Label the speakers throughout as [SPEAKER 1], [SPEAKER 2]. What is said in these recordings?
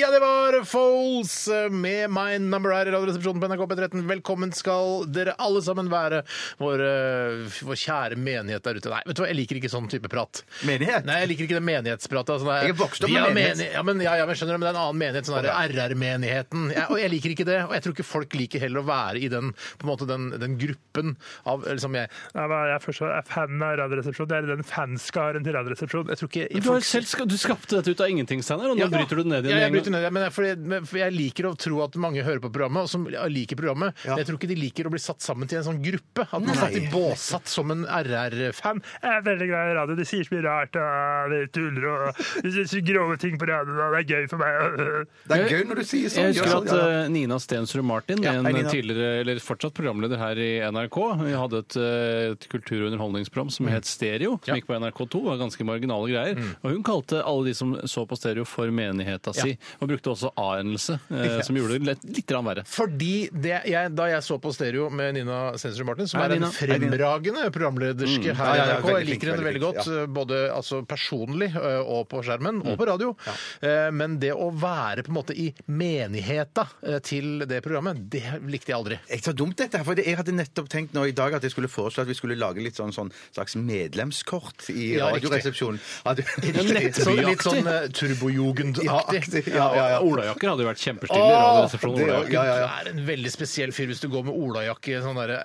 [SPEAKER 1] Ja, det var Foles med My Number her i Radioresepsjonen på NRK P13. Velkommen skal dere alle sammen være, vår, eh, vår kjære menighet der ute. Nei, vet du hva, jeg liker ikke sånn type prat.
[SPEAKER 2] Menighet?
[SPEAKER 1] Nei, jeg liker ikke det menighetspratet. Sånn der,
[SPEAKER 2] Jeg er vokst opp
[SPEAKER 1] «Vi
[SPEAKER 2] med
[SPEAKER 1] har
[SPEAKER 2] menighet».
[SPEAKER 1] meni- Ja, men, ja, ja, men skjønner du, men det er en annen menighet, sånn der RR-menigheten. Jeg, og jeg liker ikke det, og jeg tror ikke folk liker heller å være i den, på en måte, den, den gruppen av liksom jeg,
[SPEAKER 3] Nei, men jeg først er fan av Radioresepsjonen. Det er den fanskaren til Radioresepsjonen.
[SPEAKER 1] jeg tror ikke
[SPEAKER 4] Du, har jo selv, ska- du skapte dette ut av ingenting, Steinar, og nå bryter du det ned i
[SPEAKER 1] ja, jeg
[SPEAKER 4] en
[SPEAKER 1] bryter
[SPEAKER 4] gang.
[SPEAKER 1] ned i det, men jeg, fordi, men for jeg liker å tro at mange hører på programmet, og som liker programmet. Men jeg tror ikke de liker å bli satt sammen til en sånn gruppe. At man er satt i båsatt som en RR-fan.
[SPEAKER 3] Jeg er veldig glad i radio. De sier så mye rart og de tuller og de sier så grove ting på radioen. og Det er gøy for meg.
[SPEAKER 2] Det er gøy når du sier sånn.
[SPEAKER 4] Jeg husker
[SPEAKER 2] Ja,
[SPEAKER 4] at
[SPEAKER 2] ja, ja.
[SPEAKER 4] eh, Nina Stensrud Martin, en tidligere, eller fortsatt programleder her i NRK, vi hadde et, eh, et kultur- og underholdningsprogram som
[SPEAKER 2] Mm.
[SPEAKER 4] het Stereo, som gikk på NRK2, var ganske marginale greier. Og hun kalte alle de som så på stereo for menigheta si, og brukte også a-endelse, eh, som gjorde det litt, litt grann verre.
[SPEAKER 1] Fordi det jeg, Da jeg så på stereo med Nina Sensrud Martin, som
[SPEAKER 4] Hei,
[SPEAKER 1] er en
[SPEAKER 4] Nina.
[SPEAKER 1] fremragende programlederske her i
[SPEAKER 2] Mm. ja, ja,
[SPEAKER 1] NRK, jeg
[SPEAKER 2] veldig flink,
[SPEAKER 1] liker henne
[SPEAKER 2] veldig
[SPEAKER 1] veldig
[SPEAKER 2] flink, Mm.
[SPEAKER 1] godt, både altså, personlig ø, og på skjermen og på radio, Eh, men det å være på en måte i menigheta eh, til det programmet, det likte jeg aldri.
[SPEAKER 2] Jeg tar dumt dette her, for jeg hadde nettopp tenkt nå i dag at jeg skulle foreslå at vi skulle lage litt sånn, sånn slags medlemskort i
[SPEAKER 1] Ja, riktig.
[SPEAKER 2] Radioresepsjonen. Ja, du-
[SPEAKER 1] Sånn, litt sånn eh, turbojugend-aktig.
[SPEAKER 2] Ja, ja, ja.
[SPEAKER 4] Olajakker hadde jo vært kjempestille i Radioresepsjonen.
[SPEAKER 2] det er jo-
[SPEAKER 4] olajakker.
[SPEAKER 2] ja, ja, ja.
[SPEAKER 1] Du er en veldig spesiell fyr hvis du går med olajakke, sånn der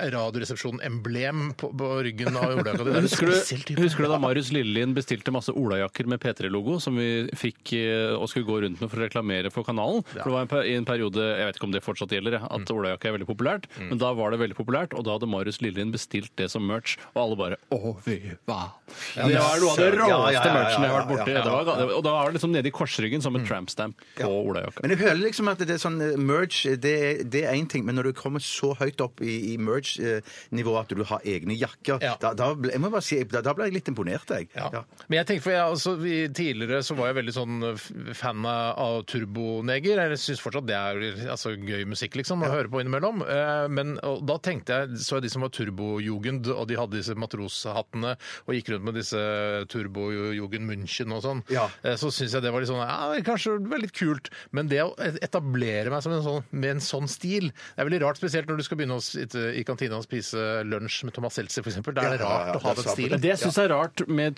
[SPEAKER 1] Radioresepsjon-emblem på, på ryggen av olajakka di. Det er en
[SPEAKER 4] Husker
[SPEAKER 1] spesiell
[SPEAKER 4] du,
[SPEAKER 1] type.
[SPEAKER 4] husker du da Marius Lillelien bestilte masse olajakker med P3-logo, som vi fikk eh, og skulle gå rundt med for å reklamere for kanalen? For det var en, per- i en periode, jeg vet ikke om det fortsatt gjelder, jeg,
[SPEAKER 2] Mm.
[SPEAKER 4] at olajakke er veldig populært. Men da var det veldig populært, og da hadde Marius Lillelien bestilt det som merch, og alle bare Å, fy hva? det var noe av det
[SPEAKER 2] søren.
[SPEAKER 4] råeste
[SPEAKER 2] Ja, ja, ja, ja,
[SPEAKER 4] merchen jeg har vært
[SPEAKER 2] ja,
[SPEAKER 4] borti.
[SPEAKER 2] ja, Mm. ja.
[SPEAKER 4] Det var ga- Og da var det liksom nede i korsryggen som en tramp stamp på olajakka.
[SPEAKER 2] Men jeg hører liksom at det er sånn eh, merge, det, er- det er én ting, men når du kommer så høyt opp i, i merge-nivået at du har egne jakker,
[SPEAKER 1] Ja.
[SPEAKER 2] da, da, ble, jeg må bare si, da, da ble jeg litt imponert, jeg.
[SPEAKER 1] Ja.
[SPEAKER 2] Ja.
[SPEAKER 1] Men jeg tenker, for jeg, altså, vi- Tidligere så var jeg veldig sånn f- fan av Turboneger. Jeg syns fortsatt det er altså, gøy musikk liksom, å høre på innimellom. Eh, Men og da tenkte jeg, så jeg de som var turbojugend, og de hadde disse matroshattene og gikk rundt med disse turbojugend München og sånn.
[SPEAKER 2] Ja.
[SPEAKER 1] Eh, Så syns jeg det var litt sånn ja, det er kanskje veldig kult. Men det å etablere meg som en sånn, med en sånn stil Det er veldig rart, spesielt når du skal begynne å sitte i kantina og spise lunsj med Thomas Seltzer, f.eks. Da er det
[SPEAKER 2] Ja, ja, ja,
[SPEAKER 1] rart å ha den
[SPEAKER 2] det er sant.
[SPEAKER 1] stilen.
[SPEAKER 4] Det jeg syns er rart med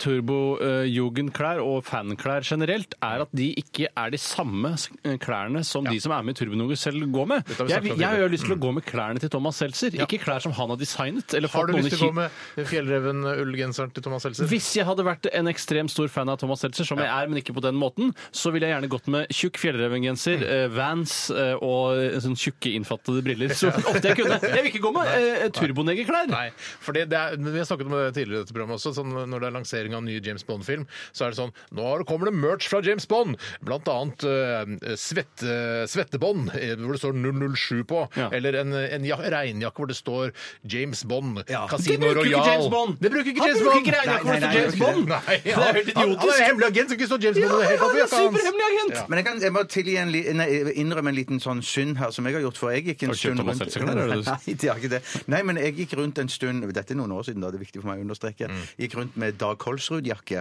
[SPEAKER 4] turbo-jugendklær og fanklær generelt, er at de ikke er de samme s- eh, klærne som de som er med i Turbonoger selv går med.
[SPEAKER 1] Dette har vi
[SPEAKER 4] Jeg,
[SPEAKER 1] snakket om
[SPEAKER 4] jeg har
[SPEAKER 1] tidligere.
[SPEAKER 4] jo lyst til å gå med klærne til Thomas Seltzer, ikke klær som han har designet. Eller
[SPEAKER 1] Har
[SPEAKER 4] fått
[SPEAKER 1] du
[SPEAKER 4] noen
[SPEAKER 1] lyst til å
[SPEAKER 4] i
[SPEAKER 1] gå med fjellreven-ullgenseren til Thomas
[SPEAKER 4] ki-
[SPEAKER 1] Seltzer?
[SPEAKER 4] Hvis jeg hadde vært en ekstremt stor fan av Thomas Seltzer, som jeg er, men ikke på den måten, så ville jeg gjerne gått med tjukk fjellrevengenser,
[SPEAKER 1] Mm.
[SPEAKER 4] eh, Vans eh, og sånn tjukke, innfattede briller. Så ofte jeg kunne. Jeg vil ikke gå med eh, turbonegerklær.
[SPEAKER 1] Nei, for det, det er, men Vi har snakket om det tidligere i dette programmet også. sånn Når det er lansering av en ny James Bond-film, så er det sånn Nå kommer det merch fra James Bond! Blant annet eh, svette, svettebånd, eh, hvor det står 007 på.
[SPEAKER 4] Ja.
[SPEAKER 1] Eller en, en ja, regnjakke hvor det står James Bond,
[SPEAKER 2] Ja.
[SPEAKER 4] Det
[SPEAKER 1] Casino
[SPEAKER 4] bruker ikke
[SPEAKER 1] Royal.
[SPEAKER 4] James Bond!
[SPEAKER 1] Det bruker ikke
[SPEAKER 4] Han
[SPEAKER 1] James
[SPEAKER 4] bruker
[SPEAKER 1] Bond!
[SPEAKER 4] ikke regnjakken
[SPEAKER 2] Nei,
[SPEAKER 4] for å
[SPEAKER 2] nei,
[SPEAKER 4] stå James Bond!
[SPEAKER 1] Nei, ja.
[SPEAKER 4] Det er helt
[SPEAKER 1] Han- Han er
[SPEAKER 4] idiotisk!
[SPEAKER 1] hemmelig agent som ikke står James Bond i det hele tatt! på
[SPEAKER 4] Han er
[SPEAKER 1] jakka hans.
[SPEAKER 4] superhemmelig agent!
[SPEAKER 2] Men jeg kan jeg må tilgi en, li- nei, innrømme en liten sånn synd her som jeg har gjort. For jeg gikk en
[SPEAKER 4] Har du kjøpt
[SPEAKER 2] stund
[SPEAKER 4] Thomas Seltzer-klær, er det det du-
[SPEAKER 2] Nei, det har ikke det. Nei, men jeg gikk rundt en stund Dette er noen år siden, da. Det er viktig for meg å understreke.
[SPEAKER 4] Mm.
[SPEAKER 2] Gikk rundt med Dag Kolsrud-jakke.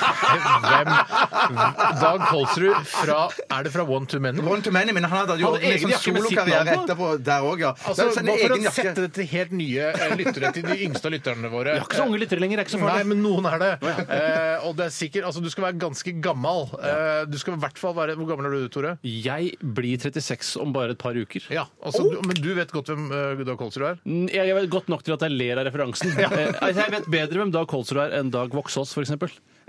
[SPEAKER 1] Hvem? Dag Kolsrud fra Er det fra One to Many?
[SPEAKER 2] One to many, men han hadde jo
[SPEAKER 4] Hadde
[SPEAKER 2] en
[SPEAKER 4] egen
[SPEAKER 2] sånn
[SPEAKER 4] jakke med sitt
[SPEAKER 2] solokarriere
[SPEAKER 4] navn på?
[SPEAKER 2] etterpå der òg, ja.
[SPEAKER 1] Altså,
[SPEAKER 2] Det er sånn
[SPEAKER 1] bare for
[SPEAKER 2] egen
[SPEAKER 1] å
[SPEAKER 2] jakke.
[SPEAKER 1] sette det til helt nye eh, lyttere, til de yngste av lytterne våre.
[SPEAKER 4] Vi har ikke så unge lyttere lenger, det er ikke så farlig.
[SPEAKER 1] Nei, men noen er det. Eh, og det er sikkert, altså Du skal være ganske gammel. Eh, du skal i hvert fall være Hvor gammel er du, Tore?
[SPEAKER 4] Jeg blir 36 om bare et par uker.
[SPEAKER 1] Ja, altså, du, Men du vet godt hvem eh, Dag Kolsrud er?
[SPEAKER 4] Mm, Jeg jeg vet godt nok til at jeg ler av referansen. Eh, altså, Jeg vet bedre hvem Dag Kolsrud er enn Dag Voksås, f.eks.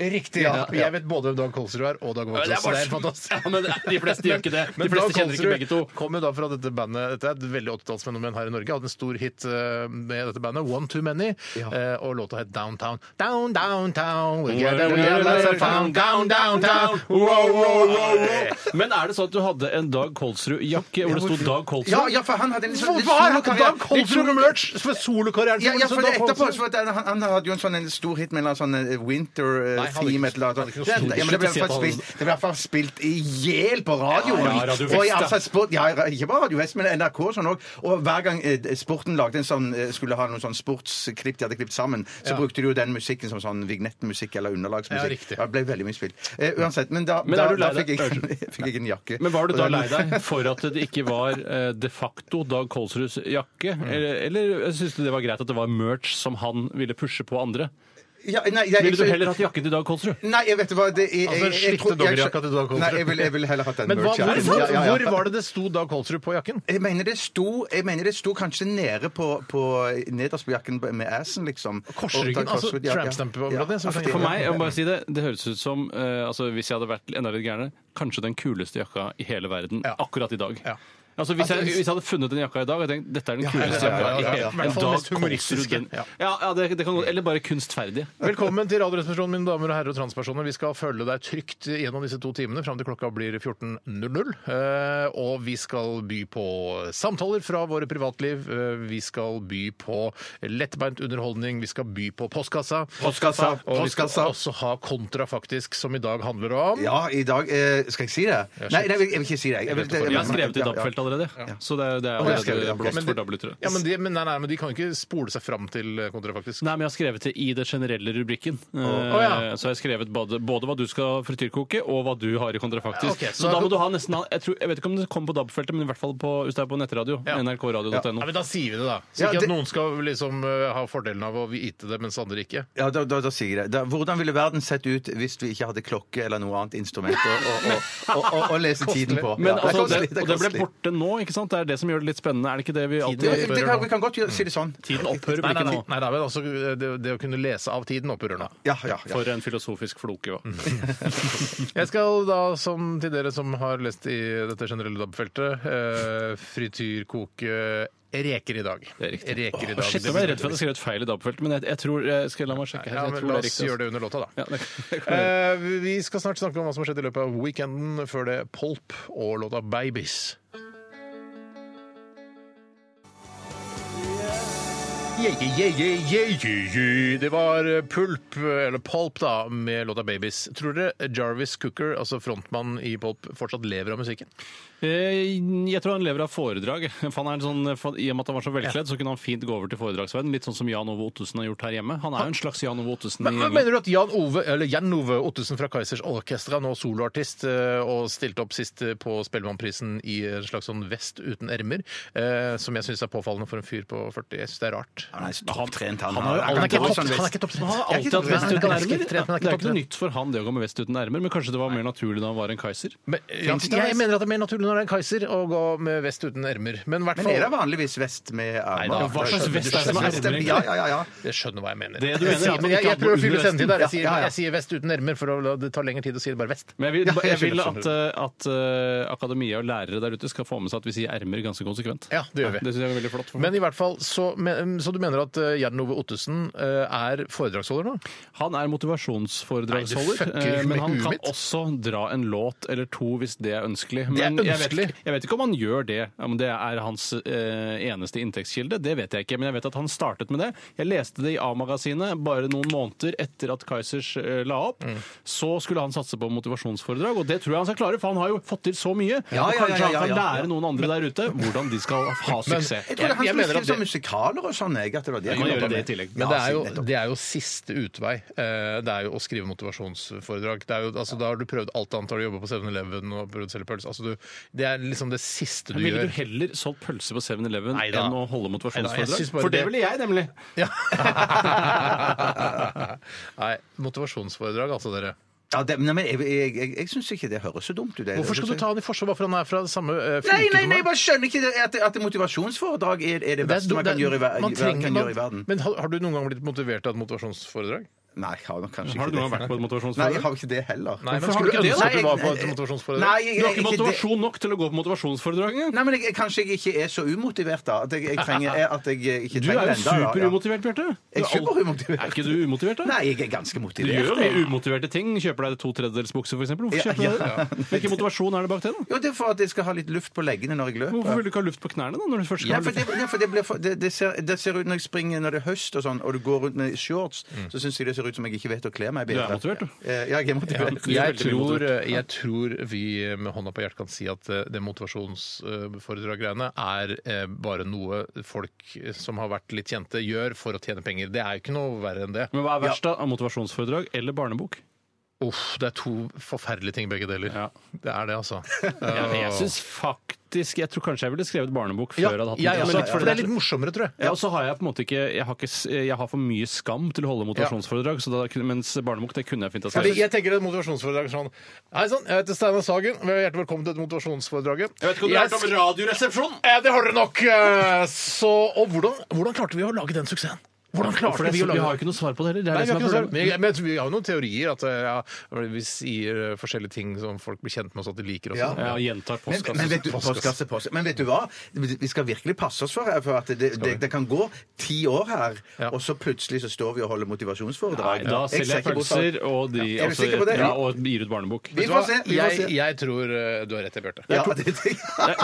[SPEAKER 1] Riktig, ja. Jeg vet både hvem Dag Kolsrud er, og Dag Vågslid. så Det er fantastisk.
[SPEAKER 4] Ja, men eh, de fleste gjør ikke det. De
[SPEAKER 1] Men
[SPEAKER 4] fleste
[SPEAKER 1] Dag
[SPEAKER 4] kjenner ikke
[SPEAKER 1] Kolsrud
[SPEAKER 4] begge to.
[SPEAKER 1] Kom jo da fra dette bandet Dette er et veldig 80-tallsfenomen her i Norge. Hadde en stor hit eh, med dette bandet, One Too Many, eh, og låta het Downtown. Down, downtown, we get away, let's have fun. down, downtown. Wow, wow, wow, wow.
[SPEAKER 4] Men er det sånn at du hadde en Dag Kolsrud-jakke hvor det sto Dag Kolsrud?
[SPEAKER 2] Ja, ja, for han hadde en litt sånn litt
[SPEAKER 1] Hvorfor har han
[SPEAKER 2] solokarriere.
[SPEAKER 1] Dag Kolsrud med merch for solokarrieren?
[SPEAKER 2] Ja, ja,
[SPEAKER 1] Så
[SPEAKER 2] for det
[SPEAKER 1] Dag
[SPEAKER 2] etterpå
[SPEAKER 1] Kolsrud-
[SPEAKER 2] så var det- han, han hadde jo en sånn en stor hit med en eller annen sånn eh, Winter eh,
[SPEAKER 1] Nei,
[SPEAKER 2] Team et eller
[SPEAKER 1] hadde
[SPEAKER 2] annet.
[SPEAKER 1] ikke noe
[SPEAKER 2] Det,
[SPEAKER 1] stort-
[SPEAKER 2] ja, men det ble i hvert fall spilt- det ble i hvert fall spilt i hjel på radioen!
[SPEAKER 4] Ja, ja, Radio
[SPEAKER 2] og i
[SPEAKER 4] Vest, da.
[SPEAKER 2] altså, sport, ja, ikke bare Radio Vest, men NRK og sånn òg. Og hver gang eh, sporten lagde en sånn, eh, skulle ha noen sånn sportsklipp de hadde klippet sammen, så
[SPEAKER 1] Ja.
[SPEAKER 2] brukte de jo den musikken som sånn vignettmusikk eller
[SPEAKER 1] Ja,
[SPEAKER 2] underlagsmusikk.
[SPEAKER 1] riktig.
[SPEAKER 2] det ble veldig mye spilt. Eh, uansett, men da,
[SPEAKER 4] Men
[SPEAKER 2] da,
[SPEAKER 4] er du lei
[SPEAKER 2] da fikk,
[SPEAKER 4] deg?
[SPEAKER 2] jeg, fikk jeg ikke en jakke.
[SPEAKER 4] Men var du da
[SPEAKER 2] Og den-
[SPEAKER 4] lei deg for at det ikke var eh, de facto Dag Kolsruds jakke? Eller, eller syns du det var greit at det var merch som han ville pushe på andre?
[SPEAKER 2] Ja, nei, jeg,
[SPEAKER 4] Ville du heller hatt jakken til Dag Kolsrud?
[SPEAKER 2] Nei, jeg vet hva det er
[SPEAKER 1] Altså, den slitte
[SPEAKER 2] tror- jeg-
[SPEAKER 1] dongerijakka til Dag Kolsrud.
[SPEAKER 2] Nei, jeg ville vil heller hatt den
[SPEAKER 1] Men hva,
[SPEAKER 2] merch, ja.
[SPEAKER 1] hvor,
[SPEAKER 2] Ja, ja, ja.
[SPEAKER 1] hvor var det det sto Dag Kolsrud på jakken?
[SPEAKER 2] Jeg mener, det sto, jeg mener det sto kanskje nede på, på nederst på jakken med assen, liksom.
[SPEAKER 1] Korsryggen,
[SPEAKER 2] Og ta korsryggen,
[SPEAKER 1] altså,
[SPEAKER 2] ja, ja.
[SPEAKER 1] trampstampeområdet, som
[SPEAKER 2] aktig,
[SPEAKER 1] kan-
[SPEAKER 4] For meg, jeg må bare si det, det høres ut som, eh, altså hvis jeg hadde vært enda litt gærnere, kanskje den kuleste jakka i hele verden
[SPEAKER 1] Ja.
[SPEAKER 4] akkurat i dag.
[SPEAKER 1] Ja.
[SPEAKER 4] Altså hvis jeg, hvis jeg hadde funnet den jakka i dag, hadde jeg tenkt dette er den kuleste
[SPEAKER 1] ja, ja, ja,
[SPEAKER 4] jakka
[SPEAKER 1] ja,
[SPEAKER 4] i
[SPEAKER 1] ja.
[SPEAKER 4] hele
[SPEAKER 1] I hvert
[SPEAKER 4] En
[SPEAKER 1] fall den
[SPEAKER 4] Dag
[SPEAKER 1] mest humoristiske.
[SPEAKER 4] Kolsrud. den-
[SPEAKER 1] Ja.
[SPEAKER 4] Ja, ja, det, det kan gå. Eller bare kunstferdig.
[SPEAKER 1] Velkommen til Radioresepsjonen, mine damer og herrer og transpersoner. Vi skal følge deg trygt gjennom disse to timene fram til klokka blir 14.00. Eh, Og vi skal by på samtaler fra våre privatliv. Eh, Vi skal by på lettbeint underholdning. Vi skal by på postkassa.
[SPEAKER 2] Postkassa,
[SPEAKER 1] Og vi skal
[SPEAKER 2] postkassa.
[SPEAKER 1] også ha kontra, faktisk, som i dag handler om
[SPEAKER 2] Ja, i dag eh, Skal jeg si det? Nei, nei, jeg vil jeg vil ikke si det. Jeg, vil- det-
[SPEAKER 4] Jeg har skrevet i altså.
[SPEAKER 2] ja, ja.
[SPEAKER 4] Dappfelt allerede, så det, er- det er
[SPEAKER 2] jeg skrev det,
[SPEAKER 4] allerede
[SPEAKER 2] ok.
[SPEAKER 4] blåst
[SPEAKER 1] Men
[SPEAKER 4] for
[SPEAKER 1] det-
[SPEAKER 4] dobbeltlyttere.
[SPEAKER 1] Ja, men de, men, nei, nei, men de kan ikke spole seg fram til kontra, faktisk.
[SPEAKER 4] Nei, men jeg har skrevet det i det generelle rubrikken. Eh,
[SPEAKER 1] Å, ja.
[SPEAKER 4] Så jeg har skrevet både, både hva du skal frityrkoke, og hva du har i
[SPEAKER 1] Ja,
[SPEAKER 4] kontrafaktisk.
[SPEAKER 1] ok,
[SPEAKER 4] så,
[SPEAKER 1] så-
[SPEAKER 4] da må du ha nesten jeg, tror, jeg vet ikke om det kommer på DAB-feltet, men i hvert fall på, hvis det er på nettradio.
[SPEAKER 1] Ja.
[SPEAKER 4] nrkradio.no.
[SPEAKER 1] Nei, men Da sier vi det, da. Så
[SPEAKER 2] Ja,
[SPEAKER 1] ikke at
[SPEAKER 2] det-
[SPEAKER 1] noen skal liksom eh, ha fordelen av å vite det, mens andre ikke.
[SPEAKER 2] Ja, da, da, da sier jeg det. Da, hvordan ville verden sett ut hvis vi ikke hadde klokke eller noe annet instrument å, å, å, å, å, å lese tiden på?
[SPEAKER 4] Men
[SPEAKER 2] Ja, det er
[SPEAKER 4] altså,
[SPEAKER 2] kostelig,
[SPEAKER 4] det, og det ble
[SPEAKER 2] kostelig.
[SPEAKER 4] borte nå, ikke sant? Det er det som gjør det litt spennende. Er det ikke det vi alltid
[SPEAKER 2] det, det kan, Vi kan godt gjøre- si det sånn.
[SPEAKER 4] Tiden opphører
[SPEAKER 1] Nei,
[SPEAKER 4] vel
[SPEAKER 1] nei,
[SPEAKER 4] ikke
[SPEAKER 1] nei,
[SPEAKER 4] nå?
[SPEAKER 1] nei, nei men altså, det, det å kunne lese av tiden opprører nå.
[SPEAKER 2] Ja, ja, ja.
[SPEAKER 4] For en filosofisk floke, jo.
[SPEAKER 1] Mm. Jeg skal da, som til dere som har lest i dette generelle DAB-feltet, eh, frityrkoke reker i dag.
[SPEAKER 4] Det er riktig.
[SPEAKER 1] Reker i
[SPEAKER 4] Åh,
[SPEAKER 1] dag.
[SPEAKER 4] Shit, nå ble jeg redd for at jeg skrev et feil i DAB-feltet, men jeg, jeg tror jeg skal La meg sjekke
[SPEAKER 1] ja,
[SPEAKER 4] her. Jeg
[SPEAKER 1] men
[SPEAKER 4] tror
[SPEAKER 1] La
[SPEAKER 4] det
[SPEAKER 1] oss
[SPEAKER 4] er riktig.
[SPEAKER 1] gjøre
[SPEAKER 4] altså.
[SPEAKER 1] det under låta, da.
[SPEAKER 4] Ja, det, det kan jeg gjøre.
[SPEAKER 1] Eh, vi skal snart snakke om hva som har skjedd i løpet av weekenden. Før det Polp og låta 'Babies'. Yeah, yeah, yeah, yeah, yeah, yeah, yeah. Det var Pulp, eller Polp, da, med låta 'Babies'. Tror dere Jarvis Cooker, altså frontmannen i Polp, fortsatt lever av musikken?
[SPEAKER 4] Eh, Jeg tror han lever av foredrag. For han er en sånn, for, I og med at han var så velkledd, så kunne han fint gå over til foredragsverden. Litt sånn som Jan Ove Ottesen har gjort her hjemme. Han er jo en slags Jan Ove Ottesen.
[SPEAKER 1] Men,
[SPEAKER 4] i
[SPEAKER 1] men
[SPEAKER 4] gjengen.
[SPEAKER 1] Mener du at Jan Ove, eller Jan Ove Ottesen fra Kaizers Orkestra, nå soloartist, eh, og stilte opp sist eh, på Spellemannprisen i en slags sånn vest uten ermer, eh, som jeg syns er påfallende for en fyr på 40? Jeg syns det er rart.
[SPEAKER 2] Han er topptrent, han.
[SPEAKER 4] har jo
[SPEAKER 2] Han
[SPEAKER 4] aldri-
[SPEAKER 2] kan ikke gå i
[SPEAKER 1] topp-
[SPEAKER 2] sånn
[SPEAKER 1] han er
[SPEAKER 2] vest.
[SPEAKER 1] ikke topptrent.
[SPEAKER 4] Han har
[SPEAKER 1] Jeg er
[SPEAKER 4] alltid
[SPEAKER 1] ikke
[SPEAKER 4] hatt vest
[SPEAKER 1] topptrent.
[SPEAKER 4] uten
[SPEAKER 1] Han er ikke
[SPEAKER 4] ermer. Det
[SPEAKER 1] topptrent, men han er ikke
[SPEAKER 4] er ikke noe
[SPEAKER 1] topptrent.
[SPEAKER 4] nytt for han det å gå med vest uten ermer, men kanskje det var mer naturlig da han var en Kaiser?
[SPEAKER 1] Men, ja,
[SPEAKER 2] Finns det
[SPEAKER 1] jeg
[SPEAKER 2] vest?
[SPEAKER 1] mener at det er mer naturlig når det er en Kaiser å gå med vest uten ermer. Men, i hvert
[SPEAKER 2] Men er det
[SPEAKER 1] fall,
[SPEAKER 2] vanligvis vest med ermer?
[SPEAKER 1] da,
[SPEAKER 4] hva slags vest er det som er
[SPEAKER 2] Vest-
[SPEAKER 4] ermer, egentlig?
[SPEAKER 2] Ja, ja, ja, ja.
[SPEAKER 1] jeg skjønner hva jeg mener.
[SPEAKER 4] Det du mener,
[SPEAKER 1] jeg, sier,
[SPEAKER 4] at man
[SPEAKER 1] men jeg,
[SPEAKER 4] ikke
[SPEAKER 1] jeg
[SPEAKER 4] har
[SPEAKER 1] prøver å
[SPEAKER 4] på
[SPEAKER 1] fylle
[SPEAKER 4] under
[SPEAKER 1] sendetid der. Jeg sier,
[SPEAKER 2] Ja, ja, ja.
[SPEAKER 1] jeg sier vest uten ermer, for å la- det tar lengre tid å si det bare vest.
[SPEAKER 4] Men jeg vil,
[SPEAKER 2] Ja, jeg
[SPEAKER 4] jeg vil
[SPEAKER 1] skjønner,
[SPEAKER 4] at, eh, at eh, akademia og lærere der ute skal få med seg at vi sier ermer ganske konsekvent.
[SPEAKER 1] Ja, det gjør vi.
[SPEAKER 4] eh, Det syns jeg er veldig flott. for
[SPEAKER 1] Men i hvert fall, så, men, så du mener at eh, Jan Ove Ottesen eh, er foredragsholder nå?
[SPEAKER 4] Han er
[SPEAKER 1] Nei, du
[SPEAKER 4] motivasjonsforedragsholder,
[SPEAKER 1] fucker
[SPEAKER 4] eh,
[SPEAKER 1] med
[SPEAKER 4] men han
[SPEAKER 1] huet
[SPEAKER 4] kan
[SPEAKER 1] mitt.
[SPEAKER 4] også dra en låt eller to hvis det er ønskelig.
[SPEAKER 1] er
[SPEAKER 4] Men jeg vet
[SPEAKER 1] ønskelig.
[SPEAKER 4] ikke- Jeg vet ikke om han gjør det, om det er hans eh, eneste inntektskilde. Det vet jeg ikke, men jeg vet at han startet med det. Jeg leste det i A-magasinet bare noen måneder etter at Kaizers eh, la opp.
[SPEAKER 1] Mm.
[SPEAKER 4] Så skulle han satse på motivasjonsforedrag, og det tror jeg han skal klare, for han har jo fått til så mye.
[SPEAKER 2] Ja,
[SPEAKER 4] og
[SPEAKER 2] ja, ja,
[SPEAKER 4] kanskje
[SPEAKER 2] ja,
[SPEAKER 4] han
[SPEAKER 2] ja,
[SPEAKER 4] kan
[SPEAKER 2] ja.
[SPEAKER 4] lære noen andre der ute hvordan de skal ha suksess.
[SPEAKER 2] Jeg trodde
[SPEAKER 1] Jeg- jeg
[SPEAKER 2] han skulle
[SPEAKER 1] mener at
[SPEAKER 2] skrive
[SPEAKER 1] det-
[SPEAKER 2] sånn musikaler og sånn. Jeg, at det var det
[SPEAKER 4] kan
[SPEAKER 2] han
[SPEAKER 4] gjøre
[SPEAKER 2] jobbet
[SPEAKER 4] det
[SPEAKER 2] med.
[SPEAKER 4] i tillegg.
[SPEAKER 1] Men det er,
[SPEAKER 2] Ja,
[SPEAKER 1] jo,
[SPEAKER 2] nettopp.
[SPEAKER 1] det er jo siste utvei. Eh, Det er jo å skrive motivasjonsforedrag. Det er jo, altså, da har du prøvd alt annet. Har du jobba på 7-Eleven og prøvd å selge pølse? Altså, du, det er liksom det siste du
[SPEAKER 4] Ville du
[SPEAKER 1] gjør.
[SPEAKER 4] heller solgt pølse på 7-Eleven
[SPEAKER 1] Neida.
[SPEAKER 4] enn å holde
[SPEAKER 1] Neida, jeg
[SPEAKER 4] motivasjonsforedrag?
[SPEAKER 1] synes bare
[SPEAKER 4] For det
[SPEAKER 1] det-
[SPEAKER 4] ville jeg, nemlig.
[SPEAKER 1] Ja. Nei, motivasjonsforedrag, altså, dere.
[SPEAKER 2] Ja, det, nei, men jeg, jeg, jeg, jeg syns ikke det høres så dumt ut. det.
[SPEAKER 1] Hvorfor skal du ta han i forsvar bare fordi han er fra samme eh, fylke?
[SPEAKER 2] Nei, nei,
[SPEAKER 1] som
[SPEAKER 2] nei,
[SPEAKER 1] meg?
[SPEAKER 2] jeg bare skjønner ikke det, at, at motivasjonsforedrag er, er det
[SPEAKER 1] Det er
[SPEAKER 2] beste
[SPEAKER 1] dumt,
[SPEAKER 2] man kan
[SPEAKER 1] det er-
[SPEAKER 2] gjøre i, ver
[SPEAKER 1] man trenger-
[SPEAKER 2] kan
[SPEAKER 1] man-
[SPEAKER 2] gjøre i verden.
[SPEAKER 1] Men har, har du noen gang blitt motivert av et motivasjonsforedrag?
[SPEAKER 2] Nei, jeg har nok kanskje
[SPEAKER 4] Har du
[SPEAKER 2] ikke
[SPEAKER 4] noen gang vært på et
[SPEAKER 2] Nei, jeg
[SPEAKER 4] motivasjonsforedrag?
[SPEAKER 2] har ikke det heller.
[SPEAKER 1] Nei, men
[SPEAKER 4] Hvorfor har
[SPEAKER 1] skulle du
[SPEAKER 4] du ikke det,
[SPEAKER 1] ønske
[SPEAKER 4] da?
[SPEAKER 1] at du var på et motivasjonsforedrag?
[SPEAKER 2] Nei, jeg,
[SPEAKER 4] Du har ikke
[SPEAKER 2] ikke det-
[SPEAKER 4] motivasjon nok til å gå på motivasjonsforedrag engang.
[SPEAKER 2] Nei, men jeg, jeg, kanskje jeg ikke er så umotivert, da. At jeg, jeg trenger, at jeg eh, ikke
[SPEAKER 4] Du
[SPEAKER 2] trenger
[SPEAKER 4] er jo
[SPEAKER 2] den da, da, ja.
[SPEAKER 4] superumotivert, Bjarte. Du
[SPEAKER 2] Jeg er
[SPEAKER 4] alt-
[SPEAKER 2] superumotivert.
[SPEAKER 4] Er ikke du umotivert, da?
[SPEAKER 2] Nei, jeg er ganske
[SPEAKER 4] Du
[SPEAKER 2] motivert.
[SPEAKER 4] gjør jo mye
[SPEAKER 2] jeg.
[SPEAKER 4] umotiverte ting. Kjøper deg to tredjedelsbukser, f.eks. Hvorfor
[SPEAKER 2] Ja,
[SPEAKER 4] kjøper du det? Hvilken motivasjon er det bak det? da?
[SPEAKER 2] Jo, det er for at jeg skal ha litt luft på leggene når jeg løper.
[SPEAKER 4] Hvorfor vil du ikke ha luft på knærne da, når du først skal
[SPEAKER 2] Ja,
[SPEAKER 4] ha
[SPEAKER 2] for det,
[SPEAKER 4] luft?
[SPEAKER 2] ja, for det, blir for, det, det, ser, det ser ut når jeg springer når det er høst og sånn, og du går rundt med shorts, så syns jeg det ser ut som jeg ikke vet å kle meg bedre.
[SPEAKER 4] Mm. Du er motivert, du.
[SPEAKER 2] Eh, Ja, jeg er motivert.
[SPEAKER 4] Ja.
[SPEAKER 1] Jeg
[SPEAKER 4] veldig mye
[SPEAKER 1] tror, eh,
[SPEAKER 4] motivert.
[SPEAKER 1] jeg tror vi med hånda på hjertet kan si at eh, det motivasjonsforedrag-greiene er eh, bare noe folk eh, som har vært litt kjente, gjør for å tjene penger. Det er jo ikke noe verre enn det.
[SPEAKER 4] Men hva er verst, da? Av Motivasjonsforedrag eller barnebok?
[SPEAKER 1] Uff, det er to forferdelige ting begge deler.
[SPEAKER 4] Ja.
[SPEAKER 1] Det er det, altså.
[SPEAKER 4] Jeg, jeg syns faktisk Jeg tror kanskje jeg ville skrevet barnebok før
[SPEAKER 1] Ja,
[SPEAKER 4] jeg hadde hatt
[SPEAKER 1] jeg
[SPEAKER 4] den.
[SPEAKER 1] også,
[SPEAKER 4] Men litt
[SPEAKER 1] for
[SPEAKER 4] fordi
[SPEAKER 1] det er litt morsommere, tror jeg.
[SPEAKER 4] Ja, og så har jeg på en måte ikke Jeg har, ikke, s- jeg har for mye skam til å holde motivasjonsforedrag, så da, kunne- mens barnebok det kunne jeg fint ha
[SPEAKER 1] Fordi
[SPEAKER 4] skrevet.
[SPEAKER 1] jeg tenker et motivasjonsforedrag sånn Hei sann, jeg heter Steinar Sagen. Vær Hjertelig velkommen til dette motivasjonsforedraget. Jeg sk-
[SPEAKER 4] Radioresepsjonen!
[SPEAKER 1] Ja, det har dere nok. eh, Så, og hvordan, hvordan klarte vi å lage den suksessen? Hvordan
[SPEAKER 4] For
[SPEAKER 1] klarte
[SPEAKER 4] det,
[SPEAKER 1] vi å
[SPEAKER 4] vi har
[SPEAKER 1] lage
[SPEAKER 4] jo ikke noe svar på det heller. Det er
[SPEAKER 1] Nei,
[SPEAKER 4] det
[SPEAKER 1] vi
[SPEAKER 4] som
[SPEAKER 1] har
[SPEAKER 4] er
[SPEAKER 1] ikke noe svar.
[SPEAKER 4] problemet.
[SPEAKER 1] Men jeg- men vi har jo noen teorier. At eh, ja, vi sier eh, forskjellige ting som folk blir kjent med oss at de liker. Og
[SPEAKER 2] Ja.
[SPEAKER 1] sånn.
[SPEAKER 4] Ja, gjentar
[SPEAKER 2] Men,
[SPEAKER 4] postkassen.
[SPEAKER 2] men, vet du, postkasse, postkasse. men vet du hva? Vi skal virkelig passe oss for, her, for at det, det, det kan gå ti år her,
[SPEAKER 1] Ja.
[SPEAKER 2] og så plutselig så står vi og holder motivasjonsforedrag.
[SPEAKER 4] Nei, da
[SPEAKER 2] Jeg
[SPEAKER 4] selger jeg
[SPEAKER 2] ser ikke bort
[SPEAKER 4] pølser og, de,
[SPEAKER 2] Ja. Er du
[SPEAKER 4] altså,
[SPEAKER 2] sikker på det?
[SPEAKER 4] ja, og gir ut barnebok.
[SPEAKER 2] Vi
[SPEAKER 1] Vet du
[SPEAKER 2] får
[SPEAKER 1] hva?
[SPEAKER 2] se, vi får
[SPEAKER 1] jeg,
[SPEAKER 2] se.
[SPEAKER 1] jeg tror eh, du har rett, jeg, Bjarte.
[SPEAKER 2] Ja, det,
[SPEAKER 4] Det er,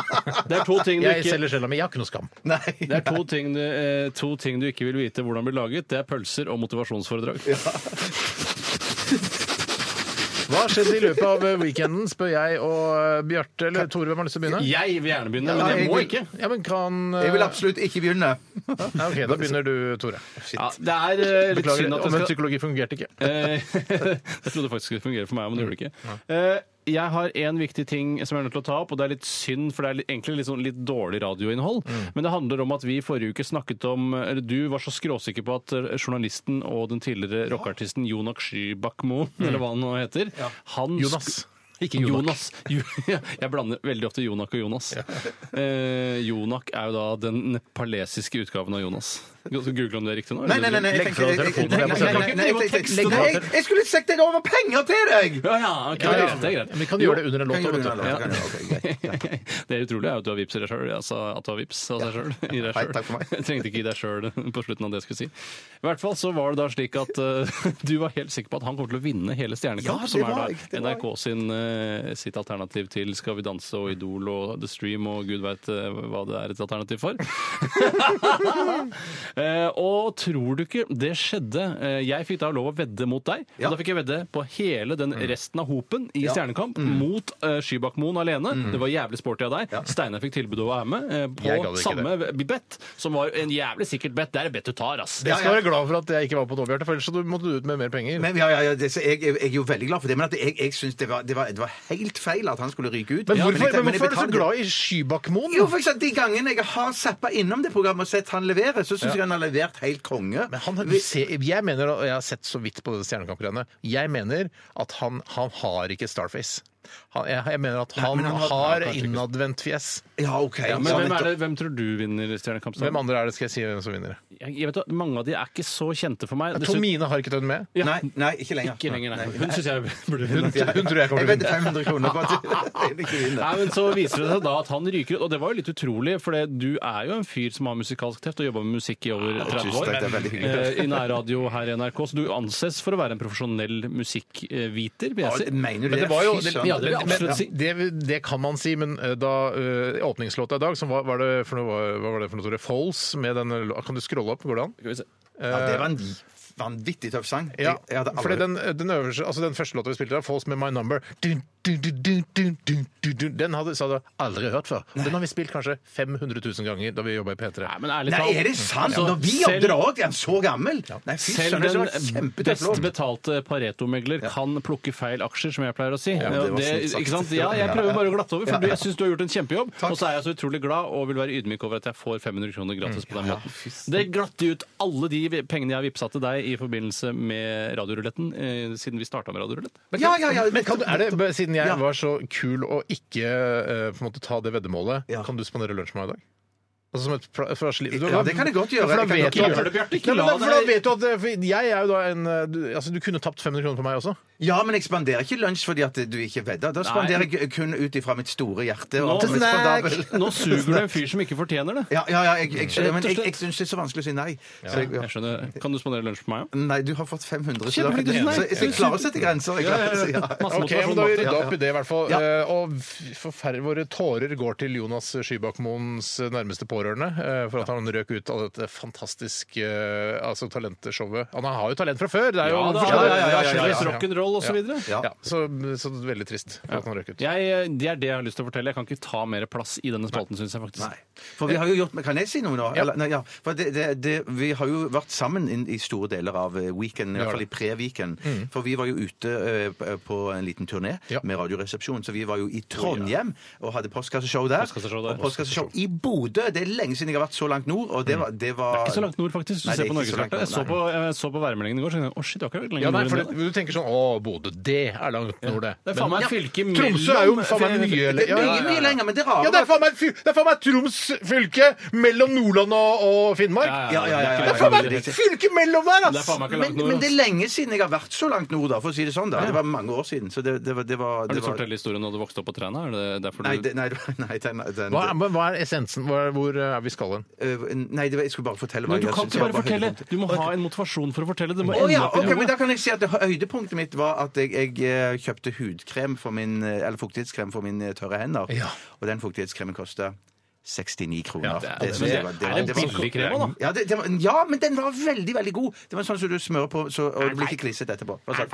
[SPEAKER 4] det er to ting du
[SPEAKER 1] Jeg
[SPEAKER 4] ikke
[SPEAKER 1] selger sjela mi. Jeg har ikke noe skam.
[SPEAKER 2] nei.
[SPEAKER 4] det er to ting, du, eh, to ting du ikke vil vite hvordan blir laget. Det er pølser og motivasjonsforedrag.
[SPEAKER 1] Hva har skjedd i løpet av eh, weekenden, spør jeg og eh, Bjarte eller Tore, hvem har lyst til å begynne?
[SPEAKER 4] Jeg vil gjerne begynne, men
[SPEAKER 2] Ja,
[SPEAKER 4] jeg
[SPEAKER 2] jeg
[SPEAKER 4] må
[SPEAKER 2] vil-
[SPEAKER 4] ikke.
[SPEAKER 1] Ja, men kan eh,
[SPEAKER 2] Jeg vil absolutt ikke begynne.
[SPEAKER 1] ja, Ok, da begynner du, Tore.
[SPEAKER 4] Ja, det er eh, litt
[SPEAKER 1] Beklager,
[SPEAKER 4] synd at
[SPEAKER 1] men
[SPEAKER 4] det skal
[SPEAKER 1] psykologi fungerte ikke.
[SPEAKER 4] Eh, Jeg trodde faktisk det fungerte for meg, men det gjorde det ikke. Eh, Jeg har en viktig ting som jeg er nødt til å ta opp, og det er litt synd, for det er litt, egentlig litt, sånn, litt dårlig radioinnhold.
[SPEAKER 2] Mm.
[SPEAKER 4] Men det handler om at vi i forrige uke snakket om Eller du var så skråsikker på at eh, journalisten og den tidligere rockeartisten Jonak Skybakmo,
[SPEAKER 2] Mm.
[SPEAKER 4] eller hva han nå heter han sk-
[SPEAKER 1] Jonas.
[SPEAKER 4] Ikke Jonas. Jo- Jeg blander veldig ofte Jonak og Jonas. Eh, Jonak er jo da den nepalesiske utgaven av Jonas. Google om det er riktig nå?
[SPEAKER 2] Nei, nei, nei. nei, jeg
[SPEAKER 1] Legg fra deg
[SPEAKER 2] tenker- jeg- jeg-
[SPEAKER 1] telefonen, jeg må se.
[SPEAKER 2] nei, nei, nei, nei, jeg- jeg- nei, jeg- Jeg skulle sagt jeg over penger til deg!
[SPEAKER 4] Ja, ja, ok,
[SPEAKER 1] Ja,
[SPEAKER 4] det
[SPEAKER 1] ja.
[SPEAKER 4] er greit. Det er greit.
[SPEAKER 1] Men vi kan gjøre det under en
[SPEAKER 2] Kan
[SPEAKER 1] låt.
[SPEAKER 2] jeg
[SPEAKER 1] da,
[SPEAKER 2] gjøre
[SPEAKER 1] vet du.
[SPEAKER 2] det? Kan jeg gjøre det? Ok, greit.
[SPEAKER 4] Det utrolige er jo at du har vips i deg sjøl. Altså at du har vips av deg sjøl. I deg
[SPEAKER 2] Hei,
[SPEAKER 4] selv.
[SPEAKER 2] takk for meg.
[SPEAKER 4] Jeg trengte ikke gi deg sjøl på slutten av det jeg skulle si. I hvert fall så var det da slik at eh, du var helt sikker på at han kom til å vinne hele Stjernekamp,
[SPEAKER 2] Ja, det
[SPEAKER 4] som er da
[SPEAKER 2] var jeg, det var jeg.
[SPEAKER 4] NRK sin, eh, sitt alternativ til Skal vi danse og Idol og The Stream og gud veit eh, hva det er et alternativ for. Eh, og tror du ikke det skjedde? Eh, jeg fikk da lov å vedde mot deg.
[SPEAKER 2] Ja.
[SPEAKER 4] Og da fikk jeg vedde på hele den
[SPEAKER 1] Mm.
[SPEAKER 4] resten av hopen i Stjernekamp mot uh, Skybakmoen alene. Det var jævlig sporty av deg. Steinar fikk tilbud om å være med eh,
[SPEAKER 1] Mm. Jeg gadd
[SPEAKER 4] på
[SPEAKER 1] ikke
[SPEAKER 4] samme bet, som var en jævlig sikkert bet. Det er et bet du tar, ass.
[SPEAKER 1] Jeg skal være glad for at jeg ikke var på nå, Bjarte, for ellers så måtte du ut med mer penger.
[SPEAKER 2] Men, ja, ja, ja, det, så jeg, jeg er jo veldig glad for det, men at jeg, jeg syns det, var- det, var- det var helt feil at han skulle ryke ut.
[SPEAKER 1] Men
[SPEAKER 2] Ja,
[SPEAKER 1] hvorfor,
[SPEAKER 2] jeg-
[SPEAKER 1] men
[SPEAKER 2] jeg
[SPEAKER 1] hvorfor er du så
[SPEAKER 2] betalte-
[SPEAKER 1] glad i Skybakmoen?
[SPEAKER 2] Jo, for eksempel, De gangene jeg har zappa innom det programmet og sett han levere, så syns jeg han har levert helt konge.
[SPEAKER 1] Men han, har- vi ser, jeg mener, og jeg har sett så vidt på det Stjernekamp-greiene, jeg mener at han, han har ikke Starface. Han, jeg, jeg mener at han,
[SPEAKER 2] men han
[SPEAKER 1] har,
[SPEAKER 2] har-
[SPEAKER 1] innadvendt fjes.
[SPEAKER 2] Ja, OK.
[SPEAKER 4] Ja, men hvem, er det, hvem tror du vinner Stjernekamp?
[SPEAKER 1] Hvem andre er det, skal jeg si hvem som vinner?
[SPEAKER 4] Jeg, jeg vet, at mange av de er ikke så kjente for meg. Dessuten-
[SPEAKER 1] Tomine har ikke tatt den med.
[SPEAKER 4] Ja.
[SPEAKER 2] Nei, nei, ikke lenger.
[SPEAKER 4] Ikke lenger, nei. Hun syns jeg burde
[SPEAKER 1] Hun,
[SPEAKER 4] vinne.
[SPEAKER 1] hun tror jeg
[SPEAKER 2] Jeg
[SPEAKER 1] kommer til å
[SPEAKER 2] vedder
[SPEAKER 1] vinne.
[SPEAKER 2] 500 kroner på at jeg ikke vinner.
[SPEAKER 4] Nei, men Så viser det seg da at han ryker ut. Og det var jo litt utrolig, for det- du er jo en fyr som har musikalsk teft og jobba med musikk i over 30
[SPEAKER 2] tusen takk, det er veldig
[SPEAKER 4] år.
[SPEAKER 2] hyggelig.
[SPEAKER 4] eh, I nærradio her i NRK, så du anses for å være en profesjonell musikkviter, vil jeg
[SPEAKER 2] Ja,
[SPEAKER 4] si.
[SPEAKER 2] Mener du
[SPEAKER 1] Men
[SPEAKER 2] det?
[SPEAKER 1] det var jo
[SPEAKER 2] Fy
[SPEAKER 1] det,
[SPEAKER 2] søren.
[SPEAKER 4] ja, det vil jeg
[SPEAKER 1] men,
[SPEAKER 4] absolutt si.
[SPEAKER 1] det, det kan man si, men eh, da eh, åpningslåta i dag, som var, var det for noe, hva var det for noe, Tore? Foles med den lå- Kan du scrolle opp? Går det an?
[SPEAKER 4] Skal vi se.
[SPEAKER 2] Ja, det var en vanvittig tøff sang.
[SPEAKER 1] Ja,
[SPEAKER 2] Jeg- jeg hadde aldri-
[SPEAKER 1] fordi den, den, øverste, altså den første låta vi spilte, der, Falls med My Number dun, dun, dun, dun, dun, dun, dun, dun, Den hadde, så hadde jeg aldri hørt før. Den har vi spilt kanskje 500 000 ganger da vi jobba i P3.
[SPEAKER 4] Nei, men ærlig
[SPEAKER 2] Nei,
[SPEAKER 4] talt
[SPEAKER 2] er det sant?
[SPEAKER 4] altså,
[SPEAKER 2] Når vi
[SPEAKER 4] selv-
[SPEAKER 2] jobbet òg, er han så gammel? Nei, fy
[SPEAKER 4] Selv
[SPEAKER 2] søren, det var
[SPEAKER 4] den
[SPEAKER 2] kjempetøff
[SPEAKER 4] best
[SPEAKER 2] låt.
[SPEAKER 4] betalte Pareto-megler kan plukke feil aksjer, som jeg pleier å si.
[SPEAKER 2] men det var
[SPEAKER 4] Og det,
[SPEAKER 2] snilt sagt.
[SPEAKER 4] ikke sant? Ja, jeg prøver bare å glatte over, for du- jeg syns du har gjort en kjempejobb.
[SPEAKER 2] Takk.
[SPEAKER 4] Og så er jeg så utrolig glad og vil være ydmyk over at jeg får 500 kroner gratis på den måten. Det glatter ut alle de pengene jeg har vippsa til deg i forbindelse med radioruletten, eh, siden vi starta med radiorulett.
[SPEAKER 2] Ja, ja, ja.
[SPEAKER 1] Men kan du, er det, b- Siden jeg
[SPEAKER 2] Ja.
[SPEAKER 1] var så kul og ikke eh, på en måte ta det veddemålet,
[SPEAKER 2] Ja.
[SPEAKER 1] kan du spandere lunsj på meg i dag? Altså som et pla- for å sli-
[SPEAKER 2] Ja, det kan jeg godt
[SPEAKER 1] Ja,
[SPEAKER 2] gjøre.
[SPEAKER 1] for da
[SPEAKER 2] Jeg kan
[SPEAKER 1] vet
[SPEAKER 2] godt
[SPEAKER 1] du at-
[SPEAKER 2] gjøre
[SPEAKER 4] det, Bjarte. Ikke
[SPEAKER 1] Nei, men
[SPEAKER 4] la
[SPEAKER 1] da- for da
[SPEAKER 4] deg-
[SPEAKER 1] vet du at eh, for Jeg er jo da en eh, du, altså, du kunne tapt 500 kroner på meg også.
[SPEAKER 2] Ja, men jeg spanderer ikke lunsj fordi at du ikke vedder. Da spanderer jeg kun ut ifra mitt store hjerte. og
[SPEAKER 4] Nå,
[SPEAKER 2] at det er spandabel.
[SPEAKER 4] nå suger du en fyr som ikke fortjener det.
[SPEAKER 2] Ja, ja, ja, jeg, jeg skjønner, men
[SPEAKER 4] Rett og
[SPEAKER 2] jeg,
[SPEAKER 4] slett.
[SPEAKER 2] jeg syns det er så vanskelig å si nei. Så jeg,
[SPEAKER 4] Jeg skjønner. Kan du spandere lunsj på meg?
[SPEAKER 2] ja. Nei, du har fått 500, så, da,
[SPEAKER 4] Kjempeflink, du sier nei.
[SPEAKER 2] så, så jeg klarer å sette grenser. Jeg klarer, å si- ja.
[SPEAKER 4] Masse
[SPEAKER 1] Ok, men da har vi
[SPEAKER 4] motivasjon.
[SPEAKER 1] rydda opp i det, i hvert fall.
[SPEAKER 2] Ja.
[SPEAKER 1] Eh, Og f- forferd- våre tårer går til Jonas Skybakmoens nærmeste pårørende eh, for at han røk ut av dette fantastiske eh, altså talentshowet. Han har jo talent fra før! Det er jo
[SPEAKER 4] Ja, da,
[SPEAKER 1] forskjellig-
[SPEAKER 4] ja, ja, ja, ja, ja, ja.
[SPEAKER 1] forskjellig-
[SPEAKER 4] Rock'n'roll og så
[SPEAKER 1] Ja.
[SPEAKER 4] videre.
[SPEAKER 1] Ja. Så, så veldig trist for at han røk ut.
[SPEAKER 4] Jeg, det er det jeg har lyst til å fortelle. Jeg kan ikke ta mer plass i denne spalten, syns jeg faktisk.
[SPEAKER 2] Nei. For vi har jo gjort men Kan jeg si noe nå?
[SPEAKER 1] Ja.
[SPEAKER 2] Eller, nei, ja. For det, det, det, vi har jo vært sammen i, i store deler av eh, weekenden, i
[SPEAKER 1] har
[SPEAKER 2] hvert fall i pre-weekend. For vi var jo ute eh, p- på en liten turné
[SPEAKER 1] Ja.
[SPEAKER 2] med Radioresepsjonen, så vi var jo i Trondheim og hadde postkasseshow der.
[SPEAKER 4] Postkasseshow der.
[SPEAKER 2] Og postkasseshow i Bodø! Det er lenge siden jeg har vært så langt nord, og det var, det var
[SPEAKER 4] Ikke så langt nord, faktisk. Du
[SPEAKER 2] Nei, det
[SPEAKER 4] ser
[SPEAKER 2] er
[SPEAKER 4] på
[SPEAKER 2] ikke så langt
[SPEAKER 4] norgeskartet. Jeg,
[SPEAKER 2] nord,
[SPEAKER 4] så på- jeg så på værmeldingen i går, så tenkte jeg å shit, det var ikke
[SPEAKER 1] Ja,
[SPEAKER 4] lenger
[SPEAKER 1] nei,
[SPEAKER 4] nord
[SPEAKER 1] for
[SPEAKER 4] enn det.
[SPEAKER 1] det, du tenker sånn Å, Bodø, det er langt nord, det.
[SPEAKER 4] Det er faen
[SPEAKER 1] Men-
[SPEAKER 4] meg fylke
[SPEAKER 1] Tromsø er jo
[SPEAKER 4] mellom-
[SPEAKER 1] faen meg mye
[SPEAKER 2] Det er mye, mye lenger, men det rare
[SPEAKER 1] Ja, det er
[SPEAKER 2] var-
[SPEAKER 1] faen meg, fy- det er faen meg Troms fylke mellom Nordland og, og Finnmark.
[SPEAKER 4] Ja,
[SPEAKER 2] ja, ja, ja, ja,
[SPEAKER 1] Det er faen meg et fylke mellom der,
[SPEAKER 4] Det er
[SPEAKER 1] ass!
[SPEAKER 4] faen meg ikke
[SPEAKER 2] men,
[SPEAKER 4] langt nord. altså.
[SPEAKER 2] men det
[SPEAKER 4] ass.
[SPEAKER 2] er lenge siden jeg har vært så langt nord, da, for å si det sånn. da. Det var mange år siden. Så det, det var, det var,
[SPEAKER 4] Har du lyst
[SPEAKER 2] det
[SPEAKER 4] til å
[SPEAKER 2] var
[SPEAKER 4] fortelle historien da du vokste opp på Træna? Er det derfor du
[SPEAKER 2] Nei, det, nei, det var- nei, den, den,
[SPEAKER 1] Hva, er- men hva er essensen? Hvor er, hvor er vi skal hen?
[SPEAKER 2] Øh, nei, det var, jeg skulle bare fortelle hva
[SPEAKER 4] Men du
[SPEAKER 2] jeg
[SPEAKER 4] kan
[SPEAKER 2] synes
[SPEAKER 4] ikke
[SPEAKER 2] jeg
[SPEAKER 4] bare
[SPEAKER 2] var
[SPEAKER 4] fortelle!
[SPEAKER 2] høydepunkt.
[SPEAKER 4] Du må ha en motivasjon for å fortelle. Det må
[SPEAKER 2] Å
[SPEAKER 4] ende
[SPEAKER 2] ja,
[SPEAKER 4] opp i
[SPEAKER 2] ok, men
[SPEAKER 4] hodet.
[SPEAKER 2] Da kan jeg si at det hø- høydepunktet mitt var at jeg, jeg eh, kjøpte hudkrem for min, eh, eller fuktighetskrem for mine tørre hender.
[SPEAKER 1] Ja.
[SPEAKER 2] Og den fuktighetskremen kosta 69 kroner.
[SPEAKER 1] Ja, det er-
[SPEAKER 2] synes
[SPEAKER 4] men
[SPEAKER 2] jeg
[SPEAKER 4] det-
[SPEAKER 2] var-
[SPEAKER 4] er
[SPEAKER 2] var-
[SPEAKER 4] det
[SPEAKER 2] var-
[SPEAKER 4] billig krem også, da?
[SPEAKER 2] Ja, det, det var, ja, men den var veldig veldig god. Det var sånn som du smører på, så, og det blir ikke klissete etterpå. Hva sa du?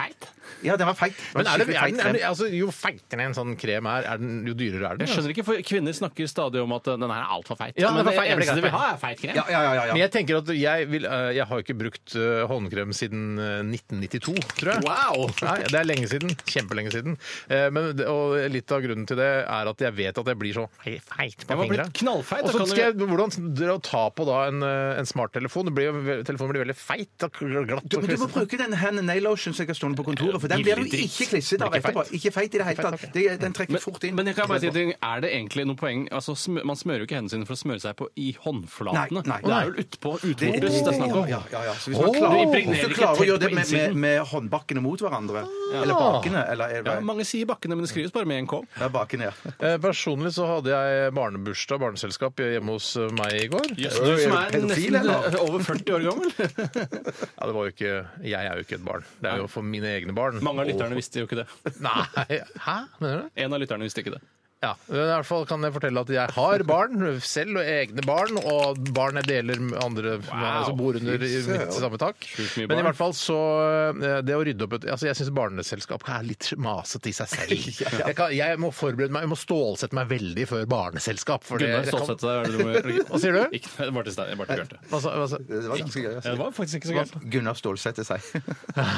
[SPEAKER 2] Ja, den var feit. Det var
[SPEAKER 1] Men er det, er den,
[SPEAKER 2] skikkelig feit
[SPEAKER 1] er den,
[SPEAKER 2] krem.
[SPEAKER 1] altså, jo feitere en sånn krem er, er den, jo dyrere er den.
[SPEAKER 4] Jeg
[SPEAKER 1] altså.
[SPEAKER 4] skjønner ikke, for kvinner snakker stadig om at eh, den her er altfor feit.
[SPEAKER 1] Ja, den er for
[SPEAKER 4] men
[SPEAKER 1] feit.
[SPEAKER 4] det
[SPEAKER 1] Jeg blir
[SPEAKER 4] eneste
[SPEAKER 1] glad
[SPEAKER 4] de
[SPEAKER 1] i
[SPEAKER 4] vil ha, er feit krem.
[SPEAKER 2] Ja, ja, ja, ja,
[SPEAKER 1] Men
[SPEAKER 2] ja.
[SPEAKER 1] jeg tenker at jeg, vil, eh, jeg har ikke brukt eh, håndkrem siden eh, 1992, tror jeg.
[SPEAKER 4] Wow!
[SPEAKER 1] Nei, Det er lenge siden. Kjempelenge siden. Eh, Men, det- og litt av grunnen til det er at jeg vet at jeg blir så feit på
[SPEAKER 4] Jeg var
[SPEAKER 1] fingrene.
[SPEAKER 4] blitt knallfeit.
[SPEAKER 1] Og
[SPEAKER 4] da
[SPEAKER 1] så
[SPEAKER 4] kan du-
[SPEAKER 1] skal jeg, hvordan dra og ta på da en, eh, en smarttelefon? Det blir jo ve- Telefonen blir veldig feit og glatt.
[SPEAKER 2] Du,
[SPEAKER 1] og
[SPEAKER 2] men du må
[SPEAKER 1] klissete.
[SPEAKER 2] bruke den hand and nail lotion som jeg har stående på kontoret, for den blir du
[SPEAKER 4] Billig dritt.
[SPEAKER 2] ikke klissete av
[SPEAKER 1] Blir ikke
[SPEAKER 2] etterpå.
[SPEAKER 1] feit.
[SPEAKER 2] Ikke feit i det hele
[SPEAKER 1] Ikke feit,
[SPEAKER 2] tatt.
[SPEAKER 1] ok.
[SPEAKER 2] Det- Den trekker fort inn.
[SPEAKER 4] Men jeg kan bare si en ting, er det egentlig noe poeng altså, sm Man smører jo ikke hendene sine for å smøre seg på i håndflatene.
[SPEAKER 2] Nei, nei.
[SPEAKER 4] det er jo utpå utvortes det er snakk om.
[SPEAKER 2] Ja, ja, ja. Så hvis man
[SPEAKER 1] Åh!
[SPEAKER 2] klarer,
[SPEAKER 4] Du impregnerer
[SPEAKER 2] hvis du
[SPEAKER 4] ikke
[SPEAKER 2] klarer å
[SPEAKER 4] tett
[SPEAKER 2] gjøre det
[SPEAKER 4] på
[SPEAKER 2] med, med,
[SPEAKER 4] innsiden.
[SPEAKER 2] med håndbakkene mot hverandre, eller bakene eller er det-
[SPEAKER 4] Ja, mange sier bakkene, men det skrives bare med en K.
[SPEAKER 2] ja, bakene, ja.
[SPEAKER 1] Eh, Personlig så hadde jeg barnebursdag, barneselskap, hjemme hos eh, meg i går.
[SPEAKER 4] Jøss, du som er
[SPEAKER 2] pedofil,
[SPEAKER 4] nesten
[SPEAKER 2] eller?
[SPEAKER 4] over 40 år gammel.
[SPEAKER 1] Ja, det var jo ikke, jeg er jo ikke et barn. Det er jo for mine egne barn.
[SPEAKER 4] Mange av lytterne visste jo ikke det.
[SPEAKER 1] Nei, hæ? Mener du det?
[SPEAKER 4] En av lytterne visste ikke det.
[SPEAKER 1] Ja, men I hvert fall kan jeg fortelle at jeg har barn selv, og egne barn, og barn jeg deler med andre med- som bor under i mitt samme tak.
[SPEAKER 4] Sjukt mye
[SPEAKER 1] Men i
[SPEAKER 4] barn.
[SPEAKER 1] hvert fall så eh, Det å rydde opp et altså Jeg syns barneselskap er litt masete i seg selv. Jeg, kan, jeg må forberede meg, jeg må stålsette meg veldig før barneselskap. For det,
[SPEAKER 4] Gunnar
[SPEAKER 1] Eh, jeg kan,
[SPEAKER 4] stålsette deg. er det du må gjøre?
[SPEAKER 1] Hva sier du? Eh,
[SPEAKER 4] Ikke, det var til Stein- bare til Bjarte.
[SPEAKER 1] hva sa- hva sa-
[SPEAKER 2] Det var ganske gøy.
[SPEAKER 4] Ja, det
[SPEAKER 2] Altså.
[SPEAKER 4] var faktisk ikke så gærent.
[SPEAKER 2] Gunnar stålsetter seg.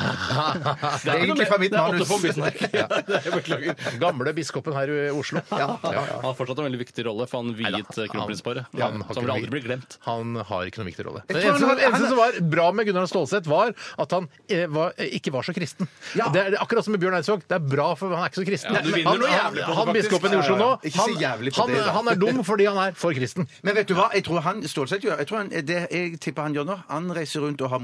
[SPEAKER 4] Det er
[SPEAKER 2] egentlig fra mitt
[SPEAKER 4] det er
[SPEAKER 2] manus.
[SPEAKER 4] Otto von Bismarck. Ja, det er- Beklager.
[SPEAKER 1] Gamle biskopen her i Oslo.
[SPEAKER 4] Han har fortsatt en veldig viktig rolle, for han viet eh, kronprinsparet.
[SPEAKER 1] Ja, han har
[SPEAKER 4] Så
[SPEAKER 1] ikke
[SPEAKER 4] han vil
[SPEAKER 1] noe-
[SPEAKER 4] aldri bli glemt.
[SPEAKER 1] Han har ikke noe viktig rolle. Det
[SPEAKER 2] tror
[SPEAKER 1] eneste,
[SPEAKER 2] han-
[SPEAKER 1] det eneste
[SPEAKER 2] han-
[SPEAKER 1] som var bra med Gunnar Stålseth, var at han eh, var, eh, ikke var så kristen.
[SPEAKER 2] Ja.
[SPEAKER 1] Det er akkurat som med Bjørn Eidsvåg. Det er bra, for han er ikke så kristen.
[SPEAKER 4] Ja, du vinner
[SPEAKER 1] han,
[SPEAKER 4] noe jævlig på det,
[SPEAKER 1] han
[SPEAKER 4] faktisk.
[SPEAKER 1] biskopen i Oslo nå,
[SPEAKER 2] Ikke så
[SPEAKER 1] han,
[SPEAKER 2] jævlig på
[SPEAKER 1] han,
[SPEAKER 2] det, da.
[SPEAKER 1] han er dum fordi han er for kristen.
[SPEAKER 2] Men vet du hva? Jeg tror han Stålsett gjør jeg, tror han, det, jeg tipper han gjør nå. Han reiser rundt og har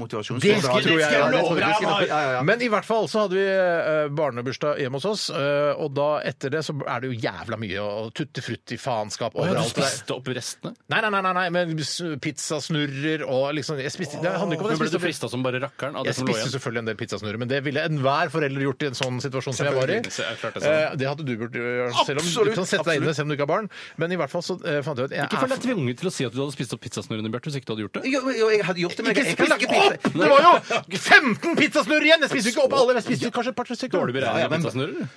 [SPEAKER 1] Det
[SPEAKER 2] motivasjonsforedrag.
[SPEAKER 1] skulle- det skulle
[SPEAKER 2] Ja, det
[SPEAKER 1] jeg
[SPEAKER 2] tror jeg.
[SPEAKER 1] love
[SPEAKER 2] Ja, ja, ja.
[SPEAKER 1] Men i hvert fall så hadde vi eh, barnebursdag hjemme hos oss, eh, og da etter det så er det jo jævla mye og tutti frutti faenskap
[SPEAKER 4] Og du
[SPEAKER 1] overalt.
[SPEAKER 4] spiste opp restene.
[SPEAKER 1] Nei, nei, nei, nei, nei, men s- pizzasnurrer og liksom jeg spiste, Det handler ikke om at
[SPEAKER 4] Men
[SPEAKER 1] jeg
[SPEAKER 4] ble du
[SPEAKER 1] spiste opp
[SPEAKER 4] frista som bare rakkeren av det
[SPEAKER 1] Jeg
[SPEAKER 4] som lå
[SPEAKER 1] spiste
[SPEAKER 4] igjen?
[SPEAKER 1] selvfølgelig en del pizzasnurrer, men det ville enhver forelder gjort i en sånn situasjon som jeg var i.
[SPEAKER 4] Selvfølgelig, så jeg klarte det
[SPEAKER 1] Eh,
[SPEAKER 4] selv.
[SPEAKER 1] Det hadde du burde gjøre, selv om du
[SPEAKER 2] Absolutt,
[SPEAKER 1] kan sette deg inn i det selv om du ikke har barn. Men i hvert fall så eh, fant jeg ut jeg
[SPEAKER 4] Ikke føl
[SPEAKER 1] er
[SPEAKER 4] deg tvunget til å si at du hadde spist opp pizzasnurrene, Bjarte, hvis ikke du hadde gjort det.
[SPEAKER 2] Jo, jo, jeg hadde gjort det, men jeg, jeg
[SPEAKER 1] ikke
[SPEAKER 2] kan lage
[SPEAKER 1] spist opp!
[SPEAKER 2] pizza.
[SPEAKER 1] Det var jo 15 pizzasnurrer igjen! Jeg spiste jo ikke opp alle. Jeg spiste jo kanskje et par-tre
[SPEAKER 4] Dårlig
[SPEAKER 1] stykker.
[SPEAKER 4] beregning
[SPEAKER 2] Ja, ja,
[SPEAKER 4] av
[SPEAKER 2] men-
[SPEAKER 4] pizzasnurrer.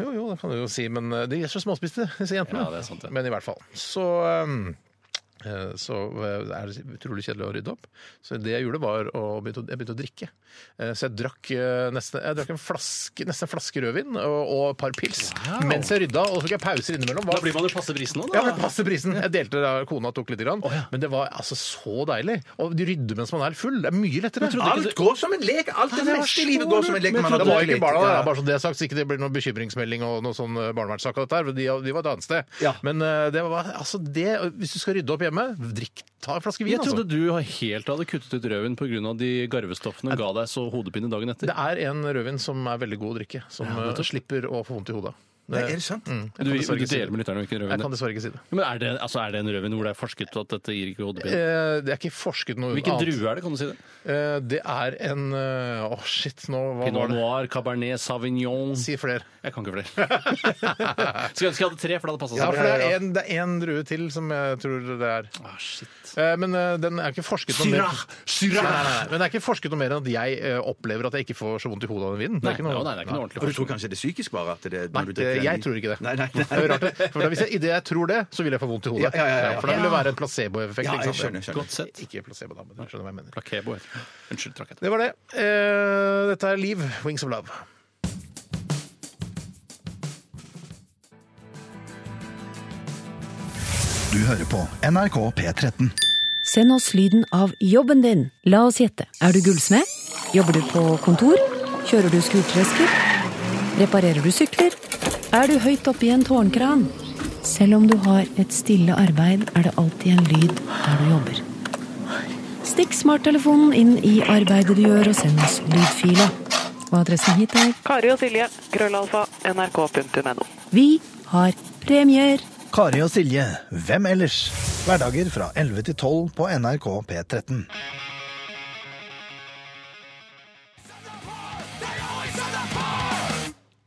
[SPEAKER 1] Jo, jo, det kan du jo si, men eh, de er så småspiste, disse jentene.
[SPEAKER 4] Ja, det er sant, det.
[SPEAKER 1] Men i hvert fall. Så eh, eh, så eh, er det utrolig kjedelig å rydde opp. Så det jeg gjorde, var å begynne å, jeg begynte å drikke. Eh, Så jeg drakk, eh, nesten, jeg drakk en flaske, nesten en flaske rødvin og, og et par pils mens jeg rydda. Og så tok jeg pauser innimellom.
[SPEAKER 4] Da
[SPEAKER 1] Var
[SPEAKER 4] blir man jo passe brisen nå,
[SPEAKER 1] ja, men
[SPEAKER 4] da.
[SPEAKER 1] passe prisen. Jeg delte det, da kona tok litt. Grann. Men det var altså så deilig. Og de rydder mens man er full. Det er mye lettere.
[SPEAKER 2] Alt går som en lek. Alt det
[SPEAKER 1] det var
[SPEAKER 2] meste i
[SPEAKER 1] så
[SPEAKER 2] livet går som en
[SPEAKER 1] lurt,
[SPEAKER 2] lek.
[SPEAKER 1] men
[SPEAKER 2] når
[SPEAKER 1] jeg
[SPEAKER 2] man har
[SPEAKER 1] trodde det var
[SPEAKER 2] drukket
[SPEAKER 1] ikke barna
[SPEAKER 2] litt.
[SPEAKER 1] der, bare så det er sagt, så ikke det blir noen bekymringsmelding og noe sånn eh, barnevernssak av dette her, for de, de var et annet sted.
[SPEAKER 2] Ja.
[SPEAKER 1] Men eh, det var altså det Hvis du skal rydde opp hjemme, drikk, ta en flaske vin,
[SPEAKER 4] Jeg trodde
[SPEAKER 1] altså.
[SPEAKER 4] du helt hadde kuttet ut rødvin pga. de garvestoffene ga deg så hodepine dagen etter.
[SPEAKER 1] Det er en rødvin som er veldig god å drikke, som eh, slipper å få vondt i hodet.
[SPEAKER 2] Nei, er det sant?
[SPEAKER 1] Jeg
[SPEAKER 4] Du,
[SPEAKER 1] kan
[SPEAKER 4] du
[SPEAKER 1] dessverre ikke si
[SPEAKER 4] deler
[SPEAKER 1] det.
[SPEAKER 4] med lytterne hvilken
[SPEAKER 1] Jeg kan
[SPEAKER 4] rødvin det er.
[SPEAKER 1] dessverre ikke si det.
[SPEAKER 4] Men er det, altså, er det en rødvin hvor det er forsket at dette gir ikke hodepine?
[SPEAKER 1] Eh, Det er ikke forsket noe
[SPEAKER 4] Hvilken
[SPEAKER 1] annet.
[SPEAKER 4] drue er det? Kan du si det?
[SPEAKER 1] Eh, Det er en eh, Å, shit, nå hva
[SPEAKER 4] Pinot
[SPEAKER 1] var det?
[SPEAKER 4] noir, cabernet sauvignon
[SPEAKER 1] Si flere.
[SPEAKER 4] Jeg kan ikke flere. Skulle ønske jeg hadde tre, for det hadde passa
[SPEAKER 1] Ja, for
[SPEAKER 4] seg.
[SPEAKER 1] det er, en, det er en drue til som jeg tror det er.
[SPEAKER 4] Ah, shit.
[SPEAKER 1] Eh, Men eh, den er ikke forsket noe mer. Nei, nei, nei. Men det er ikke forsket noe mer enn at jeg eh, opplever at jeg ikke får så vondt i hodet av den vinen.
[SPEAKER 4] Nei,
[SPEAKER 1] Det er ikke noe,
[SPEAKER 4] jo, nei, det er ikke noe ordentlig
[SPEAKER 2] Og du
[SPEAKER 4] forskning.
[SPEAKER 2] tror kanskje det er psykisk bare? at det
[SPEAKER 1] Nei, det- jeg tror ikke det.
[SPEAKER 2] Nei, nei, nei.
[SPEAKER 1] Det er jo rart, det. for da, hvis jeg, i det jeg tror det, så vil jeg få vondt i hodet.
[SPEAKER 2] Ja, ja, ja, ja.
[SPEAKER 1] For da vil det være en placeboeffekt.
[SPEAKER 2] Ja,
[SPEAKER 1] ikke
[SPEAKER 2] jeg
[SPEAKER 1] sant?
[SPEAKER 2] skjønner, skjønner.
[SPEAKER 4] Godt sett.
[SPEAKER 1] Ikke placebo, da, men du skjønner hva jeg mener.
[SPEAKER 4] Placebo heter det. Unnskyld, trakk jeg til.
[SPEAKER 1] Det var det. Eh, dette er Liv, 'Wings of Love'.
[SPEAKER 5] Du hører på NRK P13.
[SPEAKER 6] Send oss lyden av jobben din. La oss gjette. Er du gullsmed? Jobber du på kontor? Kjører du skurtresker? Reparerer du sykler? Er du høyt oppe i en tårnkran? Selv om du har et stille arbeid, er det alltid en lyd der du jobber. Stikk smarttelefonen inn i arbeidet du gjør, og send oss lydfila. Og adressen hit er
[SPEAKER 7] Kari og Silje, krøllalfa, nrk.no.
[SPEAKER 6] Vi har premier!
[SPEAKER 8] Kari og Silje, hvem ellers? Hverdager fra 11 til 12 på NRK P13.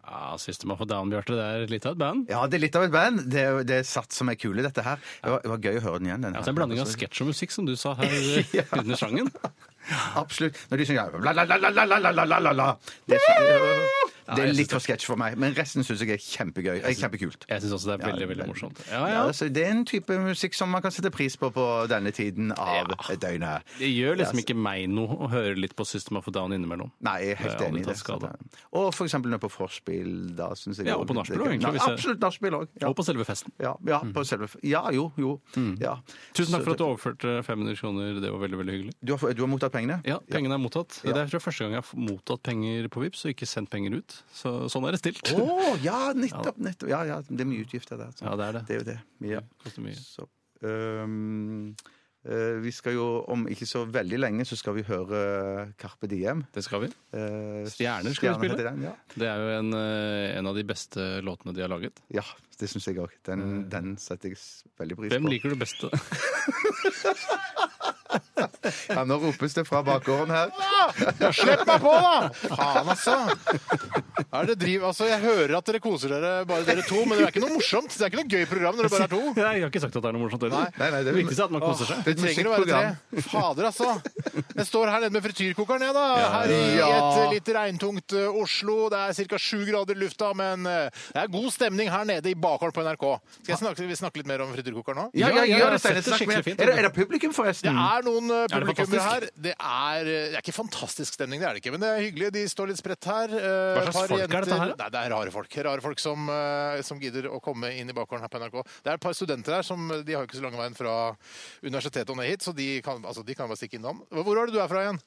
[SPEAKER 4] Ja, Siste man får down, Bjarte. Det er litt av et band.
[SPEAKER 2] Ja, det er litt av et band. Det er, det er satt som er kule, dette her. Det var, det var gøy å høre den igjen. Den
[SPEAKER 4] Ja, det er en blanding altså. av
[SPEAKER 2] altså.
[SPEAKER 4] sketsj og musikk, som du sa her eh, under sangen.
[SPEAKER 2] Absolutt. Når de synger la, la, la, la, la, la, la, la, la, la. Det, er, det er litt for sketsj for meg, men resten syns jeg er kjempegøy. eh, Kjempekult.
[SPEAKER 4] Jeg syns også det er veldig, veldig morsomt. Ja,
[SPEAKER 2] Ja,
[SPEAKER 4] ja.
[SPEAKER 2] altså, det er en type musikk som man kan sette pris på på denne tiden av døgnet.
[SPEAKER 4] Det gjør liksom ikke meg noe å høre litt på System of a Down innimellom.
[SPEAKER 2] Nei, jeg er helt
[SPEAKER 4] Det er
[SPEAKER 2] enig i
[SPEAKER 4] aldri
[SPEAKER 2] det.
[SPEAKER 4] tatt skade.
[SPEAKER 2] Og for eksempel nå på vorspiel, da syns jeg
[SPEAKER 4] Ja,
[SPEAKER 2] også
[SPEAKER 4] og på
[SPEAKER 2] litt-
[SPEAKER 4] nachspiel også, egentlig,
[SPEAKER 2] Nei,
[SPEAKER 4] hvis jeg-
[SPEAKER 2] Absolutt nachspiel òg. Ja.
[SPEAKER 4] Og på selve festen.
[SPEAKER 2] Ja, ja, på selve Ja, jo, jo. Ja.
[SPEAKER 4] Mm. Tusen takk
[SPEAKER 2] Så
[SPEAKER 4] for at du overførte 500 kroner. Det var veldig veldig hyggelig.
[SPEAKER 2] Du har, du har mottatt pengene?
[SPEAKER 4] Ja, pengene er mottatt. Det er tror jeg, første gang jeg har mottatt penger på Vipps og ikke sendt penger ut. Så, sånn er det stilt.
[SPEAKER 2] Å, ja, nettopp, nettopp. Ja, ja, det er mye utgifter der. altså.
[SPEAKER 4] Ja, det er det.
[SPEAKER 2] Det er jo det. Ja.
[SPEAKER 4] koster mye.
[SPEAKER 2] Så, øhm, øh, vi skal jo om ikke så veldig lenge så skal vi høre Carpe Diem.
[SPEAKER 4] Det skal vi.
[SPEAKER 2] Eh,
[SPEAKER 4] Stjerner skal vi spille.
[SPEAKER 2] heter den, ja.
[SPEAKER 4] Det er jo en, eh, en av de beste låtene de har laget.
[SPEAKER 2] ja, det syns jeg òg. Den, den setter jeg s- veldig pris
[SPEAKER 4] Mm. Hvem
[SPEAKER 2] på.
[SPEAKER 4] liker du best? da?
[SPEAKER 2] Ja, nå ropes det fra bakgården her.
[SPEAKER 1] Slipp meg på, da! Faen, altså. Er det driv, altså. Jeg hører at dere koser dere, bare dere to, men det er ikke noe morsomt. Det er ikke noe gøy program når det bare er to.
[SPEAKER 4] Nei, jeg har ikke sagt at det er noe morsomt heller.
[SPEAKER 2] Nei, nei, det er-
[SPEAKER 4] viktigste er at man koser seg.
[SPEAKER 2] Det er
[SPEAKER 1] Det
[SPEAKER 2] et
[SPEAKER 1] trenger å være
[SPEAKER 2] musikkprogram.
[SPEAKER 1] tre. Fader, altså. Jeg står her nede med frityrkokeren, jeg, da. Her i et
[SPEAKER 2] Ja.
[SPEAKER 1] litt regntungt eh, Oslo. Det er ca. sju grader i lufta, men eh, det er god stemning her nede i bakgården på NRK. Skal jeg snakke, vi snakke litt mer om frityrkokeren nå?
[SPEAKER 2] Ja, ja,
[SPEAKER 4] Ja, ja,
[SPEAKER 2] gjør
[SPEAKER 4] jeg
[SPEAKER 2] det,
[SPEAKER 4] setter
[SPEAKER 2] Steine. Snakk
[SPEAKER 4] skikkelig
[SPEAKER 2] med.
[SPEAKER 4] fint,
[SPEAKER 2] Er det,
[SPEAKER 4] du.
[SPEAKER 2] er det publikum,
[SPEAKER 1] Det
[SPEAKER 2] forresten?
[SPEAKER 1] er noen eh,
[SPEAKER 4] Mm. det
[SPEAKER 1] publikummere
[SPEAKER 4] fantastisk?
[SPEAKER 1] her. Det er, eh, det er ikke fantastisk stemning, det er det ikke. Men det er hyggelig. De står litt spredt her. eh,
[SPEAKER 4] Hva slags folk er dette her,
[SPEAKER 1] Nei,
[SPEAKER 4] da?
[SPEAKER 1] det er rare folk. Rare folk som, eh, som gidder å komme inn i bakgården her på NRK. Det er et par studenter her som de har jo ikke så lange veien fra universitetet og ned hit, så de kan, altså, de kan bare stikke innom. Hvor var det du er fra igjen?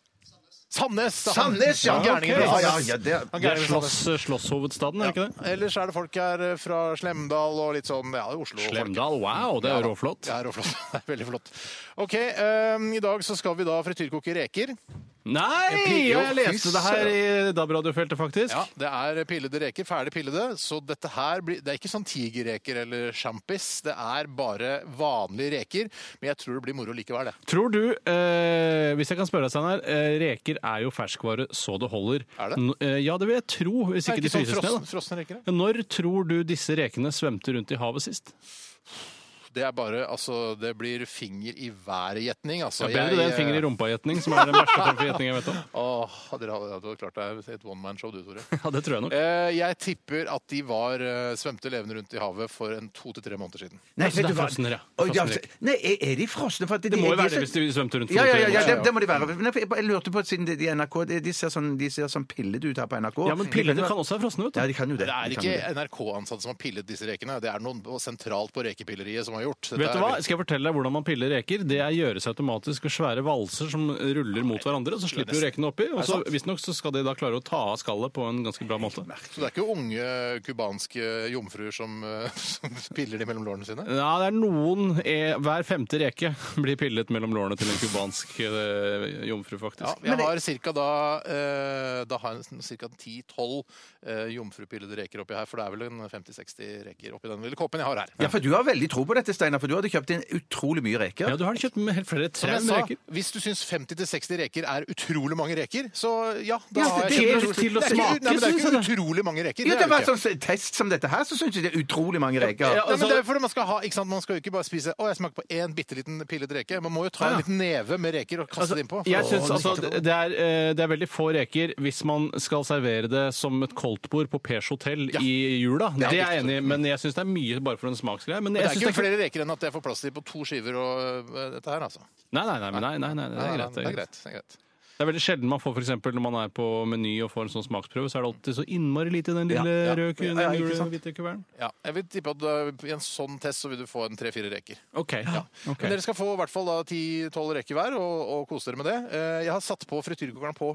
[SPEAKER 1] Sandnes!
[SPEAKER 2] Sandnes, ja,
[SPEAKER 1] Han gærningen
[SPEAKER 2] ok.
[SPEAKER 1] fra
[SPEAKER 2] Ja,
[SPEAKER 1] Sandnes.
[SPEAKER 2] ja, ja, det er-
[SPEAKER 1] Han
[SPEAKER 4] Det er
[SPEAKER 1] gærningen fra
[SPEAKER 4] slåss, Slåsshovedstaden, er det ikke det?
[SPEAKER 1] Sandnes. Ellers er det folk her eh, fra Slemdal og litt sånn ja, Oslo-folk.
[SPEAKER 4] Slemdal, wow, det er
[SPEAKER 1] da.
[SPEAKER 4] råflott.
[SPEAKER 1] Det er råflott. Det er veldig flott. OK, eh, i dag så skal vi da frityrkoke reker.
[SPEAKER 4] Nei!
[SPEAKER 1] Jo,
[SPEAKER 4] Jeg leste det her i DAB-radiofeltet, faktisk.
[SPEAKER 1] Ja, det er pillede reker, ferdig pillede. Så dette her blir Det er ikke sånn tigerreker eller sjampis. Det er bare vanlige reker. Men jeg tror det blir moro likevel, det.
[SPEAKER 4] Tror du, eh, hvis jeg kan spørre deg, Steinar, eh, reker er jo ferskvare så det holder.
[SPEAKER 1] Er det?
[SPEAKER 4] N- eh, ja, det vil jeg tro, hvis
[SPEAKER 1] Det
[SPEAKER 4] ikke,
[SPEAKER 1] er
[SPEAKER 4] de
[SPEAKER 1] ikke sånn
[SPEAKER 4] fryses ned.
[SPEAKER 1] frossen, frosne reker.
[SPEAKER 4] da. Når tror du disse rekene svømte rundt i havet sist?
[SPEAKER 1] da. Det er bare Altså, det blir finger i været-gjetning, altså.
[SPEAKER 4] Det er bedre det enn finger i rumpa-gjetning, som er den verste form for gjetning jeg vet om.
[SPEAKER 1] Åh, dere hadde, hadde klart deg et one man-show, du, Tore.
[SPEAKER 4] Ja, det tror jeg nok.
[SPEAKER 1] Eh, Jeg tipper at de var, eh, svømte levende rundt i havet for en to til tre måneder siden.
[SPEAKER 2] Nei,
[SPEAKER 4] Altså, det er frosne, ja.
[SPEAKER 2] Å, ja,
[SPEAKER 4] Frosne.
[SPEAKER 2] Nei, er- er de frosne? For at de-
[SPEAKER 4] Det må jo
[SPEAKER 2] de er
[SPEAKER 4] være
[SPEAKER 2] så-
[SPEAKER 4] det hvis de svømte rundt.
[SPEAKER 2] Ja, ja, ja, ja
[SPEAKER 4] for
[SPEAKER 2] det, det må de være. Nei, for Jeg bare lurte på, siden de de NRK de- De ser sånn, de ser sånn pillet ut her på NRK.
[SPEAKER 4] Ja, men pillene kan også være frosne, vet du.
[SPEAKER 2] Ja, de kan jo det.
[SPEAKER 1] Det er
[SPEAKER 2] de kan
[SPEAKER 1] ikke
[SPEAKER 2] jo det.
[SPEAKER 1] NRK-ansatte som har pillet disse rekene. Det er noen sentralt på rekepilleriet som har gjort. Dette
[SPEAKER 4] Vet du
[SPEAKER 1] er
[SPEAKER 4] hva?
[SPEAKER 1] veldig-
[SPEAKER 4] Skal jeg fortelle deg hvordan man piller reker? Det er gjøres automatisk ved svære valser som ruller mot hverandre, og så slipper du rekene oppi. Og så visstnok så skal de da klare å ta av skallet på en ganske bra måte.
[SPEAKER 1] Så det er ikke unge cubanske jomfruer som, eh, som piller de mellom lårene sine?
[SPEAKER 4] Ja, det er noen eh, Hver femte reke blir pillet mellom lårene til en cubansk eh, jomfru,
[SPEAKER 1] Ja,
[SPEAKER 4] faktisk.
[SPEAKER 1] jeg har cirka da, eh, da har jeg ca. 10-12 eh, jomfrupillede reker oppi her, for det er vel en 50-60 reker oppi den lille kåpen jeg har her.
[SPEAKER 2] Ja, for du har veldig tro på dette, Steinar, for du hadde kjøpt inn utrolig mye reker.
[SPEAKER 4] Ja, du har kjøpt med helt flere
[SPEAKER 1] Som jeg
[SPEAKER 4] traume
[SPEAKER 1] sa,
[SPEAKER 4] reker.
[SPEAKER 1] hvis du syns 50-60 reker er utrolig mange reker, så ja da
[SPEAKER 2] Ja,
[SPEAKER 1] har
[SPEAKER 2] det
[SPEAKER 1] jeg
[SPEAKER 2] er
[SPEAKER 1] kjempe-
[SPEAKER 4] til å
[SPEAKER 1] Det er ikke-
[SPEAKER 4] smake,
[SPEAKER 1] Nei, men det er
[SPEAKER 4] synes
[SPEAKER 1] ikke
[SPEAKER 4] jeg det.
[SPEAKER 1] utrolig mange reker. det er
[SPEAKER 2] Ja, det
[SPEAKER 1] det
[SPEAKER 2] var
[SPEAKER 1] ikke.
[SPEAKER 2] en sånn test som dette her, så syns jeg det er utrolig mange reker.
[SPEAKER 4] Ja,
[SPEAKER 1] Nei, men
[SPEAKER 4] altså-
[SPEAKER 1] det er fordi man skal ha, ikke sant, man skal jo ikke bare spise Å, jeg smaker på én bitte liten pillet reke. Man må jo ta en liten neve med reker og kaste det innpå.
[SPEAKER 4] jeg synes, altså, det, er, eh, det er veldig få reker hvis man skal servere det som et koldtbord på Pers hotell i jula. Det er jeg enig i, men jeg syns det er mye bare for en smaksgreie. Men
[SPEAKER 1] Men
[SPEAKER 4] jeg
[SPEAKER 1] det er
[SPEAKER 4] synes
[SPEAKER 1] ikke flere reker enn at jeg får plass til på to skiver og øh, dette her, altså.
[SPEAKER 4] Nei, nei, nei, men nei, nei, nei, det er
[SPEAKER 1] Nei, nei,
[SPEAKER 4] greit. Det er greit.
[SPEAKER 1] Det er greit.
[SPEAKER 4] Det er veldig sjelden man får, for eksempel, når man er på Meny og får en sånn smaksprøve, så er det alltid så innmari lite i den lille
[SPEAKER 2] Ja, ja.
[SPEAKER 4] røde ku- den
[SPEAKER 2] Ja, ikke
[SPEAKER 4] gule,
[SPEAKER 2] sant?
[SPEAKER 4] hvite kuverten.
[SPEAKER 1] Ja, jeg vil tippe at øh, i en sånn test så vil du få en tre-fire reker.
[SPEAKER 4] OK. Ja. ok.
[SPEAKER 1] Men dere skal få i hvert fall da ti-tolv reker hver, og, og kose dere med det. Eh, Jeg har satt på frityrkokeren på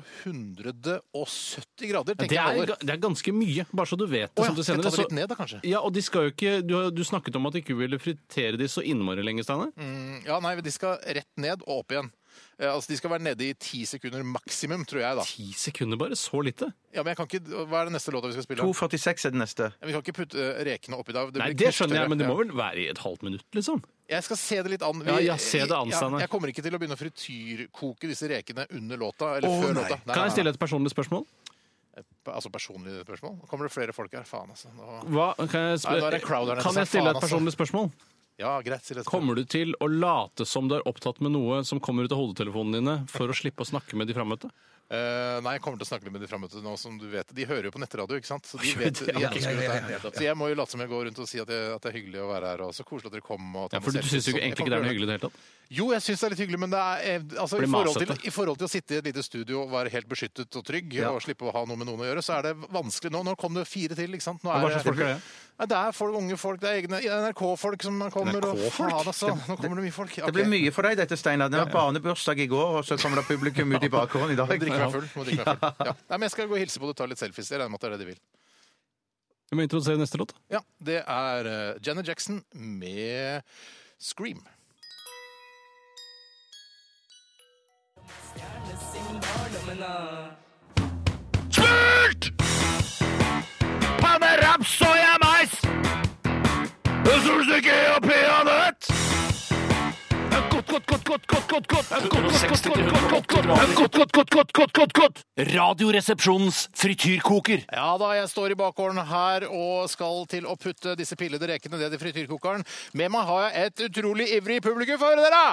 [SPEAKER 1] 170 grader.
[SPEAKER 4] Det
[SPEAKER 1] tenker jeg
[SPEAKER 4] er,
[SPEAKER 1] holder.
[SPEAKER 4] ga- det er ganske mye, bare så du vet det.
[SPEAKER 1] Å ja,
[SPEAKER 4] som du
[SPEAKER 1] skal jeg
[SPEAKER 4] senere,
[SPEAKER 1] ta det
[SPEAKER 4] så-
[SPEAKER 1] litt ned da, kanskje?
[SPEAKER 4] Ja, og de skal jo ikke, du, har- du snakket om at de ikke ville fritere de så innmari lenge, Steinar.
[SPEAKER 1] Mm.
[SPEAKER 4] Mm.
[SPEAKER 1] Ja, nei, de skal rett ned og opp igjen. Eh, Altså, De skal være nede i ti sekunder maksimum, tror jeg. da.
[SPEAKER 4] Ti sekunder bare? Så lite?
[SPEAKER 1] Ja, men jeg kan ikke, Hva er det neste låta vi skal spille?
[SPEAKER 2] 2,46 er det neste.
[SPEAKER 1] Ja, Vi kan ikke putte eh, rekene oppi der.
[SPEAKER 4] Nei,
[SPEAKER 1] blir
[SPEAKER 4] det skjønner jeg,
[SPEAKER 1] knusktørre.
[SPEAKER 4] men det må
[SPEAKER 1] Ja.
[SPEAKER 4] vel være i et halvt minutt, liksom?
[SPEAKER 1] Jeg skal se det litt an. Vi-
[SPEAKER 4] Ja, ja, se det an,
[SPEAKER 1] Ja,
[SPEAKER 4] Steinar.
[SPEAKER 1] jeg kommer ikke til å begynne å frityrkoke disse rekene under låta. Eller før låta. Nei,
[SPEAKER 4] Kan
[SPEAKER 1] nei,
[SPEAKER 4] jeg stille et personlig spørsmål?
[SPEAKER 1] nei. Altså personlige spørsmål? Nå Kommer det flere folk her? Faen, altså. Nå...
[SPEAKER 4] Hva, kan jeg,
[SPEAKER 1] Nei, nå er det crowd her nede,
[SPEAKER 4] kan
[SPEAKER 1] så
[SPEAKER 4] jeg stille
[SPEAKER 1] faen,
[SPEAKER 4] et
[SPEAKER 1] altså.
[SPEAKER 4] personlig spørsmål?
[SPEAKER 1] Ja, greit. Stille et spørsmål.
[SPEAKER 4] Kommer du til å late som du er opptatt med noe som kommer ut av hodetelefonene dine, for å slippe å snakke med de frammøtte?
[SPEAKER 1] Eh, nei, jeg kommer til å snakke litt med de frammøtte nå, som du vet. De hører jo på nettradio, ikke sant? Så de
[SPEAKER 4] Gjør
[SPEAKER 1] vet
[SPEAKER 4] de det?
[SPEAKER 1] de
[SPEAKER 4] Ja,
[SPEAKER 1] elsker
[SPEAKER 4] ja, ja,
[SPEAKER 1] dette her. Så jeg må jo late som jeg går rundt og si at, jeg, at det er hyggelig å være her, og så koselig at dere kom. Og at
[SPEAKER 4] Ja, for du
[SPEAKER 1] man ser-
[SPEAKER 4] syns jo
[SPEAKER 1] sånn. Jeg kommer
[SPEAKER 4] egentlig ikke det er
[SPEAKER 1] til å
[SPEAKER 4] noe
[SPEAKER 1] gjøre
[SPEAKER 4] hyggelig i det hele tatt?
[SPEAKER 1] Jo, jeg syns det er litt hyggelig, men det er, eh, altså, i,
[SPEAKER 4] Blir
[SPEAKER 1] forhold til,
[SPEAKER 4] masete.
[SPEAKER 1] i forhold til å sitte i et lite studio og være helt beskyttet og trygg og slippe å ha noe med noen å gjøre, så er det vanskelig nå. Nå kom det fire til, ikke sant? Nå
[SPEAKER 4] Hva slags folk er det?
[SPEAKER 1] Nei, det er folk, unge folk, det er egne NRK-folk som kommer.
[SPEAKER 2] NRK-folk?
[SPEAKER 1] Og, faen, altså. Nå kommer det mye folk.
[SPEAKER 2] Det ble mye for deg, dette, Steinar. Det var barnebursdag i går, og så kommer det publikum ut i bakhånd i dag.
[SPEAKER 1] Må drikke meg full. Må drikke meg full. Ja. Nei, men jeg skal gå og hilse på det og ta litt selfies. Jeg regner med at det er det de vil.
[SPEAKER 4] Vi må introdusere neste låt.
[SPEAKER 1] Ja, det er eh, Janet Jackson med Scream.
[SPEAKER 2] Smult! Panne, raps, soya, mais. Solstykke og peanøtt. Godt, godt, godt, godt, godt, godt, godt. Godt, godt, godt, godt, godt, godt, godt, godt, godt, godt.
[SPEAKER 9] Radioresepsjonens frityrkoker.
[SPEAKER 1] Ja da, jeg står i bakgården her og skal til å putte disse pillede rekene ned i frityrkokeren. Med meg har jeg et utrolig ivrig publikum for dere!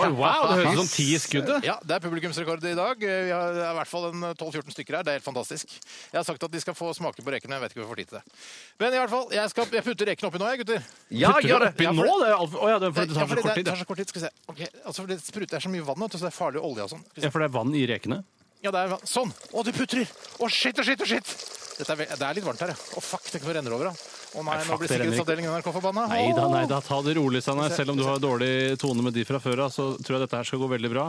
[SPEAKER 4] Oi, wow, det høres ut som ti i skuddet.
[SPEAKER 1] Ja, Det er publikumsrekord i dag. Eh, Vi har det er i hvert fall en 12-14 stykker her. Det er helt fantastisk. Jeg har sagt at de skal få smake på rekene. Jeg vet ikke om vi får tid til det. Men i hvert fall, jeg, skal, jeg putter rekene oppi nå, jeg, gutter.
[SPEAKER 2] Ja, gjør det.
[SPEAKER 4] Oppi nå? Det er alt- Å ja, det er fordi det
[SPEAKER 1] Ja,
[SPEAKER 4] tar så
[SPEAKER 1] fordi
[SPEAKER 4] kort
[SPEAKER 1] det
[SPEAKER 4] tid.
[SPEAKER 1] tar så kort tid. Skal vi se. Ok, altså, for det spruter så mye vann, vet du, så det er farlig olje og sånn. Skal vi se.
[SPEAKER 4] Ja, for det er vann i rekene.
[SPEAKER 1] Ja, det er vann. Sånn! Å, det putrer! Å, shit, å, shit, å, shit! Dette er, ve- det er litt varmt her, ja. Å, fuck, tenk om det renner over, da. Å nei,
[SPEAKER 4] Nei,
[SPEAKER 1] nå blir
[SPEAKER 4] fuck, det renner ikke.
[SPEAKER 1] sikkerhetsavdelingen i NRK forbanna.
[SPEAKER 4] Nei da,
[SPEAKER 1] Åh!
[SPEAKER 4] nei da, ta det rolig, Steinar. Selv om du har dårlig tone med de fra før av, så tror jeg dette her skal gå veldig bra.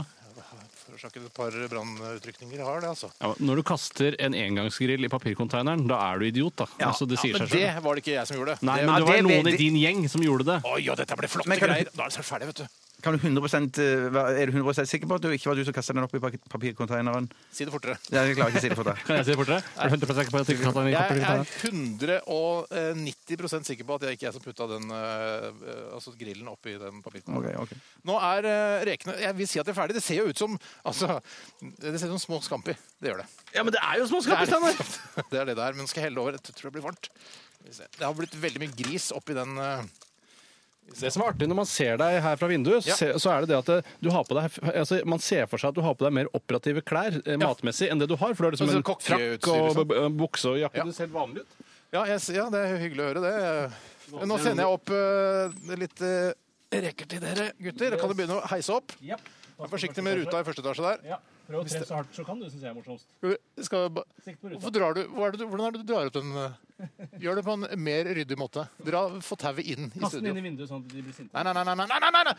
[SPEAKER 1] Forårsaket et par brannutrykninger har det, altså.
[SPEAKER 4] Ja, men når du kaster en engangsgrill i papirkonteineren, da er du idiot, da. altså, det sier
[SPEAKER 1] Men
[SPEAKER 4] seg selv.
[SPEAKER 1] det var det ikke jeg som gjorde.
[SPEAKER 4] Nei,
[SPEAKER 1] det
[SPEAKER 4] men
[SPEAKER 1] var...
[SPEAKER 4] det var
[SPEAKER 2] det-
[SPEAKER 4] noen i
[SPEAKER 2] det-
[SPEAKER 4] din gjeng som gjorde det.
[SPEAKER 1] Oi, ja, dette ble flotte
[SPEAKER 2] Men kan du-
[SPEAKER 1] greier. Da er det snart ferdig, vet du.
[SPEAKER 2] Kan du 100% eh, Er du 100 sikker på at det ikke var du som kastet den opp i pak- papirkonteineren?
[SPEAKER 1] Si det fortere.
[SPEAKER 2] Ja, Jeg klarer ikke å si det for deg.
[SPEAKER 4] Kan jeg si det fortere? Er du 100 sikker på at jeg ikke kastet den i
[SPEAKER 1] Jeg er
[SPEAKER 4] papirkonteineren?
[SPEAKER 1] 190 sikker på at jeg ikke er som putta den eh, altså grillen oppi den papirkonten.
[SPEAKER 2] Ok, ok.
[SPEAKER 1] Nå er eh, rekene Jeg vil si at de er ferdige. Det ser jo ut som altså, Det ser ut som små Scampi. Det gjør det.
[SPEAKER 4] Ja, men det er jo småskap,
[SPEAKER 1] Det er, det er det det er, men skal jeg helle over. Jeg tror det blir varmt. Skal vi se. Det har blitt veldig mye gris oppi den eh,
[SPEAKER 4] Det som er artig når man ser deg her fra vinduet,
[SPEAKER 1] Ja.
[SPEAKER 4] se- så er det det at eh, du har på deg altså, Man ser for seg at du har på deg mer operative klær eh, matmessig enn det du har. For du har liksom
[SPEAKER 1] Altså,
[SPEAKER 4] en
[SPEAKER 1] kokkeutstyr,
[SPEAKER 4] frakk og
[SPEAKER 1] liksom.
[SPEAKER 4] b- b- bukse og jakke.
[SPEAKER 1] Ja.
[SPEAKER 4] Du ser helt vanlig ut.
[SPEAKER 1] ja, jeg, s- ja, det er hyggelig å høre det. Eh, Nå sender jeg opp eh, litt eh, reker til dere, gutter. Kan du begynne å heise opp? Vær forsiktig med ruta i første etasje der.
[SPEAKER 4] Prøv å treffe så hardt så kan, du syns jeg er morsomst.
[SPEAKER 1] Skal vi- Skal vi ba
[SPEAKER 4] Sikt på ruta.
[SPEAKER 1] Hvorfor drar du, hva er det, du- Hvordan er det du drar ut den eh? Gjør det på en mer ryddig måte. Dere har fått tauet inn i
[SPEAKER 10] Kast den
[SPEAKER 1] studio.
[SPEAKER 10] inn i vinduet sånn at de blir sinte.
[SPEAKER 1] Nei, nei, nei. nei, nei, nei, nei, nei.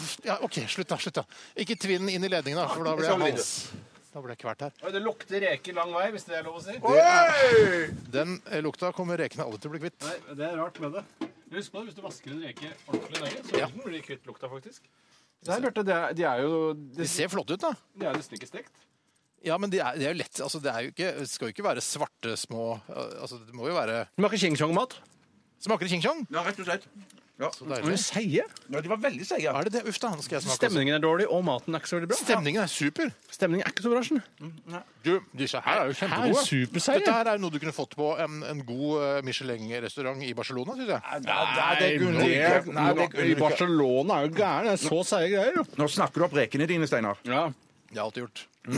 [SPEAKER 1] Uff, ja, OK, slutt, da. slutt da. Ikke tvinn den inn i ledningen, da, for da blir
[SPEAKER 10] Sånn blir
[SPEAKER 1] jeg
[SPEAKER 10] det.
[SPEAKER 1] hals. Da blir jeg kvert her.
[SPEAKER 10] Oi, det lukter reker lang vei, hvis det er lov å si.
[SPEAKER 1] Den eh, lukta kommer rekene aldri til å bli kvitt.
[SPEAKER 10] Nei, det er rart med det. Husk på det, hvis du vasker en reke ordentlig nøye, så
[SPEAKER 1] Ja.
[SPEAKER 10] blir den kvitt lukta, faktisk.
[SPEAKER 1] Det er lurt, de, er, jo De ser flotte ut, da.
[SPEAKER 10] Det er nesten ikke stekt.
[SPEAKER 1] Ja, men det er, det er jo lett. Altså, det er jo ikke, det skal jo ikke være svarte små eh, altså, Det må jo være
[SPEAKER 4] Smaker ching chong-mat?
[SPEAKER 1] Smaker det ching chong?
[SPEAKER 2] Ja, rett og slett.
[SPEAKER 1] Så
[SPEAKER 4] Men de er
[SPEAKER 1] deilig.
[SPEAKER 4] seige.
[SPEAKER 2] Ja, de var veldig seige.
[SPEAKER 1] Er det det? Uff da, nå skal jeg smake.
[SPEAKER 4] Stemningen er dårlig, og maten er ikke så veldig bra.
[SPEAKER 1] Stemningen er super.
[SPEAKER 4] Stemningen er ikke så bra. Skjønner.
[SPEAKER 1] Du, disse her er jo
[SPEAKER 4] Her
[SPEAKER 1] kjempegode.
[SPEAKER 4] er superseier.
[SPEAKER 1] Dette her er jo noe du kunne fått på en, en god eh, Michelin-restaurant i Barcelona, syns jeg.
[SPEAKER 2] det kunne du ikke. Nei, det kunne du ikke.
[SPEAKER 4] Barcelona er jo gæren. Det er så seige greier, jo.
[SPEAKER 2] Nå snakker du opp rekene dine, Steinar.
[SPEAKER 4] Ja.
[SPEAKER 1] Det har jeg alltid gjort. Mm.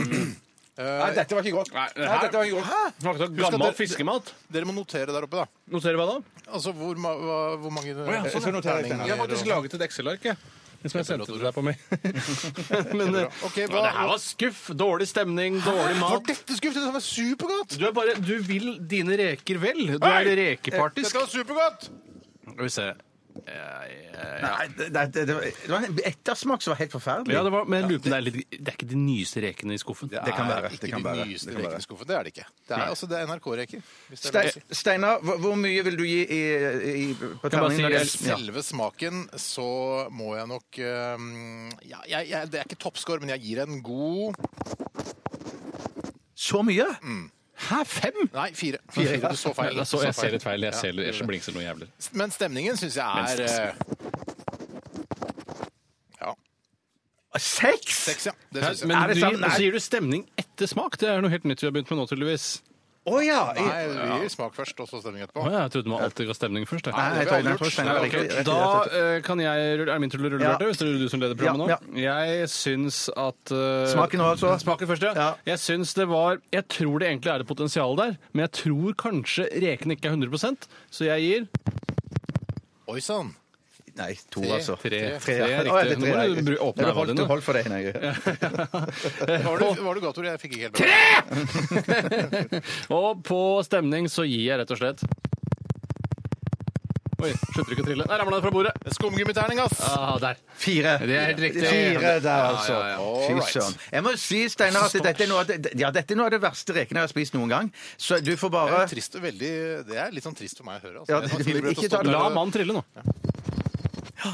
[SPEAKER 1] Eh,
[SPEAKER 2] Nei, dette var ikke godt. Nei, dette var ikke godt.
[SPEAKER 1] Husk
[SPEAKER 4] Smakte
[SPEAKER 1] at
[SPEAKER 4] gammel
[SPEAKER 1] dere-
[SPEAKER 4] fiskemat.
[SPEAKER 1] Dere må notere der oppe, da.
[SPEAKER 4] Noterer hva da?
[SPEAKER 1] Altså hvor, ma hva, hvor mange eh,
[SPEAKER 4] ja, sånn, ja.
[SPEAKER 1] terninger-
[SPEAKER 4] Jeg har faktisk laget et Excel-ark, jeg. Som jeg sendte til deg på meg. Men eh,
[SPEAKER 1] Ok,
[SPEAKER 4] ja,
[SPEAKER 1] hva,
[SPEAKER 4] det her var skuff. Dårlig stemning, dårlig
[SPEAKER 1] Var
[SPEAKER 4] mat.
[SPEAKER 1] dette skuffet? Dette var supergodt!
[SPEAKER 4] Du, er bare, du vil dine reker vel. Du er rekepartisk.
[SPEAKER 1] Dette var supergodt!
[SPEAKER 4] Skal vi se.
[SPEAKER 2] Nei, det, det, det, det var- det var en ettersmak som var helt forferdelig.
[SPEAKER 4] Ja, det var, men lupen er litt, det er ikke de nyeste rekene i skuffen.
[SPEAKER 2] Det kan være.
[SPEAKER 1] Ikke
[SPEAKER 2] Det kan
[SPEAKER 1] de
[SPEAKER 2] være.
[SPEAKER 1] nyeste
[SPEAKER 2] Det kan være.
[SPEAKER 1] rekene i skuffen. Det er det ikke. Det er, altså, det er NRK-reker. hvis det er lov å si.
[SPEAKER 2] Ste- Steinar, hvor hvor mye vil du gi i, i, på
[SPEAKER 4] Kan bare si
[SPEAKER 2] terningen? når det
[SPEAKER 4] elf.
[SPEAKER 2] gjelder-
[SPEAKER 1] Selve smaken så må jeg nok ehm, ja, jeg, jeg, Det er ikke toppscore, men jeg gir en god
[SPEAKER 2] Ja. Så mye?
[SPEAKER 4] Mm.
[SPEAKER 2] Hæ, fem?
[SPEAKER 1] Nei, fire. fire. Du så feil.
[SPEAKER 10] Jeg, så, jeg
[SPEAKER 1] feil.
[SPEAKER 10] ser et feil. Jeg
[SPEAKER 1] Ja,
[SPEAKER 10] ser
[SPEAKER 1] du gjør
[SPEAKER 10] ellers blingser noe jævlig.
[SPEAKER 1] det. Men stemningen syns jeg er eh, Ja.
[SPEAKER 2] Seks?
[SPEAKER 1] Seks, ja. Det syns jeg.
[SPEAKER 4] Men
[SPEAKER 2] Er det
[SPEAKER 4] du,
[SPEAKER 2] sant? Nei.
[SPEAKER 4] så gir du stemning etter smak. Det er noe helt nytt vi har begynt med nå, tydeligvis.
[SPEAKER 2] Å ja! i-
[SPEAKER 1] Nei, vi gir smak først, og så stemning
[SPEAKER 10] Å,
[SPEAKER 1] etterpå.
[SPEAKER 10] ja, jeg trodde man alltid ga stemning først. jeg.
[SPEAKER 2] Nei,
[SPEAKER 1] det
[SPEAKER 2] jeg
[SPEAKER 1] har vi
[SPEAKER 2] tar den
[SPEAKER 1] aldri
[SPEAKER 2] først.
[SPEAKER 1] gjort.
[SPEAKER 2] Steinar,
[SPEAKER 4] Ok,
[SPEAKER 2] riktig, riktig,
[SPEAKER 4] Da
[SPEAKER 2] riktig, riktig.
[SPEAKER 4] eh, kan jeg rulle, er det min tur til å rulle,
[SPEAKER 2] Ja.
[SPEAKER 4] Bjarte? Hvis det er du som leder programmet
[SPEAKER 2] Ja,
[SPEAKER 4] nå? Jeg syns at eh,
[SPEAKER 2] Smaken nå, altså.
[SPEAKER 4] Smaken først, ja.
[SPEAKER 2] Ja.
[SPEAKER 4] Jeg syns det var Jeg tror det egentlig er et potensial der, men jeg tror kanskje rekene ikke er 100 så jeg gir
[SPEAKER 1] Oi sann!
[SPEAKER 2] Nei, to, altså.
[SPEAKER 4] tre.
[SPEAKER 2] Tre,
[SPEAKER 4] Tre
[SPEAKER 2] ja.
[SPEAKER 4] er
[SPEAKER 2] Å, ja, det
[SPEAKER 4] riktig. Nå må
[SPEAKER 2] er tre, ja.
[SPEAKER 4] du bru- åpne
[SPEAKER 2] Ja, du
[SPEAKER 4] øynene
[SPEAKER 2] holdt,
[SPEAKER 4] dine.
[SPEAKER 2] du holdt for deg. Nei.
[SPEAKER 1] Var du, var du gator? Jeg fikk ikke helt med meg.
[SPEAKER 4] Og på stemning så gir jeg rett og slett Oi, slutter ikke å trille. Der ramla det fra bordet.
[SPEAKER 1] Skumgummiterning, ass!
[SPEAKER 4] Ah, der.
[SPEAKER 2] Fire.
[SPEAKER 4] Det er helt riktig.
[SPEAKER 2] Fire der, altså.
[SPEAKER 4] Ja, ja, ja.
[SPEAKER 2] Fy
[SPEAKER 1] Alright.
[SPEAKER 2] søren. Jeg må si, Steinar, at dette er noe av det, ja, dette er noe av det verste rekene jeg har spist noen gang. Så du får
[SPEAKER 1] Det
[SPEAKER 2] bare
[SPEAKER 1] er, trist, og veldig, det er litt sånn trist for meg å høre. Altså.
[SPEAKER 2] Ja,
[SPEAKER 1] Jeg var
[SPEAKER 2] det-
[SPEAKER 1] tidligere
[SPEAKER 2] ikke
[SPEAKER 1] til å stå
[SPEAKER 2] ta-
[SPEAKER 4] La
[SPEAKER 1] der-
[SPEAKER 4] mannen trille nå.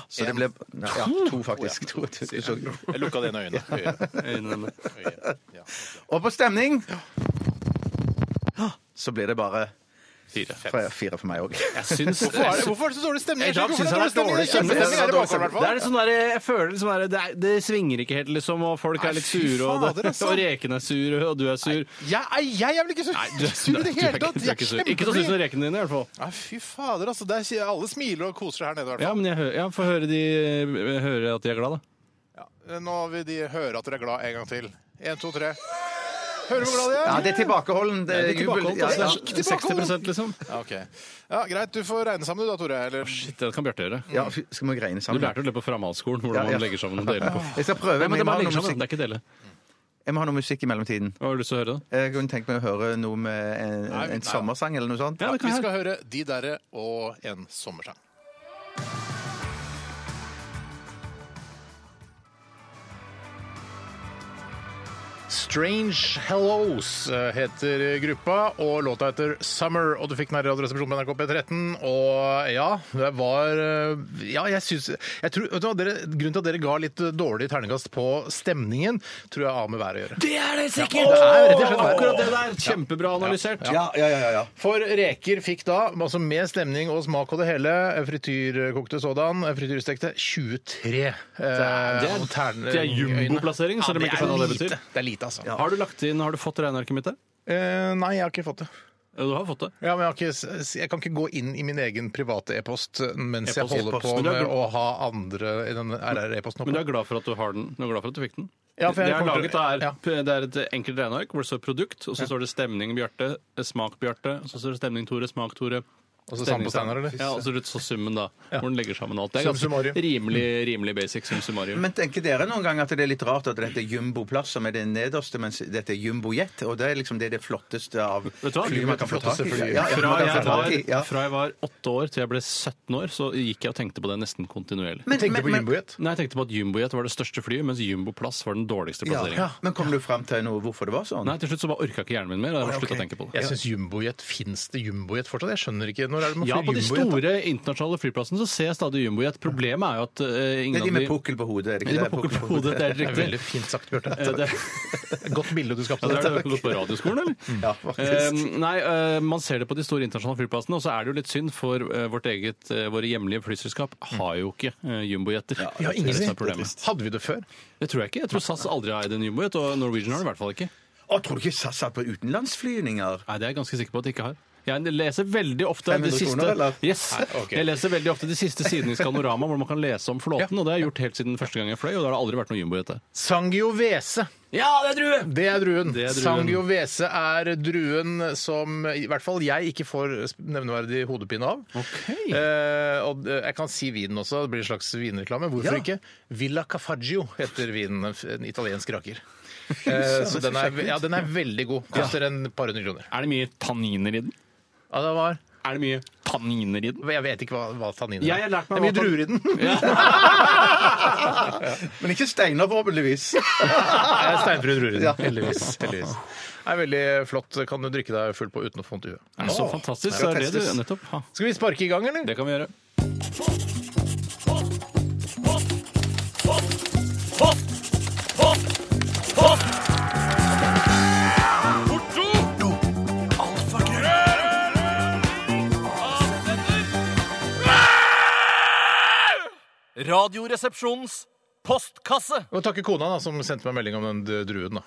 [SPEAKER 2] Så det ble Nei, ja, to, faktisk. To, to, to, to.
[SPEAKER 1] Jeg lukka det ene øynet. Øyet.
[SPEAKER 4] Øynene.
[SPEAKER 1] Øyet. Ja.
[SPEAKER 2] Og på stemning så blir det bare
[SPEAKER 4] Fire.
[SPEAKER 2] fire, fire for meg òg.
[SPEAKER 4] Jeg syns
[SPEAKER 1] Hvorfor er det, hvorfor er det så dårlig stemning?
[SPEAKER 4] I dag syns jeg det er dårlig stemning.
[SPEAKER 1] Kjempestemning er det bakover, i hvert fall.
[SPEAKER 4] Det er litt sånn der, jeg føler liksom der, det, er, det svinger ikke helt, liksom, og folk er litt
[SPEAKER 1] Nei, fy
[SPEAKER 4] sure, og,
[SPEAKER 1] fader,
[SPEAKER 4] det,
[SPEAKER 1] altså.
[SPEAKER 4] og rekene er sure, og du er sur.
[SPEAKER 1] Jeg, er- jeg er vel ikke så
[SPEAKER 4] Nei, du, er-
[SPEAKER 1] sur i det
[SPEAKER 4] du er
[SPEAKER 1] hele
[SPEAKER 4] ikke-
[SPEAKER 1] tatt?
[SPEAKER 4] du er
[SPEAKER 1] Jeg
[SPEAKER 4] ikke sur.
[SPEAKER 1] er
[SPEAKER 4] Ikke så sur som
[SPEAKER 1] kjempeblid.
[SPEAKER 4] rekene dine, i hvert fall.
[SPEAKER 1] Nei, fy fader, altså. Der, sier- alle smiler og koser seg her nede, i hvert
[SPEAKER 4] Ja,
[SPEAKER 1] fall.
[SPEAKER 4] men jeg hører, ja, får høre, de, høre at de er glad, da.
[SPEAKER 1] Ja. Eh, Nå vil de høre at dere er glad en gang til. En, to, tre. Hører du hvor glad de er?
[SPEAKER 2] Ja, det er tilbakeholden. Det er
[SPEAKER 4] De er
[SPEAKER 2] jubel.
[SPEAKER 4] tilbakeholdt,
[SPEAKER 2] Ja, ja.
[SPEAKER 4] altså, det er 60 liksom.
[SPEAKER 1] Ja, ok. Ja, Greit, du får regne sammen du da, Tore. Eller
[SPEAKER 4] Shit, det kan Bjarte gjøre.
[SPEAKER 2] Ja, fy- skal vi greine
[SPEAKER 4] Du
[SPEAKER 2] sammen?
[SPEAKER 4] lærte jo det på framhaldsskolen, hvordan
[SPEAKER 2] Ja, ja.
[SPEAKER 4] man legger sammen og deler på.
[SPEAKER 2] Jeg skal prøve,
[SPEAKER 4] Ja,
[SPEAKER 2] men
[SPEAKER 4] men
[SPEAKER 2] jeg
[SPEAKER 4] det liksom bare
[SPEAKER 2] må, ha
[SPEAKER 4] legger sammen,
[SPEAKER 2] noe musikk.
[SPEAKER 4] det er ikke dele.
[SPEAKER 2] jeg må ha noe musikk i mellomtiden. Eh,
[SPEAKER 4] Hva har du lyst til å høre, da?
[SPEAKER 2] Jeg kunne tenkt meg å høre noe med en,
[SPEAKER 1] Nei,
[SPEAKER 2] en
[SPEAKER 1] nei.
[SPEAKER 2] sommersang eller noe sånt.
[SPEAKER 4] Ja, det
[SPEAKER 1] Vi
[SPEAKER 4] kan jeg.
[SPEAKER 1] skal høre De derre og en sommersang. Strange Hellos eh, heter gruppa, og låta heter Summer. Og du fikk den her i Radioresepsjonen på NRK P13. Og ja, det var eh, Ja, jeg syns jeg tror, vet du, hva, dere, Grunnen til at dere ga litt eh, dårlig terningkast på stemningen, tror jeg har med været å gjøre.
[SPEAKER 4] Det er det sikkert! akkurat det der. Kjempebra analysert.
[SPEAKER 2] Ja, ja, ja, ja.
[SPEAKER 1] For reker fikk da, altså med stemning og smak og det hele, frityrkokte sådan, frityrstekte, 23. eh,
[SPEAKER 4] det er-
[SPEAKER 1] og tern-
[SPEAKER 4] det er jumboplassering, så
[SPEAKER 1] Ja,
[SPEAKER 4] det blir ikke sånn hva det
[SPEAKER 1] lite.
[SPEAKER 4] betyr.
[SPEAKER 1] Det er lite, altså.
[SPEAKER 4] Har du lagt inn, har du fått regnearket mitt der?
[SPEAKER 1] Eh, nei, jeg har ikke fått det.
[SPEAKER 4] Ja, Du har fått det.
[SPEAKER 1] Ja, men jeg, har ikke, s- jeg kan ikke gå inn i min egen private e-post eh, mens jeg
[SPEAKER 4] E-post,
[SPEAKER 1] holder
[SPEAKER 4] e-post.
[SPEAKER 1] på
[SPEAKER 4] Men du er
[SPEAKER 1] med
[SPEAKER 4] gl-
[SPEAKER 1] å ha andre i den RR-e-posten oppe.
[SPEAKER 4] Men du er glad for at du har den? Du er glad for at du fikk den?
[SPEAKER 1] Ja, for jeg
[SPEAKER 4] det, er
[SPEAKER 1] kommer
[SPEAKER 4] laget,
[SPEAKER 1] til-
[SPEAKER 4] er, det er et enkelt eh, regneark hvor det står produkt, og så står det stemning Bjarte, smak Bjarte, og så står det stemning Tore, smak Tore.
[SPEAKER 1] Altså sand på Steinar, eller?
[SPEAKER 4] Ja, og så altså, summen, da. Hvor den legger sammen alt. Det er
[SPEAKER 1] Sum
[SPEAKER 4] ganske
[SPEAKER 1] summarium.
[SPEAKER 4] rimelig, rimelig basic sum summarium.
[SPEAKER 2] Men tenker dere noen gang at det er litt rart at dette er jumboplass som er det nederste, mens dette er jumbojet? Og det er liksom det, er det flotteste av
[SPEAKER 4] Vet du hva?
[SPEAKER 2] fly man kan få tak i.
[SPEAKER 1] Flotteste fly.
[SPEAKER 2] Ja, ja,
[SPEAKER 4] Fra
[SPEAKER 2] man
[SPEAKER 4] jeg,
[SPEAKER 2] kan få
[SPEAKER 4] var,
[SPEAKER 2] tak i, sånn ja.
[SPEAKER 4] fra jeg var åtte år til jeg ble 17 år, så gikk jeg og tenkte på det nesten kontinuerlig.
[SPEAKER 2] Men-
[SPEAKER 1] Tenkte på
[SPEAKER 2] men-
[SPEAKER 1] jumbojet.
[SPEAKER 4] Nei, jeg tenkte på at Jumbojet var det største flyet, mens Jumboplass var den dårligste
[SPEAKER 2] Ja,
[SPEAKER 4] plasseringen.
[SPEAKER 2] Men kom du fram til noe hvorfor det var sånn?
[SPEAKER 4] Nei, til slutt så bare orka ikke hjernen min mer. og Jeg har sluttet å tenke på det.
[SPEAKER 1] Jeg syns jumbojet Fins det jumbojet fortsatt? Jeg skjønner ikke. Når er det man
[SPEAKER 4] Ja,
[SPEAKER 1] flyr
[SPEAKER 4] på de
[SPEAKER 1] jumbojet? da?
[SPEAKER 4] store internasjonale flyplassene så ser jeg stadig jumbojet. Problemet er jo at eh,
[SPEAKER 2] Det
[SPEAKER 4] ingen
[SPEAKER 2] er de
[SPEAKER 4] av
[SPEAKER 2] med
[SPEAKER 4] de
[SPEAKER 2] pukkel på hodet. er det
[SPEAKER 4] De
[SPEAKER 2] ikke
[SPEAKER 4] med pukkel på hodet, det
[SPEAKER 1] Det
[SPEAKER 4] er
[SPEAKER 1] er
[SPEAKER 4] helt
[SPEAKER 1] veldig
[SPEAKER 4] riktig.
[SPEAKER 1] fint sagt, Bjarte.
[SPEAKER 4] Eh, det-
[SPEAKER 1] Godt bilde du skapte
[SPEAKER 4] Ja, det
[SPEAKER 1] der.
[SPEAKER 4] er det. Har du gått på radioskolen, eller?
[SPEAKER 2] Ja, faktisk.
[SPEAKER 4] Eh, nei, eh, man ser det på de store internasjonale flyplassene, og så er det jo litt synd, for eh, vårt eget, eh, våre hjemlige flyselskap har jo ikke eh, jumbojetter.
[SPEAKER 1] Vi har
[SPEAKER 4] Det er
[SPEAKER 1] ingen
[SPEAKER 4] det som er problemet.
[SPEAKER 1] problemet. Hadde vi det før?
[SPEAKER 4] Det tror jeg ikke. Jeg tror SAS aldri har eid en jumbojet, og Norwegian har det i hvert fall ikke.
[SPEAKER 2] Å, tror du ikke SAS satt på utenlandsflyvninger?
[SPEAKER 4] Nei, det er jeg ganske sikker på at de ikke har. Jeg leser veldig ofte de
[SPEAKER 2] 500
[SPEAKER 4] siste,
[SPEAKER 2] kroner, eller?
[SPEAKER 4] yes,
[SPEAKER 1] Nei, ok.
[SPEAKER 4] jeg leser veldig ofte de siste sidene i Skanorama hvor man kan lese om flåten, og det har jeg gjort helt siden første gang jeg fløy, og da har det aldri vært noe jumbojet der.
[SPEAKER 1] Sangiovese.
[SPEAKER 4] Ja, det er drue!
[SPEAKER 1] Det er druen.
[SPEAKER 4] Det er druen.
[SPEAKER 1] Sangiovese er druen som i hvert fall jeg ikke får nevneverdig hodepine av.
[SPEAKER 4] Ok.
[SPEAKER 1] Eh, og eh, jeg kan si vinen også. Det blir en slags vinreklame. Hvorfor
[SPEAKER 2] Ja.
[SPEAKER 1] ikke? Villa Cafaggio heter vinen. en f- En italiensk raker. Eh, så den er, ja, den er veldig god. Koster en par hundre kroner.
[SPEAKER 4] Er det mye tanniner i den?
[SPEAKER 1] Ja, det var
[SPEAKER 4] Er det mye tanniner i den?
[SPEAKER 1] Jeg vet ikke hva, hva tanniner
[SPEAKER 4] Jeg har lært meg
[SPEAKER 1] Det er mye
[SPEAKER 4] hva tan-
[SPEAKER 1] druer i den.
[SPEAKER 2] Men ikke Steinar, forhåpentligvis.
[SPEAKER 1] Det er Steinfru druer i den.
[SPEAKER 2] Ja.
[SPEAKER 1] Heldigvis. heldigvis. Det er veldig flott. Kan du drikke deg full på uten å få vondt i huet.
[SPEAKER 4] Er det så fantastisk?
[SPEAKER 2] Skal
[SPEAKER 4] Så er det du
[SPEAKER 2] testes.
[SPEAKER 4] nettopp ha.
[SPEAKER 1] Skal vi sparke i gang, eller?
[SPEAKER 4] Det kan vi gjøre.
[SPEAKER 11] Radioresepsjonens postkasse.
[SPEAKER 1] Jeg må takke kona da, som sendte meg melding om den d- druen. da.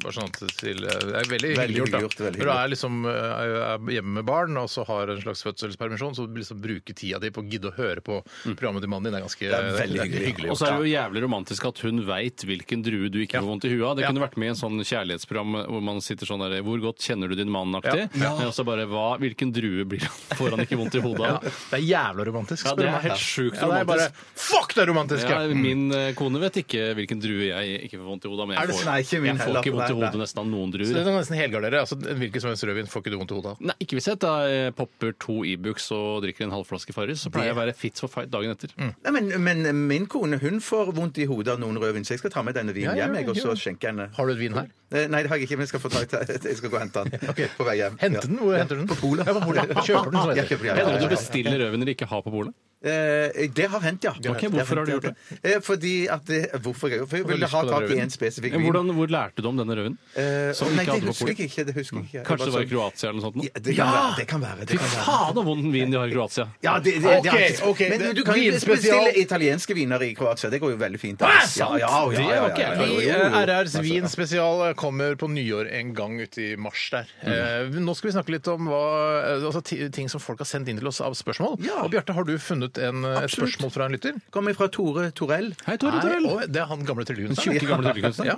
[SPEAKER 1] Bare sånn at til, eh, det er veldig hyggelig
[SPEAKER 2] Veldig
[SPEAKER 1] gjort. da.
[SPEAKER 2] hyggelig gjort, veldig
[SPEAKER 1] Når du
[SPEAKER 2] hyggelig.
[SPEAKER 1] er, liksom, eh, er hjemme med barn og så har en slags fødselspermisjon, så liksom bruke tida di på å gidde å høre på programmet til mannen din. Det er ganske
[SPEAKER 2] er veldig
[SPEAKER 1] det er
[SPEAKER 2] hyggelig.
[SPEAKER 4] Mm. Og så er det jo jævlig romantisk at hun veit hvilken drue du ikke får vondt i huet av. Det kunne vært med i en sånn kjærlighetsprogram hvor man sitter sånn der Hvor godt kjenner du din mann-aktig? Men også bare hva, Hvilken drue blir han? Får han ikke vondt i hodet av?
[SPEAKER 1] Det er jævla romantisk.
[SPEAKER 4] Ja,
[SPEAKER 1] spør
[SPEAKER 4] det
[SPEAKER 1] du
[SPEAKER 4] er
[SPEAKER 1] meg.
[SPEAKER 4] helt sjukt
[SPEAKER 1] Ja, det er bare,
[SPEAKER 4] romantisk.
[SPEAKER 1] Fuck, det er romantisk!
[SPEAKER 4] Ja,
[SPEAKER 1] Ja.
[SPEAKER 4] min eh, kone vet ikke hvilken drue jeg ikke får vondt i hodet av, men
[SPEAKER 2] Er
[SPEAKER 4] jeg
[SPEAKER 2] det-
[SPEAKER 4] får,
[SPEAKER 2] Nei, ikke min
[SPEAKER 4] jeg får
[SPEAKER 2] heller.
[SPEAKER 4] ikke vondt i
[SPEAKER 2] Nei,
[SPEAKER 4] hodet
[SPEAKER 2] nei.
[SPEAKER 4] nesten av noen
[SPEAKER 1] Så det
[SPEAKER 4] druer.
[SPEAKER 1] er nesten helgardere. Altså, hvilken som helst rødvin får ikke du vondt i hodet av.
[SPEAKER 4] Nei, ikke hvis jeg da eh, popper to Ibux og drikker en halvflaske Farris, så pleier jeg å være fit for fight dagen etter.
[SPEAKER 2] Nei, men, men min kone hun får vondt i hodet av noen rødvin, så jeg skal ta med denne vinen
[SPEAKER 1] Ja, ja,
[SPEAKER 2] hjem jeg, og
[SPEAKER 1] ja.
[SPEAKER 2] så skjenke henne.
[SPEAKER 1] Har du et vin her?
[SPEAKER 2] Eh, Nei, det har jeg ikke, men jeg skal få tak i Jeg skal gå og hente den på vei hjem.
[SPEAKER 1] Hente den? Hvor henter du den? På polet. Ja, på polet. Kjøper den, så
[SPEAKER 2] Jeg
[SPEAKER 1] heter
[SPEAKER 2] kjøper
[SPEAKER 1] det.
[SPEAKER 2] den,
[SPEAKER 4] Jeg
[SPEAKER 2] ja,
[SPEAKER 4] tror du
[SPEAKER 2] ja, ja.
[SPEAKER 4] bestiller rødvin dere ikke har på bordet.
[SPEAKER 2] Eh, Det har hendt, ja.
[SPEAKER 4] hvorfor
[SPEAKER 2] Det
[SPEAKER 4] har du gjort
[SPEAKER 2] hendt, ja. Eh, Fordi at det, Hvorfor? jeg- For jeg
[SPEAKER 1] har
[SPEAKER 2] ville
[SPEAKER 1] lyst
[SPEAKER 2] ha
[SPEAKER 1] på den
[SPEAKER 2] tak i
[SPEAKER 1] rødvinen.
[SPEAKER 2] en spesifikk
[SPEAKER 4] Men
[SPEAKER 2] vin.
[SPEAKER 4] hvordan, hvor lærte du om denne rødvinen?
[SPEAKER 2] Eh,
[SPEAKER 4] Som
[SPEAKER 2] Nei,
[SPEAKER 4] ikke
[SPEAKER 2] det
[SPEAKER 4] hadde på
[SPEAKER 2] husker
[SPEAKER 4] polet?
[SPEAKER 2] jeg ikke. Det husker jeg ikke.
[SPEAKER 4] Kanskje det var i
[SPEAKER 2] sånn-
[SPEAKER 4] Kroatia eller noe sånt? nå?
[SPEAKER 2] Ja, det kan være. Det kan være. Det
[SPEAKER 4] Fy
[SPEAKER 2] kan være.
[SPEAKER 4] faen så vond vin de har i Kroatia!
[SPEAKER 2] Ja, det, det, det,
[SPEAKER 1] Ok,
[SPEAKER 2] det-
[SPEAKER 1] ok,
[SPEAKER 2] Men
[SPEAKER 1] det-
[SPEAKER 2] du kan jo
[SPEAKER 1] vinspesial.
[SPEAKER 2] bestille italienske viner i Kroatia. Det går jo veldig fint.
[SPEAKER 1] Hæ,
[SPEAKER 2] Ja,
[SPEAKER 1] sant?
[SPEAKER 2] ja, ja, ja, ja, ja, ja,
[SPEAKER 1] Vi,
[SPEAKER 2] jo, altså. jo,
[SPEAKER 1] eh,
[SPEAKER 2] jo.
[SPEAKER 1] RRs Vin spesial eh, kommer på nyår en gang uti mars der. Eh, nå skal vi snakke litt om hva, eh, altså, ti- ting som folk har sendt inn til oss av spørsmål.
[SPEAKER 2] Ja.
[SPEAKER 1] Og Bjarte, har du funnet en, eh, et
[SPEAKER 2] Absolutt.
[SPEAKER 1] spørsmål fra en lytter?
[SPEAKER 2] Kommer fra Tore Torell.
[SPEAKER 4] Hei, Tore Torell!
[SPEAKER 1] Nei, å, det er han gamle tryllekunstneren.
[SPEAKER 4] Tjukke gamle tryllekunstner.
[SPEAKER 1] Ja.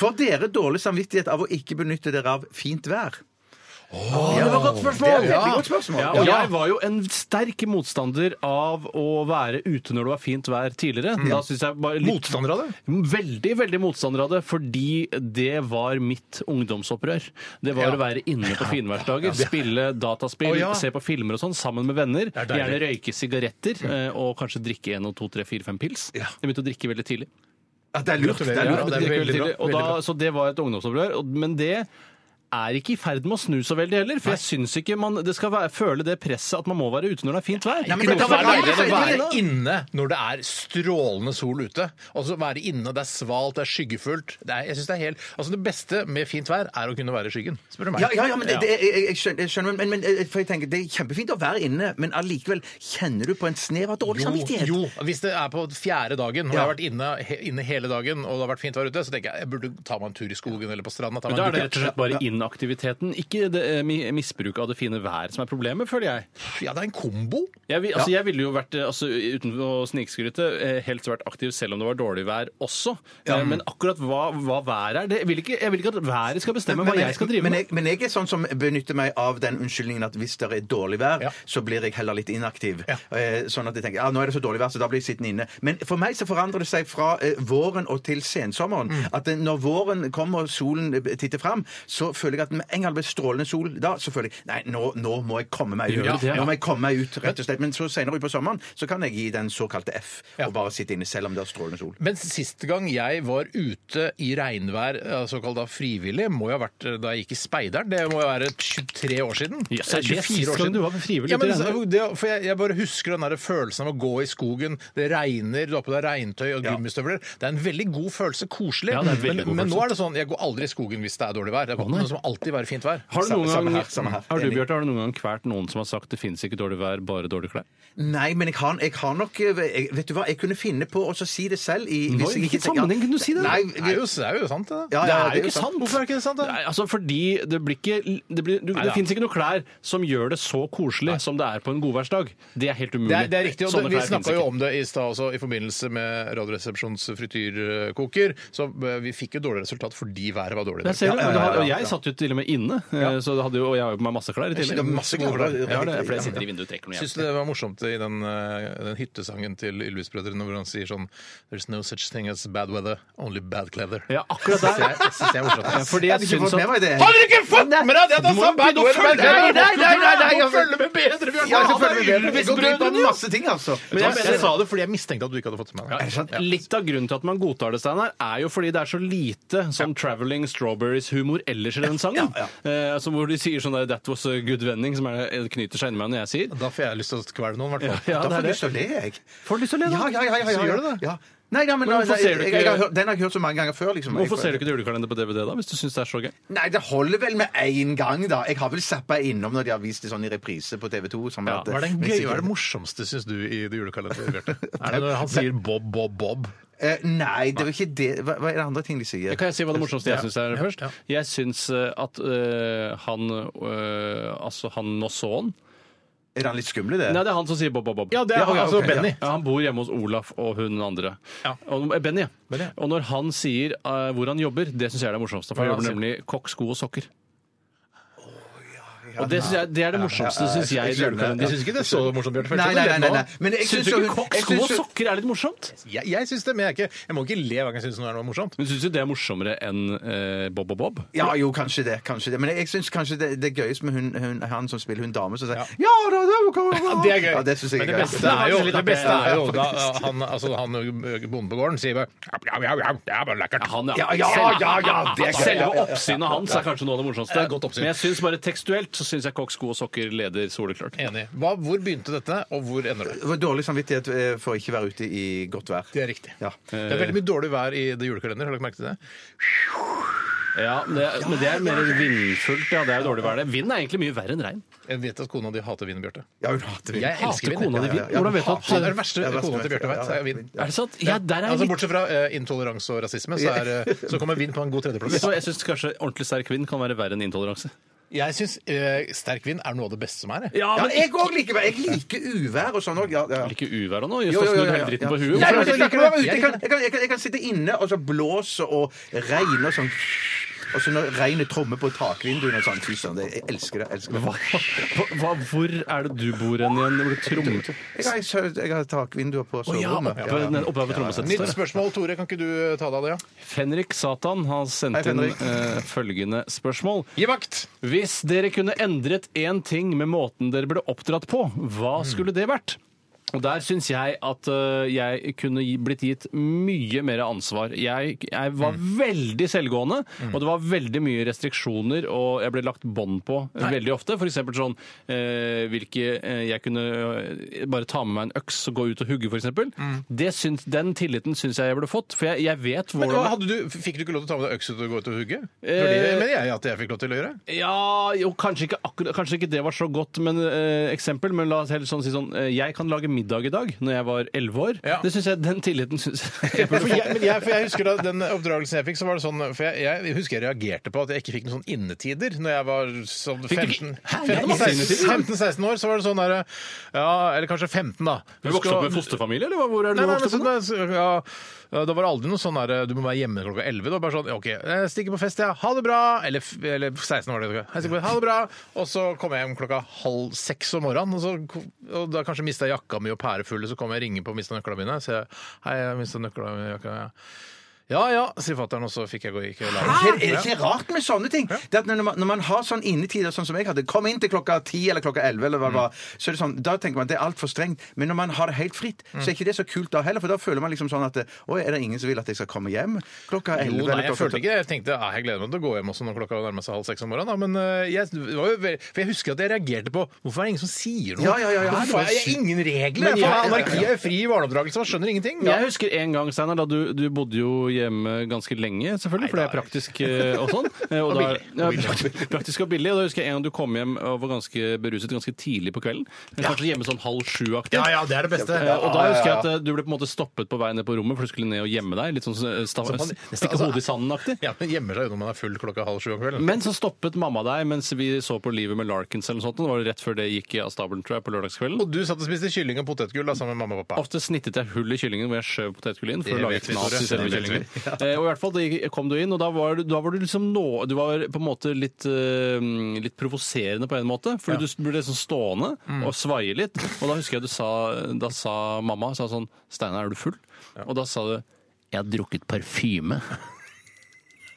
[SPEAKER 2] Får dere dårlig samvittighet av å ikke benytte dere av fint vær?
[SPEAKER 1] Ja, det var et godt
[SPEAKER 2] Det
[SPEAKER 1] spørsmål!
[SPEAKER 2] er et veldig
[SPEAKER 1] Ja.
[SPEAKER 2] godt spørsmål.
[SPEAKER 4] Ja, og jeg var jo en sterk motstander av å være ute når det var fint vær tidligere. Da synes jeg bare litt-
[SPEAKER 1] Mm. Motstander av det?
[SPEAKER 4] Veldig, veldig motstander av det, fordi det var mitt ungdomsopprør. Det var
[SPEAKER 1] Ja.
[SPEAKER 4] å være inne på finværsdager, spille dataspill,
[SPEAKER 1] Å, ja.
[SPEAKER 4] se på filmer og sånn sammen med venner.
[SPEAKER 1] er deilig. Mm.
[SPEAKER 4] Gjerne røyke sigaretter eh, og kanskje drikke en og to, tre, fire, fem pils.
[SPEAKER 2] Ja.
[SPEAKER 4] Jeg begynte å drikke veldig tidlig.
[SPEAKER 2] Ja, det er lurt. Det er
[SPEAKER 1] Ja,
[SPEAKER 2] lurt.
[SPEAKER 1] det er
[SPEAKER 4] Drikke
[SPEAKER 1] veldig
[SPEAKER 4] veldig
[SPEAKER 1] bra,
[SPEAKER 4] tidlig. Og
[SPEAKER 1] veldig
[SPEAKER 4] da,
[SPEAKER 1] bra.
[SPEAKER 4] så det var et ungdomsopprør. og- Men det er ikke i ferd med å snu så veldig heller. For jeg syns ikke man det skal være, føle det presset at man må være ute når det er fint vær.
[SPEAKER 2] men
[SPEAKER 1] Det
[SPEAKER 2] da
[SPEAKER 1] er
[SPEAKER 2] var
[SPEAKER 1] deilig å være
[SPEAKER 2] det-
[SPEAKER 1] inne når det er strålende sol ute. Altså være inne, det er svalt, det er skyggefullt. Det, er, jeg synes det, er helt, altså, det beste med fint vær er å kunne være i skyggen, spør du meg.
[SPEAKER 2] Ja, ja, ja, men det, det, jeg, jeg- jeg skjønner, jeg skjønner men, men eh, for jeg tenker, det er kjempefint å være inne, men allikevel kjenner du på en snev av dårlig samvittighet?
[SPEAKER 1] Jo, jo, hvis det er på fjerde dagen, og jeg
[SPEAKER 2] Ja.
[SPEAKER 1] har vært inne, he, inne hele dagen, og det har vært fint vær ute, så tenker jeg jeg burde ta meg en tur i skogen eller på stranda. Ta meg
[SPEAKER 4] Da
[SPEAKER 1] en
[SPEAKER 4] er det
[SPEAKER 1] dukke.
[SPEAKER 4] rett og slett bare inn inaktiviteten, ikke det, eh, mi- misbruk av det fine været som er problemet, føler jeg.
[SPEAKER 1] Ja, det er en kombo.
[SPEAKER 4] Jeg, vil- altså, jeg ville jo vært, eh, altså, uten å snikskryte, eh, helst vært aktiv selv om det var dårlig vær også. Eh, Men akkurat hva, hva været er, det vil ikke, jeg vil ikke at været skal bestemme hva jeg skal drive
[SPEAKER 2] men
[SPEAKER 4] med.
[SPEAKER 2] jeg, men jeg er sånn som benytter meg av den unnskyldningen at hvis det er dårlig vær, så blir jeg heller litt inaktiv. Eh, Sånn at jeg tenker ja, nå er det så dårlig vær, så da blir jeg sittende inne. Men for meg så forandrer det seg fra eh, våren og til sensommeren.
[SPEAKER 4] Mm.
[SPEAKER 2] At eh, når våren kommer og solen eh, titter fram, så føler jeg at med en gang det blir strålende sol, da så føler jeg nei, nå, nå må jeg komme meg ut.
[SPEAKER 4] Gjør du det, ja?
[SPEAKER 2] Nå må jeg komme meg ut, rett og slett. Men så senere utpå sommeren så kan jeg gi den såkalte F og bare sitte inne selv om det er strålende sol.
[SPEAKER 1] Men siste gang jeg var ute i regnvær, eh, såkalt da frivillig, må jo ha vært eh, da jeg gikk i speideren. Det må jo være 23 år siden.
[SPEAKER 4] Yes, er det
[SPEAKER 1] Eh, 24
[SPEAKER 4] siste
[SPEAKER 1] år
[SPEAKER 4] gang
[SPEAKER 1] siden.
[SPEAKER 4] du var frivillig
[SPEAKER 1] ja, men,
[SPEAKER 4] ute i regnvær?
[SPEAKER 1] det, for jeg, jeg bare husker den der følelsen av å gå i skogen, det regner, du har på deg regntøy og gummistøvler. Det er en veldig god følelse, koselig.
[SPEAKER 4] Ja, det er en veldig
[SPEAKER 1] men,
[SPEAKER 4] god
[SPEAKER 1] men nå
[SPEAKER 4] følelse.
[SPEAKER 1] er det sånn, jeg går aldri i skogen hvis det er dårlig vær. Det må det må alltid være fint vær.
[SPEAKER 4] Har du,
[SPEAKER 2] Samme-
[SPEAKER 4] noen
[SPEAKER 2] samme
[SPEAKER 4] gang,
[SPEAKER 2] her, samme her.
[SPEAKER 4] har du,
[SPEAKER 2] Enig.
[SPEAKER 4] Bjarte, har du noen gang kvært noen som har sagt det fins ikke dårlig vær, bare dårlige klær?
[SPEAKER 2] Nei, men jeg har, jeg har nok eh, jeg, Vet du hva, jeg kunne finne på å så si det selv. I,
[SPEAKER 4] Nå, i hvilken sammenheng kunne du si det?
[SPEAKER 2] Nei,
[SPEAKER 1] Det er jo, det er jo sant, det. da.
[SPEAKER 2] Ja, ja,
[SPEAKER 4] det er jo ikke sant.
[SPEAKER 1] Hvorfor er det ikke sant, da?
[SPEAKER 4] Nei, altså fordi det blir ikke Det, blir, du, det
[SPEAKER 1] da.
[SPEAKER 4] fins ikke noen klær som gjør det så koselig som det er på en godværsdag. Det er helt umulig.
[SPEAKER 1] Det er, det er riktig, og
[SPEAKER 4] Sånne
[SPEAKER 1] det, Vi
[SPEAKER 4] klær finnes
[SPEAKER 1] snakka jo
[SPEAKER 4] ikke.
[SPEAKER 1] om det i stad også, i forbindelse med Radioresepsjons frityrkoker. Så eh, vi fikk jo dårlig resultat fordi været var dårlig. i
[SPEAKER 4] Jeg
[SPEAKER 1] dag.
[SPEAKER 4] ser det,
[SPEAKER 2] Ja, ja,
[SPEAKER 4] men det
[SPEAKER 2] ja,
[SPEAKER 4] har-
[SPEAKER 2] ja,
[SPEAKER 4] og jeg
[SPEAKER 2] ja.
[SPEAKER 4] satt jo til og med inne, eh, så det hadde jo, og jeg har jo på meg masse klær i tillegg.
[SPEAKER 2] Det er masse gode
[SPEAKER 4] Ja,
[SPEAKER 2] klær.
[SPEAKER 4] det er fordi
[SPEAKER 2] Ja.
[SPEAKER 4] jeg sitter i vinduet og trekker noe
[SPEAKER 1] Syns
[SPEAKER 4] hjem.
[SPEAKER 1] du det var morsomt i den, eh, den hyttesangen til Ylvis-brødrene hvor han sier sånn There's no such thing as bad weather, only bad cleather.
[SPEAKER 4] Ja, akkurat der.
[SPEAKER 1] Det syns jeg er
[SPEAKER 4] Ja,
[SPEAKER 1] morsomt.
[SPEAKER 4] Fordi jeg
[SPEAKER 2] ikke
[SPEAKER 4] syns
[SPEAKER 2] fått
[SPEAKER 4] at
[SPEAKER 2] med meg det.
[SPEAKER 1] Har dere ikke fått med deg det? at han
[SPEAKER 4] Du må
[SPEAKER 1] sa
[SPEAKER 4] jo
[SPEAKER 1] bad
[SPEAKER 4] begynne å
[SPEAKER 1] weather,
[SPEAKER 4] følge-
[SPEAKER 1] bad cleather?
[SPEAKER 2] Nei, nei, nei, nei, nei,
[SPEAKER 1] Du må
[SPEAKER 2] jeg-
[SPEAKER 1] følge med bedre, Bjørn!
[SPEAKER 2] Ja,
[SPEAKER 1] Han er
[SPEAKER 2] selvfølgelig. Jeg går glipp
[SPEAKER 1] Ylvis-brødrene,
[SPEAKER 2] av
[SPEAKER 1] jo!
[SPEAKER 2] masse ting, altså.
[SPEAKER 4] Men jeg
[SPEAKER 1] Jeg,
[SPEAKER 4] mener-
[SPEAKER 1] sa det fordi jeg mistenkte at du ikke hadde fått det med deg.
[SPEAKER 4] Litt av grunnen til at man godtar det, Steinar, er jo fordi det er så lite sånn Traveling Strawberries-humor ellers i den sangen. Eh, altså hvor de sier sånn der That was a good vending, som er, knyter seg inni meg når jeg sier.
[SPEAKER 1] Da får jeg lyst til å kvelve noen, i hvert fall.
[SPEAKER 4] Ja, det
[SPEAKER 2] Da får
[SPEAKER 4] er
[SPEAKER 2] jeg lyst
[SPEAKER 4] det.
[SPEAKER 2] til å le, jeg.
[SPEAKER 4] Får du lyst til å le, da?
[SPEAKER 2] Ja, ja, ja, ja, ja,
[SPEAKER 4] Så
[SPEAKER 2] ja.
[SPEAKER 4] gjør du det.
[SPEAKER 2] Ja. Nei, nei, men,
[SPEAKER 4] Men hvorfor
[SPEAKER 2] nei,
[SPEAKER 4] ser du
[SPEAKER 2] jeg,
[SPEAKER 4] ikke-
[SPEAKER 2] jeg, har hørt- den har jeg hørt så mange ganger før. Liksom.
[SPEAKER 4] Hvorfor
[SPEAKER 2] Jeg-
[SPEAKER 4] ser du ikke det julekalender på DVD da, hvis du syns det er så gøy?
[SPEAKER 2] Nei, det holder vel med én gang, da. Jeg har vel zappa innom når de har vist det sånn i reprise på TV 2. Sånn
[SPEAKER 4] Ja,
[SPEAKER 2] at-
[SPEAKER 1] Hva er, den
[SPEAKER 2] Men
[SPEAKER 1] gøy,
[SPEAKER 2] sikkert-
[SPEAKER 1] hva er det morsomste, syns du, i det julekalenderet, Bjarte? Er det når han sier Bob, Bob, Bob?
[SPEAKER 2] Eh, Nei, det er jo ikke det. Hva, hva er det andre ting de sier?
[SPEAKER 4] Kan jeg si hva det morsomste jeg syns er først?
[SPEAKER 1] ja.
[SPEAKER 4] Jeg syns eh, at eh, han eh, Altså han Nosson
[SPEAKER 2] Er han litt skumle, det?
[SPEAKER 4] Nei, det er han som sier Bob Bob Bob.
[SPEAKER 1] Ja, det er
[SPEAKER 2] Ja, ja,
[SPEAKER 1] altså
[SPEAKER 2] ok, ja.
[SPEAKER 1] Benny.
[SPEAKER 4] Ja, han bor hjemme hos Olaf og hun andre.
[SPEAKER 1] Ja.
[SPEAKER 4] Og, eh, Benny.
[SPEAKER 1] Benny, ja.
[SPEAKER 4] Og når han sier eh, hvor han jobber, det syns jeg er det morsomste. For
[SPEAKER 1] Hva er
[SPEAKER 4] han
[SPEAKER 1] det
[SPEAKER 4] jobber
[SPEAKER 1] han
[SPEAKER 4] nemlig kokk, sko og sokker. Og det, synes jeg, det er det morsomste, syns jeg. i
[SPEAKER 2] jeg skjønner.
[SPEAKER 4] julekalenderen.
[SPEAKER 1] Jeg syns ikke det er så morsomt, Bjarte. for jeg
[SPEAKER 2] Nei,
[SPEAKER 1] skjønner det
[SPEAKER 2] nei, nei, nei,
[SPEAKER 1] nå.
[SPEAKER 2] nei. Men jeg
[SPEAKER 4] Syns
[SPEAKER 2] syns
[SPEAKER 4] du
[SPEAKER 2] jo
[SPEAKER 4] ikke kokk,
[SPEAKER 2] jeg
[SPEAKER 4] sko
[SPEAKER 2] syns
[SPEAKER 4] og
[SPEAKER 2] jo-
[SPEAKER 4] sokker er litt morsomt?
[SPEAKER 1] Jeg, jeg syns det, men jeg, er ikke, jeg må ikke le hver gang jeg syns noe er noe morsomt.
[SPEAKER 4] Men syns du det er morsommere enn eh, Bob og Bob?
[SPEAKER 2] Ja, jo, kanskje det. kanskje det. Men jeg syns kanskje det, det er gøyest med hun, hun, han som spiller hun dame som sier Ja, da, da, da, da, da.
[SPEAKER 1] Det er gøy.
[SPEAKER 2] Ja, det synes jeg
[SPEAKER 1] men det
[SPEAKER 2] er gøy.
[SPEAKER 1] beste er jo,
[SPEAKER 4] Det er
[SPEAKER 1] det beste er jo
[SPEAKER 2] artig.
[SPEAKER 1] da han, altså, han bonde på gården sier bare «Jau, jau, jau, jau, Det er bare lekkert.
[SPEAKER 4] Han, ja.
[SPEAKER 2] Ja, ja, ja, ja, det er gøy.
[SPEAKER 4] Selve oppsynet hans er kanskje noe av det morsomste.
[SPEAKER 1] Det er godt oppsyn.
[SPEAKER 4] Men jeg synes bare tekstuelt så syns jeg kokk, sko og sokker leder soleklart.
[SPEAKER 1] Enig. Hva, hvor begynte dette, og hvor ender det?
[SPEAKER 2] Det var Dårlig samvittighet eh, for ikke å være ute i godt vær.
[SPEAKER 1] Det er riktig.
[SPEAKER 2] Ja.
[SPEAKER 4] Eh.
[SPEAKER 1] Det er veldig mye dårlig vær i det julekalender, har dere merket det?
[SPEAKER 4] Ja, men det, men det er mer vindfullt. Ja, det er jo dårlig vær. det. Vind er egentlig mye verre enn regn.
[SPEAKER 1] Jeg vet at kona di hater vin, Bjarte.
[SPEAKER 2] Ja, hun hater vin.
[SPEAKER 1] Jeg elsker vin.
[SPEAKER 4] kona di
[SPEAKER 1] jeg.
[SPEAKER 4] vind? Hvordan vet du at-
[SPEAKER 1] Hater- Det er den verste
[SPEAKER 2] Ja, verste
[SPEAKER 1] kona til
[SPEAKER 2] vet jeg.
[SPEAKER 1] Bjarte vet,
[SPEAKER 2] Ja,
[SPEAKER 1] er vin.
[SPEAKER 4] Er det sant? Ja, der er jeg
[SPEAKER 1] Altså,
[SPEAKER 4] litt...
[SPEAKER 1] bortsett fra eh, intoleranse og rasisme, så, er, eh, så kommer vin på en god tredjeplass.
[SPEAKER 4] Så jeg syns kanskje ordentlig sterk vind kan være verre enn intoleranse.
[SPEAKER 1] Jeg syns eh, sterk vin er noe av det beste som er. jeg.
[SPEAKER 2] Ja, jeg òg liker vær. Jeg liker uvær og sånn òg. Ja, ja.
[SPEAKER 4] Ikke uvær og noe. Just
[SPEAKER 2] Jo, jo, jo,
[SPEAKER 4] snudd
[SPEAKER 2] jo,
[SPEAKER 4] hele
[SPEAKER 2] ja.
[SPEAKER 4] dritten på
[SPEAKER 2] Nei,
[SPEAKER 4] huet.
[SPEAKER 2] men
[SPEAKER 4] Hvorfor
[SPEAKER 2] jeg
[SPEAKER 4] er det
[SPEAKER 2] liker å være ute.
[SPEAKER 1] Jeg
[SPEAKER 2] Jeg kan- jeg kan- jeg kan- jeg kan sitte inne og så blåse og regne og sånn Og så når regnet trommer på takvinduene og sånn. Fy søren, det- jeg elsker det. jeg elsker det.
[SPEAKER 4] ikke- Hva, hva, hvor er det du bor hen igjen? Hvor det trommer?
[SPEAKER 2] Jeg har, jeg har takvinduer på
[SPEAKER 4] Å ja,
[SPEAKER 2] soverommet.
[SPEAKER 4] oppe, ned- oppe ved trommesettet.
[SPEAKER 1] Nytt
[SPEAKER 4] står det.
[SPEAKER 1] spørsmål, Tore. Kan ikke du eh, ta deg av det? Ja?
[SPEAKER 4] Fenrik Satan har sendt
[SPEAKER 2] Hei,
[SPEAKER 4] inn
[SPEAKER 2] Fenrik.
[SPEAKER 4] eh, følgende spørsmål.
[SPEAKER 1] Gi vakt!
[SPEAKER 4] Hvis dere kunne endret én ting med måten dere ble oppdratt på,
[SPEAKER 1] Mm.
[SPEAKER 4] hva skulle det vært? Og der syns jeg at øh, jeg kunne gi- blitt gitt mye mer ansvar. Jeg, jeg var
[SPEAKER 1] Mm.
[SPEAKER 4] veldig selvgående, og det var veldig mye restriksjoner, og jeg ble lagt bånd på øh, veldig ofte. For eksempel sånn øh, hvilke øh, Jeg kunne øh, bare ta med meg en øks og gå ut og hugge, for eksempel.
[SPEAKER 1] Mm.
[SPEAKER 4] Det syns, den tilliten syns jeg jeg burde fått, for jeg, jeg vet
[SPEAKER 1] Men,
[SPEAKER 4] hvordan
[SPEAKER 1] hadde du, fikk du ikke lov til å ta med deg øks ut og gå ut og hugge?
[SPEAKER 4] Eh,
[SPEAKER 1] Fordi det mener jeg at jeg fikk lov til å gjøre.
[SPEAKER 4] Ja, jo, kanskje ikke, akkurat, kanskje ikke det var så godt men, eh, eksempel, men la oss heller sånn si sånn eh, Jeg kan lage middag i dag, når jeg var elleve år.
[SPEAKER 1] Ja.
[SPEAKER 4] Det synes jeg, Den tilliten syns jeg
[SPEAKER 1] For jeg, men jeg, for jeg husker da den oppdragelsen jeg fikk, så var det sånn For jeg, jeg husker jeg reagerte på at jeg ikke fikk noen sånn innetider når jeg var sånn
[SPEAKER 4] Fikk du ikke-
[SPEAKER 1] 15
[SPEAKER 4] Hæ? Jeg hadde masse
[SPEAKER 1] 15-16
[SPEAKER 4] innetider.
[SPEAKER 1] 15-16 år, så var det sånn derre Ja, eller kanskje 15, da.
[SPEAKER 4] Du vokste opp med
[SPEAKER 1] Husker-
[SPEAKER 4] fosterfamilie, eller hva- hvor er du
[SPEAKER 1] Nei, nei, men
[SPEAKER 4] vokst opp?
[SPEAKER 1] så-
[SPEAKER 4] med?
[SPEAKER 1] så- ja, ja, da var det aldri noe sånn der Du må være hjemme klokka 11. Det var bare sånn OK, jeg stikker på fest, ja. Ha det bra. Eller, f- eller 16 var det. Jeg stikker på, ha det bra. Og så kom jeg hjem klokka halv seks om morgenen. Og, så, og da kanskje mista jeg jakka mi og pærefugler, så kom jeg og ringer på og mista nøklene mine. Så jeg Hei, jeg mista nøklene mine. Jakka, ja. ja ja, sier fatter'n, og så fikk jeg gå gikk og la meg.
[SPEAKER 2] Er det ikke rart med sånne ting? Det at når, man, når man har sånn innetider sånn som jeg hadde, kom inn til klokka ti eller klokka elleve, eller hva det var, så er det sånn, da tenker man at det er altfor strengt. Men når man har det helt fritt, så er ikke det så kult da heller, for da føler man liksom sånn at Oi, er det ingen som vil at jeg skal komme hjem klokka
[SPEAKER 1] Jo,
[SPEAKER 2] elleve?
[SPEAKER 1] nei,
[SPEAKER 2] eller
[SPEAKER 1] jeg
[SPEAKER 2] klokka
[SPEAKER 1] følte ikke det. Jeg tenkte ja, jeg gleder meg til å gå hjem også når klokka nærmer seg halv seks om morgenen. Da. Men eh, jeg, det var jo, ve- for jeg husker at jeg reagerte på hvorfor er det ingen som sier noe?
[SPEAKER 2] Ja, ja, ja, ja.
[SPEAKER 1] Hvorfor er det ingen regler?
[SPEAKER 4] Men
[SPEAKER 1] For
[SPEAKER 4] jeg-
[SPEAKER 1] anarki er jo fri barneoppdragelse, man skjønner ingenting.
[SPEAKER 4] Jeg husker en gang, Steinar, da du, du bodde jo hjemme ganske lenge, selvfølgelig, for det er praktisk eh, og sånn. Eh, Og, da-
[SPEAKER 1] billig.
[SPEAKER 4] ja, praktisk og billig. Og da husker jeg en gang du kom hjem og var ganske beruset ganske tidlig på kvelden. Kanskje hjemme sånn halv sju-aktig.
[SPEAKER 1] Ja, ja, det er det beste.
[SPEAKER 4] Eh, Og da husker jeg at eh, du ble på en måte stoppet på vei ned på rommet, for du skulle ned og gjemme deg. Litt sånn eh, sta-
[SPEAKER 1] Så man-
[SPEAKER 4] stikke
[SPEAKER 1] altså-
[SPEAKER 4] hodet i sanden-aktig.
[SPEAKER 1] Ja, men gjemmer seg jo når man er full klokka halv sju om kvelden.
[SPEAKER 4] Men så stoppet mamma deg mens vi så på Livet med Larkins eller noe sånt. og Det var rett før det gikk av stabelen, tror jeg, på lørdagskvelden.
[SPEAKER 1] Og du satt og spiste kylling og potetgull da, sammen med mamma og pappa.
[SPEAKER 4] Ofte snittet jeg hull i kyllingen hvor jeg skjøv potetgull inn for
[SPEAKER 1] Det
[SPEAKER 4] å lage
[SPEAKER 1] vet vi, Tore.
[SPEAKER 4] knas i
[SPEAKER 1] Det
[SPEAKER 4] selve
[SPEAKER 1] vet
[SPEAKER 4] kyllingen. Eh, Og i hvert fall det kom du inn, og da var, du- da var du liksom nå Du var på en måte litt, eh, litt provoserende på en måte, fordi du ble liksom stående
[SPEAKER 1] Mm.
[SPEAKER 4] og svaie litt. Og da husker jeg du sa Da sa mamma sa sånn Steinar, er du full? Og da sa du jeg har drukket parfyme.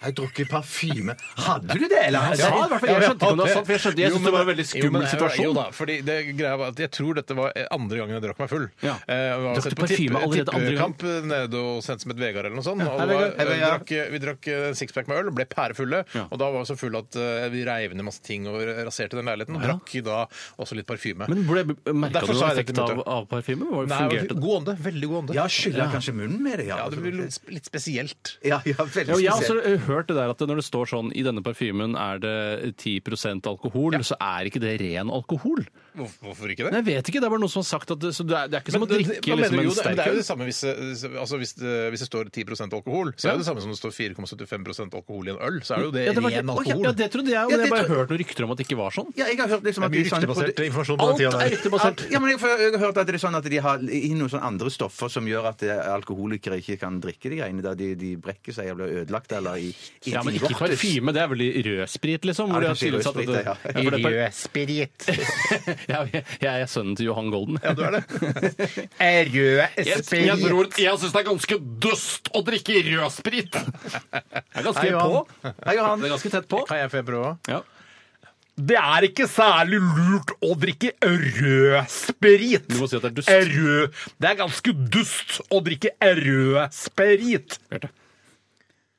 [SPEAKER 2] Jeg har drukket parfyme. Hadde du det, eller?
[SPEAKER 4] Ja, i hvert fall, jeg skjønte ikke om det var sant, for jeg skjønte, jeg
[SPEAKER 1] Jo,
[SPEAKER 4] syntes
[SPEAKER 1] men-
[SPEAKER 4] det var en veldig
[SPEAKER 1] jo, men
[SPEAKER 4] skummel
[SPEAKER 1] jeg-
[SPEAKER 4] situasjon.
[SPEAKER 1] Jo da, fordi det greia var at jeg tror dette var andre gangen jeg drakk meg full. Eh, og
[SPEAKER 4] Ja.
[SPEAKER 1] jeg har
[SPEAKER 4] Drakk
[SPEAKER 1] sett
[SPEAKER 4] du
[SPEAKER 1] på
[SPEAKER 4] parfyme
[SPEAKER 1] tippe-
[SPEAKER 4] allerede andre gang?
[SPEAKER 1] tippekamp nede hos en som het Vegard eller noe sånt. Og
[SPEAKER 4] Hei,
[SPEAKER 1] det var- eh,
[SPEAKER 4] Vegard. Hei,
[SPEAKER 1] vi,
[SPEAKER 4] Vegard.
[SPEAKER 1] drakk, vi drakk eh, en sixpack med øl, ble pærefulle,
[SPEAKER 4] Ja.
[SPEAKER 1] og da var vi så fulle at eh, vi reiv ned masse ting og raserte den leiligheten, og
[SPEAKER 4] Ja.
[SPEAKER 1] drakk da også litt parfyme.
[SPEAKER 4] Men ble, merka
[SPEAKER 1] Derfor
[SPEAKER 4] du
[SPEAKER 1] sa
[SPEAKER 4] noen
[SPEAKER 1] jeg det
[SPEAKER 4] effekt
[SPEAKER 1] til
[SPEAKER 4] av,
[SPEAKER 1] mutter'n.
[SPEAKER 4] av parfyme? Var-
[SPEAKER 1] Nei, det var
[SPEAKER 4] Fungerte det?
[SPEAKER 1] god ånde. Veldig god ånde.
[SPEAKER 2] Ja, skyller kanskje munnen med det, ja.
[SPEAKER 1] Ja, det blir litt sp- litt spesielt.
[SPEAKER 2] Ja, ja, veldig
[SPEAKER 4] Ja, jeg har
[SPEAKER 2] spesielt.
[SPEAKER 4] også hørt det der at når det står sånn i denne parfymen er det 10 alkohol, så er ikke det ren alkohol.
[SPEAKER 1] Hvorfor, hvorfor ikke det?
[SPEAKER 4] Men jeg vet ikke, det er bare noen som har sagt at det, så det, er, det er ikke som
[SPEAKER 1] Men
[SPEAKER 4] å
[SPEAKER 1] det-
[SPEAKER 4] drikke
[SPEAKER 1] hva mener
[SPEAKER 4] liksom,
[SPEAKER 1] du? Jo, det-
[SPEAKER 4] en
[SPEAKER 1] men
[SPEAKER 4] sterk
[SPEAKER 1] Det er jo
[SPEAKER 4] øl.
[SPEAKER 1] det samme hvis, eh, altså hvis, det, hvis det står 10 alkohol, så er det det samme som det står 4,75 alkohol i en øl. Så er det jo det,
[SPEAKER 4] Ja, det var-
[SPEAKER 1] ren
[SPEAKER 4] Å,
[SPEAKER 1] alkohol.
[SPEAKER 4] Ja, ja, det trodde jeg, men
[SPEAKER 2] Ja, det
[SPEAKER 4] jeg har bare
[SPEAKER 2] tro-
[SPEAKER 4] hørt noen rykter om at det ikke var sånn.
[SPEAKER 2] Ja, jeg har hørt liksom at de sånn-
[SPEAKER 1] informasjon
[SPEAKER 4] Alt er ryktebasert.
[SPEAKER 2] Ja, men jeg, får- jeg har hørt at det er sånn at de har i noen sånne andre stoffer som gjør at eh, alkoholikere ikke kan drikke de greiene der de, de brekker seg og blir ødelagt eller i, i
[SPEAKER 4] Ja, men
[SPEAKER 2] i
[SPEAKER 4] ikke
[SPEAKER 2] vortes.
[SPEAKER 4] parfyme, det er vel i rødsprit, liksom?
[SPEAKER 2] Ja,
[SPEAKER 4] Hvor de
[SPEAKER 2] det
[SPEAKER 4] har
[SPEAKER 2] er kanskje i
[SPEAKER 4] tilsatt at det,
[SPEAKER 2] rødsprit,
[SPEAKER 4] ja, for det er par-
[SPEAKER 1] Rødsprit.
[SPEAKER 4] Ja, jeg, jeg er sønnen til Johan Golden.
[SPEAKER 1] Ja, du er det.
[SPEAKER 4] Jeg,
[SPEAKER 1] Rødsprit.
[SPEAKER 4] jeg, tror- jeg syns det er ganske dust å drikke rødsprit! Det er ganske
[SPEAKER 1] Hei, Johan.
[SPEAKER 4] på. Det er ganske tett på.
[SPEAKER 1] Kan jeg få prøve òg?
[SPEAKER 4] Ja.
[SPEAKER 1] Det er ikke særlig lurt å drikke rødsprit.
[SPEAKER 4] Du må si at det er dust.
[SPEAKER 1] Rød. Det er ganske dust å drikke rødsprit.
[SPEAKER 4] Bjarte.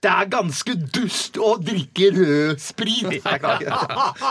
[SPEAKER 2] Det er ganske dust å drikke rød sprit! Jeg kan
[SPEAKER 1] Det
[SPEAKER 2] ikke-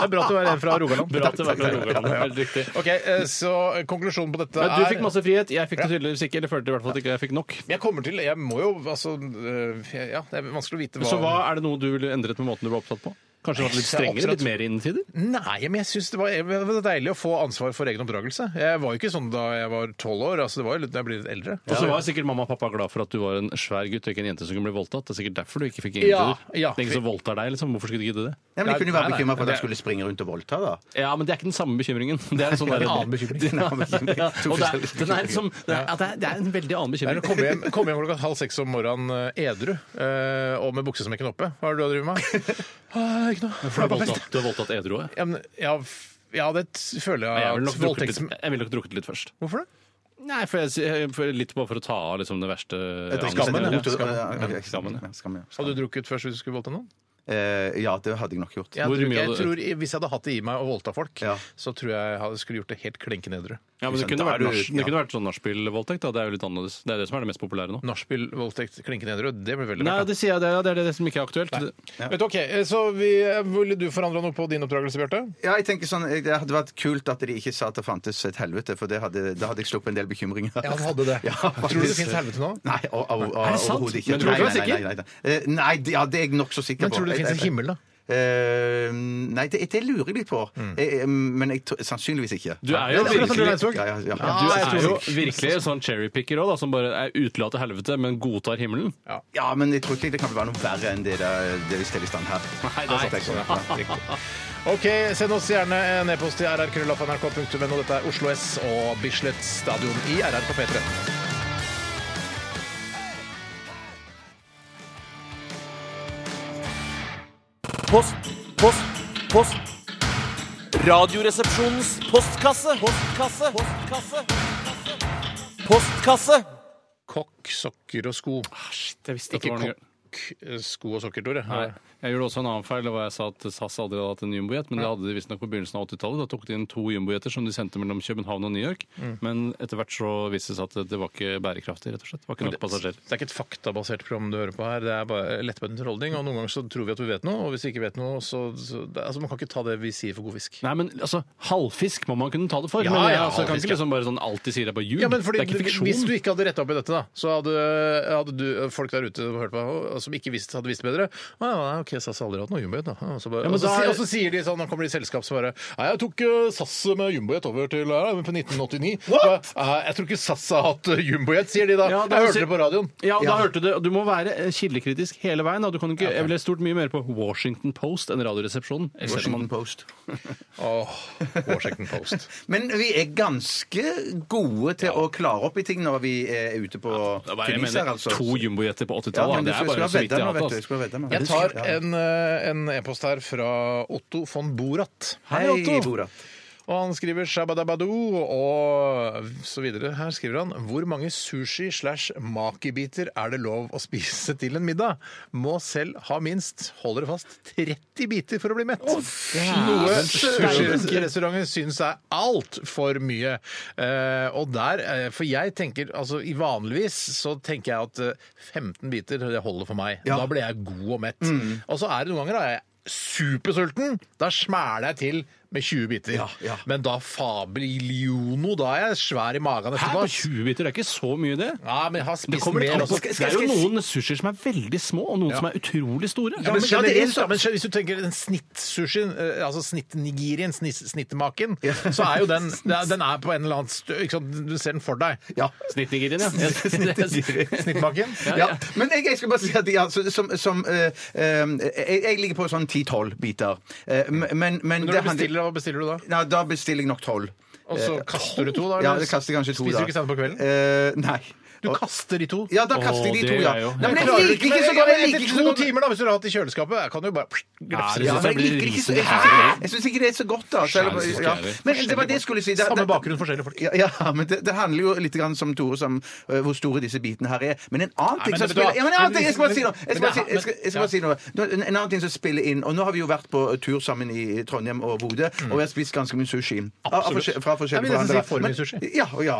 [SPEAKER 1] er bra at du er en fra Rogaland.
[SPEAKER 4] Bra til å være fra Rogaland. Helt riktig.
[SPEAKER 1] Ok, eh, Så eh, konklusjonen på dette
[SPEAKER 4] Men
[SPEAKER 1] er
[SPEAKER 4] du fikk masse frihet, jeg fikk det tydeligvis ikke. Eller følte i hvert fall at ikke jeg fikk nok.
[SPEAKER 1] Jeg kommer til Jeg må jo altså øh, Ja, det er vanskelig å vite hva
[SPEAKER 4] Så hva er det noe du ville endret med måten du var opptatt på? Kanskje vært litt
[SPEAKER 1] Jeg er opptatt-
[SPEAKER 4] strengere? Litt mer innsider?
[SPEAKER 1] Nei, men jeg syns det, var- det var deilig å få ansvar for egen oppdragelse. Jeg var jo ikke sånn da jeg var tolv år. Altså, det var jo litt da jeg ble litt eldre.
[SPEAKER 4] Og så var sikkert mamma og pappa glad for at du var en svær gutt og ikke en jente som kunne bli voldtatt. Det er sikkert derfor du ikke
[SPEAKER 1] Ja,
[SPEAKER 4] fikk innsider.
[SPEAKER 1] ja.
[SPEAKER 4] Det er ingen som voldtar deg, liksom. Hvorfor skulle du gidde det?
[SPEAKER 2] Nei, men jeg kunne jo
[SPEAKER 1] Nei,
[SPEAKER 2] være
[SPEAKER 1] nei,
[SPEAKER 2] bekymra for at
[SPEAKER 1] det-
[SPEAKER 2] han skulle springe rundt og voldta, da.
[SPEAKER 4] Ja, men det er ikke den samme bekymringen. Det er en sånn der,
[SPEAKER 1] En annen bekymring.
[SPEAKER 4] Det-
[SPEAKER 2] En annen bekymring.
[SPEAKER 4] Ja,
[SPEAKER 2] To
[SPEAKER 4] og det er,
[SPEAKER 2] forskjellige
[SPEAKER 4] den er liksom, det, er, at det er- det er en veldig annen
[SPEAKER 1] Det er
[SPEAKER 4] bekymring.
[SPEAKER 1] å komme hjem, komme hjem klokka halv seks om morgenen eh, edru eh, og med buksesmekken oppe. Hva er det du har drevet med? Ah, ikke noe.
[SPEAKER 4] For du har voldtatt, du har voldtatt edru òg.
[SPEAKER 1] Ja, men, ja, f- ja, det t- føler jeg
[SPEAKER 4] Jeg
[SPEAKER 1] at
[SPEAKER 4] ville nok drukket
[SPEAKER 1] voldtekts...
[SPEAKER 4] litt- jeg ville nok drukket litt først.
[SPEAKER 1] Hvorfor det?
[SPEAKER 4] Nei, for jeg, jeg- for litt bare for å ta av liksom, det verste
[SPEAKER 1] Skammen,
[SPEAKER 4] ja.
[SPEAKER 1] ja.
[SPEAKER 2] ja.
[SPEAKER 4] Skammen,
[SPEAKER 2] ja. Skammen, ja.
[SPEAKER 1] Hadde du drukket først hvis du skulle voldta noen?
[SPEAKER 2] Eh, ja, det hadde jeg nok gjort.
[SPEAKER 1] Jeg,
[SPEAKER 4] Hvor
[SPEAKER 1] tror,
[SPEAKER 4] mye
[SPEAKER 1] jeg
[SPEAKER 4] hadde-
[SPEAKER 1] tror Hvis jeg hadde hatt det i meg å voldta folk,
[SPEAKER 2] Ja.
[SPEAKER 1] så tror jeg jeg hadde- skulle gjort det helt klinkende edru.
[SPEAKER 4] Ja, men det
[SPEAKER 2] Ikke sant?
[SPEAKER 4] kunne,
[SPEAKER 2] Da
[SPEAKER 4] vært,
[SPEAKER 2] er du-
[SPEAKER 4] nach- det
[SPEAKER 2] ja.
[SPEAKER 4] kunne vært sånn nachspiel-voldtekt. da. Det er jo litt annerledes. Det er det som er det mest populære nå.
[SPEAKER 1] Nachspiel, voldtekt, klinkende edru, det blir veldig
[SPEAKER 4] Nei,
[SPEAKER 1] rart.
[SPEAKER 4] det sier jeg, det er det, er det som ikke er aktuelt.
[SPEAKER 1] Vet du, ok, eh, så vi, Ville du forandra noe på din oppdragelse, Bjarte?
[SPEAKER 2] Ja, jeg tenker sånn, Det hadde vært kult at de ikke sa at det fantes et helvete, for det hadde, da hadde jeg sluppet en del bekymringer.
[SPEAKER 1] Ja, du hadde det.
[SPEAKER 2] Ja,
[SPEAKER 1] Tror du det
[SPEAKER 2] faktisk.
[SPEAKER 1] finnes helvete nå?
[SPEAKER 2] Nei, o- o- o-
[SPEAKER 4] Er det sant?
[SPEAKER 2] overhodet ikke.
[SPEAKER 4] Men tror du
[SPEAKER 2] Nei,
[SPEAKER 4] ikke du er
[SPEAKER 2] nei, nei, nei, nei. Eh, Nei, det- ja, det er jeg nokså sikker på.
[SPEAKER 1] Men tror du det
[SPEAKER 2] Jeg-
[SPEAKER 1] finnes en
[SPEAKER 2] jeg-
[SPEAKER 1] himmel, da? Mm.
[SPEAKER 2] Eh, nei, det, det lurer jeg litt på. Eh, men jeg, tror- sannsynligvis ikke.
[SPEAKER 4] Du er jo
[SPEAKER 2] Eller,
[SPEAKER 4] virkelig-
[SPEAKER 2] ja, ja, ja.
[SPEAKER 1] Ah,
[SPEAKER 4] Du er jo virkelig en sånn cherrypicker òg, som bare er utelater helvete, men godtar himmelen.
[SPEAKER 2] Ja, men jeg tror ikke det kan være noe verre enn det der, det vi steller i stand her.
[SPEAKER 4] Nei, det er sant.
[SPEAKER 2] tenker jeg. Ja, riktig.
[SPEAKER 1] OK, send oss gjerne en e-post til rrkrøllafnrk.no. Dette er Oslo S og Bislett Stadion i RR på P3.
[SPEAKER 12] Post, post, post. Radioresepsjonens postkasse. Postkasse. Postkasse. Postkasse.
[SPEAKER 1] Kokk, sokker og sko.
[SPEAKER 4] Jeg visste
[SPEAKER 1] Ikke kokk, sko og sokker, Tore.
[SPEAKER 4] Nei. Jeg gjorde også en annen feil. Det var jeg sa at SAS aldri hadde hatt en jumbojet, men det hadde de visstnok på begynnelsen av 80-tallet. Da tok de inn to jumbojeter som de sendte mellom København og New York.
[SPEAKER 1] Mm.
[SPEAKER 4] Men etter hvert så viste det seg at det var ikke bærekraftig, rett og slett. Det var ikke nok passasjerer.
[SPEAKER 1] Det er ikke et faktabasert program du hører på her. Det er bare lettbeint underholdning. Og noen ganger så tror vi at vi vet noe, og hvis vi ikke vet noe, så, så det, altså, Man kan ikke ta det vi sier for god fisk.
[SPEAKER 4] Nei, men altså, halvfisk må man kunne ta det for.
[SPEAKER 1] Ja,
[SPEAKER 4] men jeg
[SPEAKER 1] ja,
[SPEAKER 4] altså, kan
[SPEAKER 1] halvfisk, ja.
[SPEAKER 4] ikke liksom bare sånn alltid si det på jul.
[SPEAKER 1] Ja, men fordi,
[SPEAKER 4] det er ikke fiksjon.
[SPEAKER 1] Hvis du ikke hadde retta opp i dette, da, så hadde, hadde du, folk der ute som hørte på, og som ikke visste, hadde visst bedre. Å, ja, nei, ok, SAS har aldri hatt noe jumbojet, da. Ja, så bare,
[SPEAKER 4] Ja, men
[SPEAKER 1] og, så,
[SPEAKER 4] da
[SPEAKER 1] si-
[SPEAKER 4] er-
[SPEAKER 1] og så sier de sånn, nå kommer de i selskap som bare Nei, jeg tok eh, SAS med jumbojet over til her eh, på 1989.
[SPEAKER 4] What?
[SPEAKER 1] Så, «Nei, jeg tror ikke SAS har hatt eh, jumbojet, sier de da.
[SPEAKER 4] Ja, det
[SPEAKER 1] jeg
[SPEAKER 4] er jo
[SPEAKER 1] hørte det på radioen.
[SPEAKER 4] Ja, og da
[SPEAKER 2] Ja.
[SPEAKER 4] hørte Du og du må være eh, kildekritisk hele veien. Da. Du kan ikke, Jeg ville stort mye mer på Washington Post enn Radioresepsjonen. Selv om
[SPEAKER 2] Washington
[SPEAKER 4] man-
[SPEAKER 2] Post.
[SPEAKER 1] Åh, Washington Post.
[SPEAKER 2] Men vi er ganske gode til å klare opp i ting når vi er ute på
[SPEAKER 4] Da var jeg
[SPEAKER 2] turnis her,
[SPEAKER 4] mener,
[SPEAKER 2] altså.
[SPEAKER 4] To jumbojeter på
[SPEAKER 2] Ja,
[SPEAKER 4] 80-tallet.
[SPEAKER 2] men du
[SPEAKER 4] det er
[SPEAKER 2] skulle
[SPEAKER 4] bare
[SPEAKER 2] ha
[SPEAKER 4] så vidt
[SPEAKER 2] vedda
[SPEAKER 4] jeg
[SPEAKER 2] nå,
[SPEAKER 4] har
[SPEAKER 2] vet du.
[SPEAKER 4] hatt.
[SPEAKER 2] Du skulle ha vedda nå.
[SPEAKER 1] Jeg tar
[SPEAKER 2] Ja.
[SPEAKER 1] en eh, en e-post her fra Otto von Borat.
[SPEAKER 2] Hei, Borat.
[SPEAKER 1] Og han skriver shabadabado og så videre. Her skriver han hvor mange sushi slash makibiter er det lov å spise til en middag? Må selv ha minst, hold dere fast, 30 biter for å bli mett. Noe sushirestauranter syns er altfor mye. Eh, og der, eh, For jeg tenker altså i vanligvis så tenker jeg at eh, 15 biter det holder for meg. Da blir jeg god og mett.
[SPEAKER 4] Mm.
[SPEAKER 1] Og så er det noen ganger da jeg er supersulten. Da smæler jeg til med 20 biter.
[SPEAKER 2] Ja, ja.
[SPEAKER 1] Men da fabriliono, da er jeg svær i magen
[SPEAKER 4] Her
[SPEAKER 1] etterpå.
[SPEAKER 4] på 20 biter, det er ikke så mye, det.
[SPEAKER 1] Ja, men jeg har
[SPEAKER 4] Det,
[SPEAKER 1] spist
[SPEAKER 4] kommer litt
[SPEAKER 1] mer
[SPEAKER 4] an på.
[SPEAKER 1] også.
[SPEAKER 4] det er jo noen sushier som er veldig små, og noen som er utrolig store.
[SPEAKER 1] Ja, men,
[SPEAKER 2] Ja, men
[SPEAKER 1] generelt,
[SPEAKER 2] generelt,
[SPEAKER 1] da, men hvis du tenker en snittsushien, eh, altså snitt-nigirien, snitt- snittmaken, så er jo den det er- Den er på en eller annen stø, ikke sant? Du ser den for deg.
[SPEAKER 2] Ja.
[SPEAKER 4] Snittniggerien, ja.
[SPEAKER 1] Snittmaken.
[SPEAKER 2] Ja, men jeg, jeg skal bare si at ja, så- som, som eh, eh, jeg, jeg ligger på sånn 10-12 biter. Eh, men, men, men
[SPEAKER 1] Når
[SPEAKER 2] det
[SPEAKER 1] du
[SPEAKER 2] handler-
[SPEAKER 1] bestiller, hva bestiller du da?
[SPEAKER 2] Nei, da bestiller jeg nok 12.
[SPEAKER 1] Og så kaster du to, da?
[SPEAKER 2] Ja,
[SPEAKER 1] eller?
[SPEAKER 2] det kaster jeg kanskje to,
[SPEAKER 1] Spiser
[SPEAKER 2] da.
[SPEAKER 1] du ikke sand på kvelden?
[SPEAKER 2] Eh, nei.
[SPEAKER 1] Du kaster de to.
[SPEAKER 2] Ja, da kaster jeg
[SPEAKER 4] Åh,
[SPEAKER 2] de
[SPEAKER 4] det
[SPEAKER 2] to,
[SPEAKER 4] gjør
[SPEAKER 2] ja.
[SPEAKER 4] jeg jo.
[SPEAKER 2] Nei, men
[SPEAKER 1] Jeg
[SPEAKER 2] jeg
[SPEAKER 1] klarer
[SPEAKER 2] liker ikke så godt jeg liker ikke så
[SPEAKER 1] Etter to
[SPEAKER 2] godt-
[SPEAKER 1] timer, da, hvis du har hatt i kjøleskapet, jeg kan du jo bare glefse.
[SPEAKER 4] det-
[SPEAKER 2] Ja, men jeg
[SPEAKER 4] blir
[SPEAKER 2] liker ikke så-
[SPEAKER 4] risete
[SPEAKER 2] jeg syns ikke- jeg syns ikke det er så godt, da. Selv om-
[SPEAKER 4] Skjære,
[SPEAKER 2] ja.
[SPEAKER 4] skjære.
[SPEAKER 2] Men det var det jeg skulle si. Det,
[SPEAKER 1] Samme
[SPEAKER 2] det-
[SPEAKER 1] bakgrunn, forskjellige folk.
[SPEAKER 2] Ja, ja, men det, det handler jo litt grann som Tore som øh, hvor store disse bitene her er. Men en annen ting
[SPEAKER 1] men
[SPEAKER 2] som
[SPEAKER 1] vet du hva?
[SPEAKER 2] spiller ja, men en annen ting, Jeg skal bare si noe!
[SPEAKER 1] Men
[SPEAKER 2] Jeg skal bare
[SPEAKER 1] det
[SPEAKER 2] si,
[SPEAKER 1] er-
[SPEAKER 2] jeg skal, jeg skal bare si noe. Nå, En en annen ting som spiller inn. Og nå har vi jo vært på tur sammen i Trondheim og Bodø, og vi har spist ganske mye sushi. Av- av
[SPEAKER 1] Mm. Absolutt.
[SPEAKER 2] forskjell- Fra
[SPEAKER 1] Jeg
[SPEAKER 2] forskjellige
[SPEAKER 1] vil nesten si
[SPEAKER 2] forhandlere.
[SPEAKER 1] for mye
[SPEAKER 2] Men-
[SPEAKER 1] sushi.
[SPEAKER 2] Ja, og ja.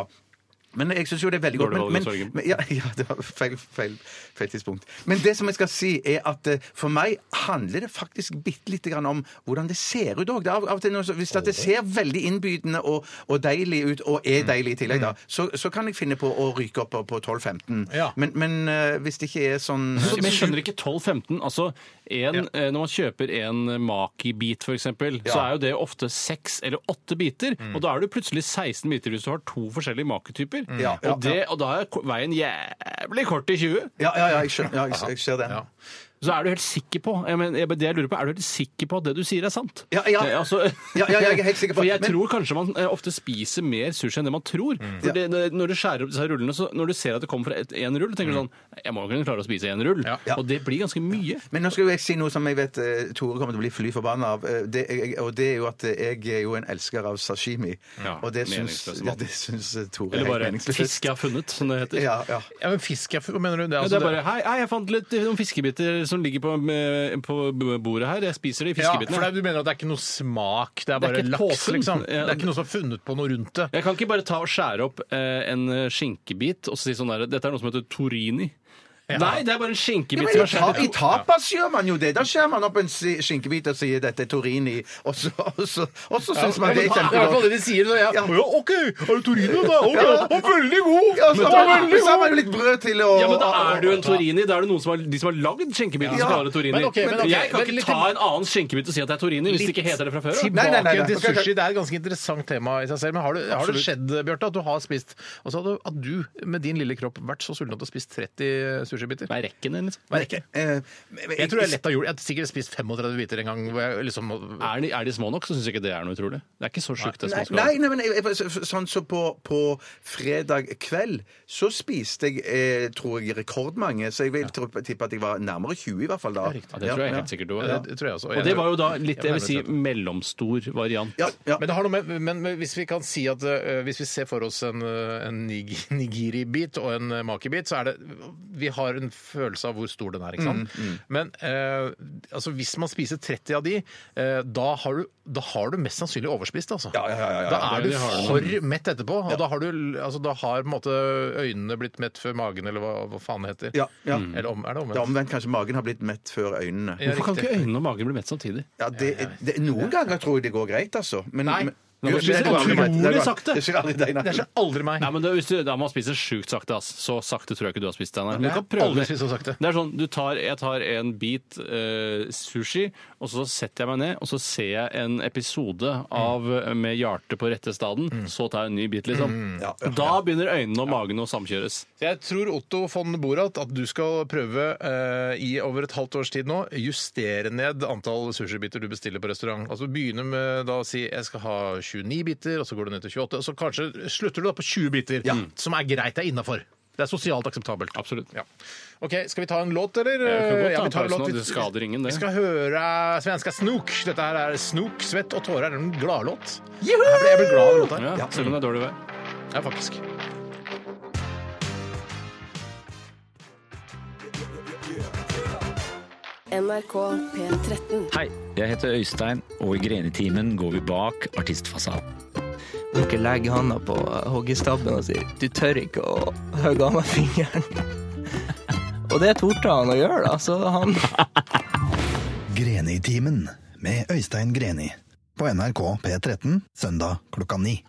[SPEAKER 2] Men jeg syns jo det er veldig godt.
[SPEAKER 4] Dårlig
[SPEAKER 2] Men,
[SPEAKER 4] valg, Jørgen.
[SPEAKER 2] men, men, ja, ja, det var feil, feil, feil tidspunkt. Men det som jeg skal si, er at eh, for meg handler det faktisk bitte lite grann om hvordan det ser ut òg. Av, av og til noe så- hvis at det ser veldig innbydende og, og deilig ut, og
[SPEAKER 4] Mm.
[SPEAKER 2] er deilig i tillegg, da, så, så kan jeg finne på å ryke opp på- på 12-15.
[SPEAKER 1] Ja.
[SPEAKER 2] Men, men eh, hvis det ikke er sånn
[SPEAKER 4] Men jeg skjønner ikke 12-15. Altså, en, eh, Når man kjøper en Maki-bit, f.eks., eksempel, så
[SPEAKER 2] Ja. Mm.
[SPEAKER 4] er jo det ofte seks eller åtte biter. Og da er du plutselig 16 biter hvis du har to forskjellige Maki-typer.
[SPEAKER 2] Mm. Ja, ja,
[SPEAKER 4] og, det- og da er ko- veien jævlig kort til 20.
[SPEAKER 2] Ja, ja, ja, jeg skjønner, ja, jeg, jeg ser det.
[SPEAKER 4] Så er du helt sikker på jeg mener, jeg- det jeg lurer på, er du helt sikker på at det du sier, er sant?
[SPEAKER 2] Ja, ja.
[SPEAKER 4] Det er altså-
[SPEAKER 2] Ja, ja, jeg er helt sikker på-
[SPEAKER 4] For jeg
[SPEAKER 2] men- Mm.
[SPEAKER 4] tror kanskje man eh, ofte spiser mer sushi enn det man tror. For det, når du skjærer opp disse her rullene, så når du ser at det kommer fra et- en rull, tenker du sånn Jeg må kunne klare å spise en rull.
[SPEAKER 2] Mm. Ja.
[SPEAKER 4] Og det blir ganske mye.
[SPEAKER 2] Men nå skal jo jeg si noe som jeg vet eh, Tore kommer til å bli fly forbanna av. eh, Det, jeg- og det er jo at eh, jeg er jo en elsker av sashimi.
[SPEAKER 4] Ja,
[SPEAKER 2] og det syns,
[SPEAKER 4] meningsløs mann.
[SPEAKER 2] ja, det syns eh, Tore
[SPEAKER 4] Eller
[SPEAKER 2] er helt
[SPEAKER 4] bare
[SPEAKER 2] meningsløst.
[SPEAKER 4] 'fisk jeg har funnet', som det heter.
[SPEAKER 2] Ja, ja.
[SPEAKER 1] Ja, men fisk, jeg, hva mener du? Det, er
[SPEAKER 4] Ja,
[SPEAKER 1] altså
[SPEAKER 4] det er bare hei, hei, jeg fant litt eh, noen fiskebiter som ligger på, eh, på bordet her. Jeg spiser de
[SPEAKER 1] Ja, for det,
[SPEAKER 4] fiskebitene.
[SPEAKER 1] er- du mener at det er ikke noe smak, det er
[SPEAKER 4] Det er
[SPEAKER 1] bare
[SPEAKER 4] ikke et
[SPEAKER 1] laks,
[SPEAKER 4] påfunn.
[SPEAKER 1] liksom? Det
[SPEAKER 4] Ja.
[SPEAKER 1] er ikke noe som er funnet på noe rundt det?
[SPEAKER 4] Jeg kan ikke bare ta og skjære opp eh, en eh, skinkebit og si sånn der Dette er noe som heter torini.
[SPEAKER 2] Ja.
[SPEAKER 4] Nei, det er bare en
[SPEAKER 2] Ja,
[SPEAKER 4] skinkebit
[SPEAKER 2] men i,
[SPEAKER 4] som er
[SPEAKER 2] ta, I tapas gjør man jo det. Da skjærer man opp en si- skinkebit og sier 'dette er Torini', og så, og så, og så syns man
[SPEAKER 1] Det er i
[SPEAKER 2] det er
[SPEAKER 1] hvert fall
[SPEAKER 2] kjempegodt.
[SPEAKER 1] det de sier. Så jeg,
[SPEAKER 2] Ja.
[SPEAKER 1] «Å ja, OK, er du Torino, da? Å ja,
[SPEAKER 2] Ja.
[SPEAKER 1] å, veldig god!
[SPEAKER 2] Ja, og så
[SPEAKER 1] Å,
[SPEAKER 2] har man-
[SPEAKER 1] veldig
[SPEAKER 2] så har man jo
[SPEAKER 1] god!
[SPEAKER 2] litt brød til og
[SPEAKER 4] Ja, men da er du en Torini. Da er det noen som har, de som har lagd skinkebiten,
[SPEAKER 2] Ja.
[SPEAKER 4] som kaller det Torini.
[SPEAKER 1] Men ok, men ok,
[SPEAKER 4] jeg kan
[SPEAKER 1] men
[SPEAKER 4] ikke
[SPEAKER 1] litt-
[SPEAKER 4] ta en annen skinkebit og si at det er Torini, hvis det ikke heter det fra før. da.
[SPEAKER 2] Nei, nei, nei, nei.
[SPEAKER 1] Tilbake til
[SPEAKER 2] Ok, ok.
[SPEAKER 1] sushi. Det er et ganske interessant tema i seg selv. Men har det, har det skjedd, Bjarte, at du har spist altså at du- at du med din lille kropp vært så sulten at du har spist 30 sushibiter?
[SPEAKER 4] Nei, rekken din, liksom.
[SPEAKER 1] Nei, det er ikke.
[SPEAKER 2] Eh, men-
[SPEAKER 1] Jeg tror jeg lett har gjort Jeg har sikkert spist 35 biter en gang. Hvor jeg liksom,
[SPEAKER 4] Er de, er de små nok, så syns jeg ikke det er noe utrolig. Det er ikke så sjukt, det
[SPEAKER 2] Nei,
[SPEAKER 4] småskala.
[SPEAKER 2] nei, nei, men jeg, jeg, så- sånn så på, på fredag kveld så spiste jeg eh, tror jeg rekordmange, så jeg vil tro- tippe at jeg var nærmere 20 i hvert fall da.
[SPEAKER 4] Ja, det tror jeg helt sikkert du var.
[SPEAKER 1] Ja, det tror jeg også.
[SPEAKER 4] Og det var jo da litt, jeg vil si,
[SPEAKER 1] Jeg var nærmere
[SPEAKER 4] mellomstor variant.
[SPEAKER 2] Ja, ja.
[SPEAKER 1] Men, det har noe med, men men hvis vi kan si at eh, hvis vi ser for oss en, eh, en nig, nigiri-bit og en eh, maki-bit, så er det Vi har en følelse av hvor stor den er, ikke
[SPEAKER 2] Mm,
[SPEAKER 1] sant? Men eh, altså, hvis man spiser 30 av de, eh, da, har du, da har du mest sannsynlig overspist, altså.
[SPEAKER 2] Ja, ja, ja, ja, ja.
[SPEAKER 1] Da er
[SPEAKER 4] Det-
[SPEAKER 1] du
[SPEAKER 4] det har du.
[SPEAKER 1] for mett etterpå. Og da har du altså, da har på en måte øynene blitt mett før magen, eller hva, hva faen det heter.
[SPEAKER 2] Ja, ja.
[SPEAKER 1] Eller om, er det
[SPEAKER 2] Det er
[SPEAKER 1] omvendt?
[SPEAKER 2] omvendt kanskje magen har blitt mett før øynene.
[SPEAKER 1] Ja,
[SPEAKER 4] Hvorfor kan
[SPEAKER 1] riktig.
[SPEAKER 4] ikke øynene og magen bli mett samtidig?
[SPEAKER 2] Ja, det, det, noen ganger tror jeg det går greit, altså. Men,
[SPEAKER 1] Nei.
[SPEAKER 2] men-
[SPEAKER 4] Nå må du
[SPEAKER 2] Jo,
[SPEAKER 4] spise
[SPEAKER 2] det går aldri
[SPEAKER 4] utrolig
[SPEAKER 2] meg. Det går-
[SPEAKER 4] sakte.
[SPEAKER 2] Det skjer aldri deg, nei.
[SPEAKER 1] Det er så aldri meg.
[SPEAKER 4] Nei, men det, hvis du, da må man spise sjukt sakte. Ass. Så sakte tror jeg ikke du har spist den. her. Men du
[SPEAKER 1] Jeg
[SPEAKER 4] kan
[SPEAKER 1] har
[SPEAKER 4] prøve
[SPEAKER 1] aldri
[SPEAKER 4] det.
[SPEAKER 1] spist så sakte.
[SPEAKER 4] Det er sånn, du tar, Jeg tar en bit eh, sushi, og så setter jeg meg ned og så ser jeg en episode av eh, Med Hjarte på rette staden.
[SPEAKER 1] Mm.
[SPEAKER 4] Så tar jeg en ny bit, liksom.
[SPEAKER 2] Ja, ja,
[SPEAKER 4] Da begynner øynene og magen å samkjøres.
[SPEAKER 1] Så Jeg tror Otto von Borat at du skal prøve eh, i over et halvt års tid nå justere ned antall sushibiter du bestiller på restaurant. Altså Begynne med da å si jeg skal ha 29 biter, og så går du ned til 28. Og så kanskje slutter du da på 20 biter, som er greit, det er innafor. Det er sosialt akseptabelt.
[SPEAKER 4] Absolutt.
[SPEAKER 1] Ja. Ok, Skal vi ta en låt, eller?
[SPEAKER 4] vi kan godt
[SPEAKER 1] Ja,
[SPEAKER 4] ta en
[SPEAKER 1] tar en
[SPEAKER 4] pause
[SPEAKER 1] låt.
[SPEAKER 4] nå.
[SPEAKER 1] Vi-
[SPEAKER 4] Det skader ingen, det.
[SPEAKER 1] Vi skal høre svenska Snook. Dette her er Snook, svett og tårer. Det er en gladlåt. Jeg
[SPEAKER 2] Juhu!
[SPEAKER 1] ble, jeg ble glad av låta. her.
[SPEAKER 4] Ja,
[SPEAKER 2] Ja.
[SPEAKER 4] Selv om det er dårlig vær.
[SPEAKER 1] Ja, faktisk.
[SPEAKER 13] NRK P13.
[SPEAKER 14] Hei, jeg heter Øystein, og i Grenetimen går vi bak artistfasaden.
[SPEAKER 15] Dere legger handa på hoggestabben og sier 'du tør ikke å hogge av meg fingeren'. Og det torde han å gjøre, da. Så han
[SPEAKER 8] Greni-timen med Øystein Greni på NRK P13 søndag klokka ni.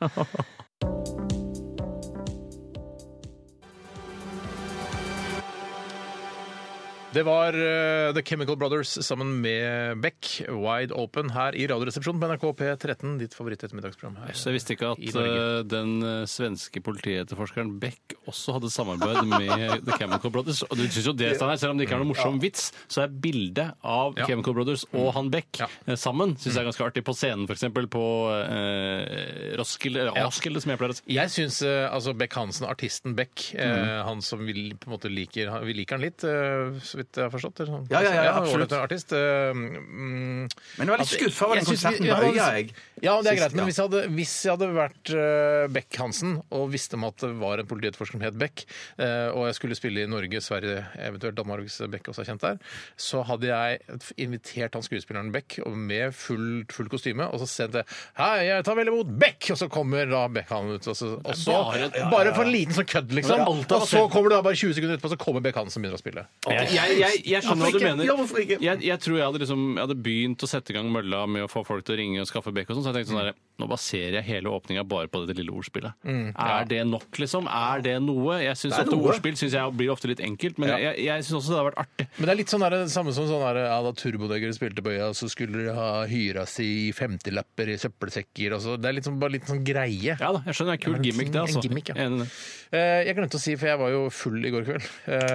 [SPEAKER 1] Det var eh, The Chemical Brothers sammen med Beck, Wide Open, her i Radioresepsjonen på NRK P13, ditt favoritt-ettermiddagsprogram her.
[SPEAKER 4] Så jeg visste ikke
[SPEAKER 1] I
[SPEAKER 4] at
[SPEAKER 1] Norge.
[SPEAKER 4] eh, den eh, svenske politietterforskeren Beck også hadde samarbeid med The Chemical Brothers. Og du synes jo det, Steinar, Selv om det ikke er noen morsom vits, så er bildet av
[SPEAKER 1] Ja. Mm.
[SPEAKER 4] Chemical Brothers og han Beck
[SPEAKER 1] Ja. Mm.
[SPEAKER 4] eh, sammen synes jeg er ganske artig. På scenen, f.eks. på eh, Roskilde, eller
[SPEAKER 1] Ja.
[SPEAKER 4] Askilde, som jeg pleier å si.
[SPEAKER 1] Jeg syns eh, altså Beck Hansen, artisten Beck, eh,
[SPEAKER 2] Mm.
[SPEAKER 1] han som vi på en måte liker han- Vi liker han litt, eh, så vidt jeg har forstått. eller sånn.
[SPEAKER 2] Ja, ja, ja, absolutt.
[SPEAKER 1] ålreit Artist. eh, mm,
[SPEAKER 2] Men jeg var litt
[SPEAKER 1] at-
[SPEAKER 2] skuffa over
[SPEAKER 1] jeg
[SPEAKER 2] den
[SPEAKER 1] synes vi-
[SPEAKER 2] konserten
[SPEAKER 1] ja,
[SPEAKER 2] på Øya, jeg.
[SPEAKER 1] Ja, det er
[SPEAKER 2] Sist,
[SPEAKER 1] greit, men
[SPEAKER 2] ja.
[SPEAKER 1] hvis jeg hadde, hvis jeg hadde vært eh, Beck Hansen, og visste om at det var en politietterforsker som het Beck, eh, og jeg skulle spille i Norge, Sverige, eventuelt Danmark, hvis Beck også er kjent der, så hadde jeg invitert han skuespilleren Beck og med fullt full kostyme, og så sendt det Hei, jeg tar vel imot Beck! Og så kommer da Beck han ut, og så, og så
[SPEAKER 4] Bare-
[SPEAKER 1] bare, for en liten sånn kødd, liksom.
[SPEAKER 4] Men alt er
[SPEAKER 1] Og så kommer det da bare 20 sekunder etterpå, så kommer Beck Hansen og begynner å spille.
[SPEAKER 4] Jeg, jeg, jeg, jeg skjønner hva du
[SPEAKER 2] Hvorfor ikke?
[SPEAKER 4] mener.
[SPEAKER 2] Ja, hvorfor ikke?
[SPEAKER 4] Jeg, jeg tror jeg hadde, liksom, jeg hadde begynt å sette i gang mølla med å få folk til å ringe og skaffe Beck og sånn, så jeg tenkte sånn der, nå baserer jeg hele åpninga bare på dette lille ordspillet. Er det nok, liksom? Er Mm. det noe? Jeg synes
[SPEAKER 2] Det er
[SPEAKER 4] ofte
[SPEAKER 2] noe.
[SPEAKER 4] ordspill synes jeg blir ofte litt enkelt, men
[SPEAKER 1] Ja.
[SPEAKER 4] jeg, jeg syns også det hadde vært artig.
[SPEAKER 1] Men det er litt sånn der, det samme som sånn der, ja, da Turbonegger spilte på øya, så skulle de ha hyra si i 50-lapper i søppelsekker og så. Det er litt sånn, bare litt sånn greie.
[SPEAKER 4] Ja da, jeg skjønner. Det er
[SPEAKER 1] Ja,
[SPEAKER 4] en
[SPEAKER 1] men
[SPEAKER 4] kul gimmick, det.
[SPEAKER 1] en
[SPEAKER 4] altså.
[SPEAKER 1] gimmick, ja.
[SPEAKER 4] Jeg er enig i det.
[SPEAKER 1] Eh, Jeg glemte å si, for jeg var jo full i går kveld